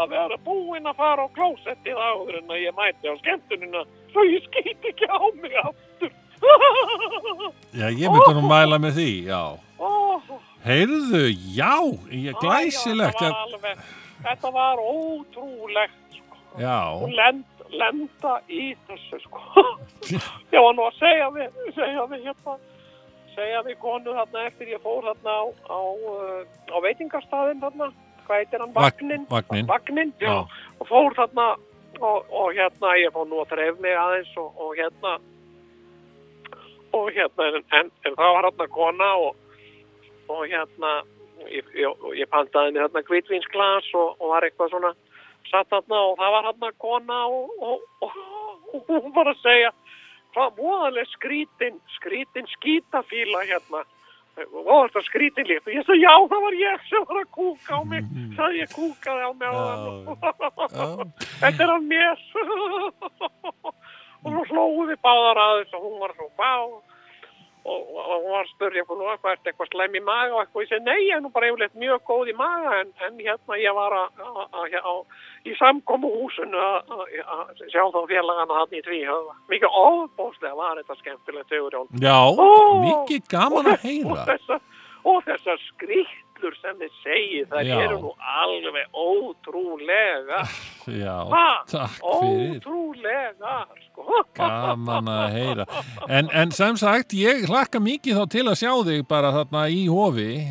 að vera búinn að fara á klósettið áður en að ég mæti á skemmtunina svo ég skýt ekki á mig aftur
já, ég myndi nú mæla með því, já,
Ó,
heyrðu, já, ég,
æ,
glæsilegt, já,
já, þetta, var alveg, þetta var ótrúlegt sko.
já,
og lend, lenda í þessu sko. (laughs) ég var nú að segja við, segja við hérna segja við konu þarna eftir ég fór þarna á, á, uh, á veitingarstaðin þarna, hvað heitir hann,
Vagn-
Vagnin
vagninn.
Vagnin, já,
Já.
og fór þarna og, og hérna, ég fór nú að tref mig aðeins og, og hérna og hérna en, en, en það var hérna kona og, og hérna ég, ég, ég pantaði mér hérna hvitvínsglas og, og var eitthvað svona satt hérna og það var hérna kona og, og, og, og hún var að segja hvað móðaleg skrítin skrítin skítafíla hérna og það var skrítin líkt og ég sagði já það var ég sem var að kúka á mig sagði ég kúkaði á mig á það (laughs) þetta er af mér (laughs) og nú hlóðum við báðar að þess og hún var svo bá og, og, og hún var að spurja eitthvað nú eitthvað, ertu eitthvað slem í maga og eitthvað, ég segi nei, ég er nú bara yfirleitt mjög góð í maga en, en hérna ég var að, að, að, að í samkomu húsinu að, að, að sjá þá félagana hann í tvíhöða mikið ofbóðslega var þetta skemmtilegt Sigurjón
já,
Ó.
mikið gaman að
og
heyra,
þessar, og þessar skrýttur sem þið segið, það
Já.
eru nú alveg ótrúlega
já,
Ha,
takk fyrir.
ótrúlega sko.
Gaman
øh,
að heyra. En, en sem sagt, ég hlakka mikið þá til að sjá þig bara þarna í hofi.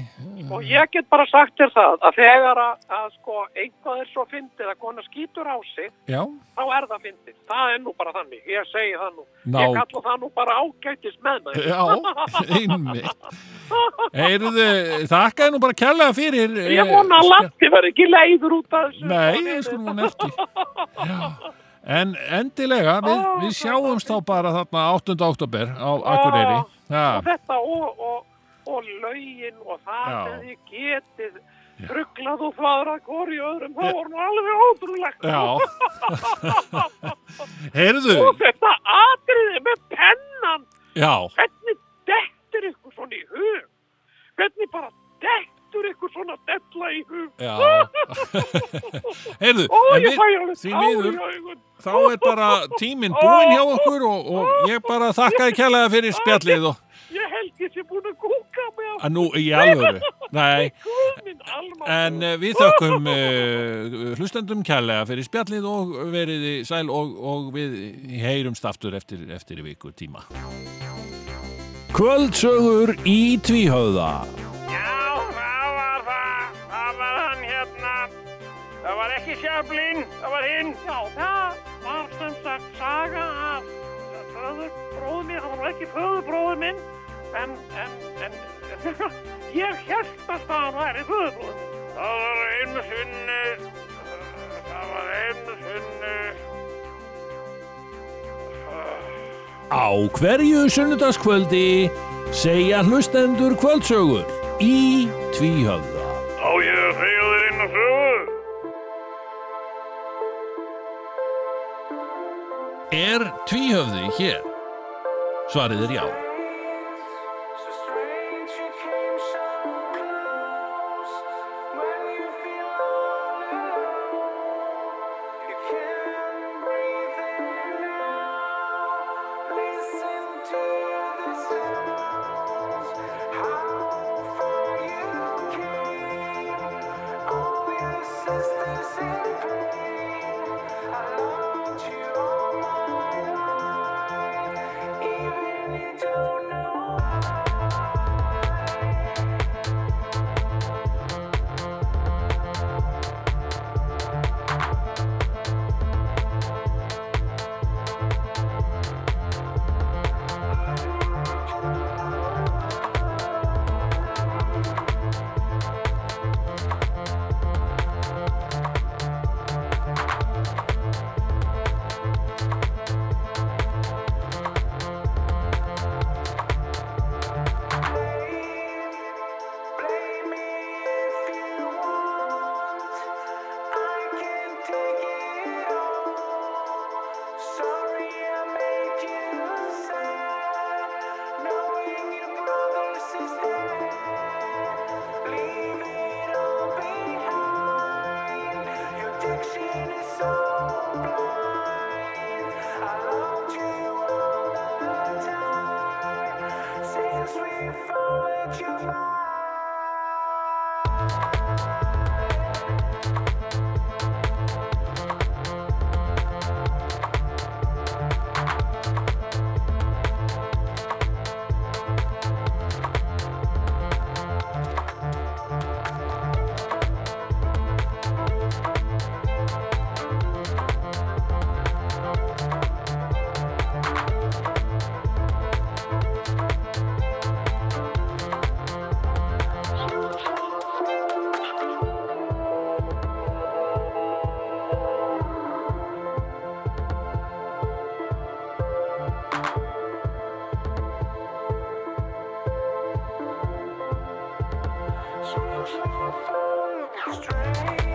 Og ég get bara sagt þér það að þegar að, að sko einhvað er svo fyndið að kona skýtur á sig
Já,
þá er það fyndið. Það er nú bara þannig. Ég segi það nú.
Ná- Eh,
Ég kalla það nú bara ágætis með mér.
øh,
já, einmitt. Heyrðu, þakkaði nú bara kærlega fyrir.
Ég vona að Latti verði ekki leiður út af þessu.
eh, Nei, ég skulum hún eftir. Já. En endilega, við,
Ó,
við
það
sjáumst þá bara þarna 8. oktober á Akureyri.
Og
Já,
þetta og, og, og lögin og það
Já.
sem þið getið rugglað og þvaðrað hvori öðrum. Það voru nú alveg ótrúlegt.
já. (laughs) Heyrðu,
Og þetta atriði með pennan,
já,
hvernig dettur ykkur svona í hug? Hvernig bara dettur ykkur svona della í hug?
já. Heyrðu,
(laughs) Ó,
en við,
ég fæ alveg
því
tár í
miður,
augun.
þá er bara tíminn búinn hjá okkur og, og ég bara þakkaði kærlega fyrir spjallið og
Ég held ég sé búin að kúka með
að nú í alvöru. Nei,
guðminn alma.
en eh, við þökkum uh, hlustendum kærlega fyrir spjallið og veriði sæl og, og við heyrumst aftur eftir, eftir viku tíma. Kvöldsögur í tvíhauða.
Já, það var það. Það var hann hérna. Það var ekki sjöflinn, það var hinn. Já, það var sem sagt saga af föðurbróðu minn. Það var nú ekki föðurbróðu minn, en, en, en, (laughs) ég held að það væri föðurbróðu minn. Það var einu sinni, það var einu sinni.
Á hverju sunnudagskvöldi segja hlustendur kvöldsögur í tvíhöfða.
Á ég að segja þér inn á sögu?
Er tvíhöfði hér? Svarið er já.
Strange.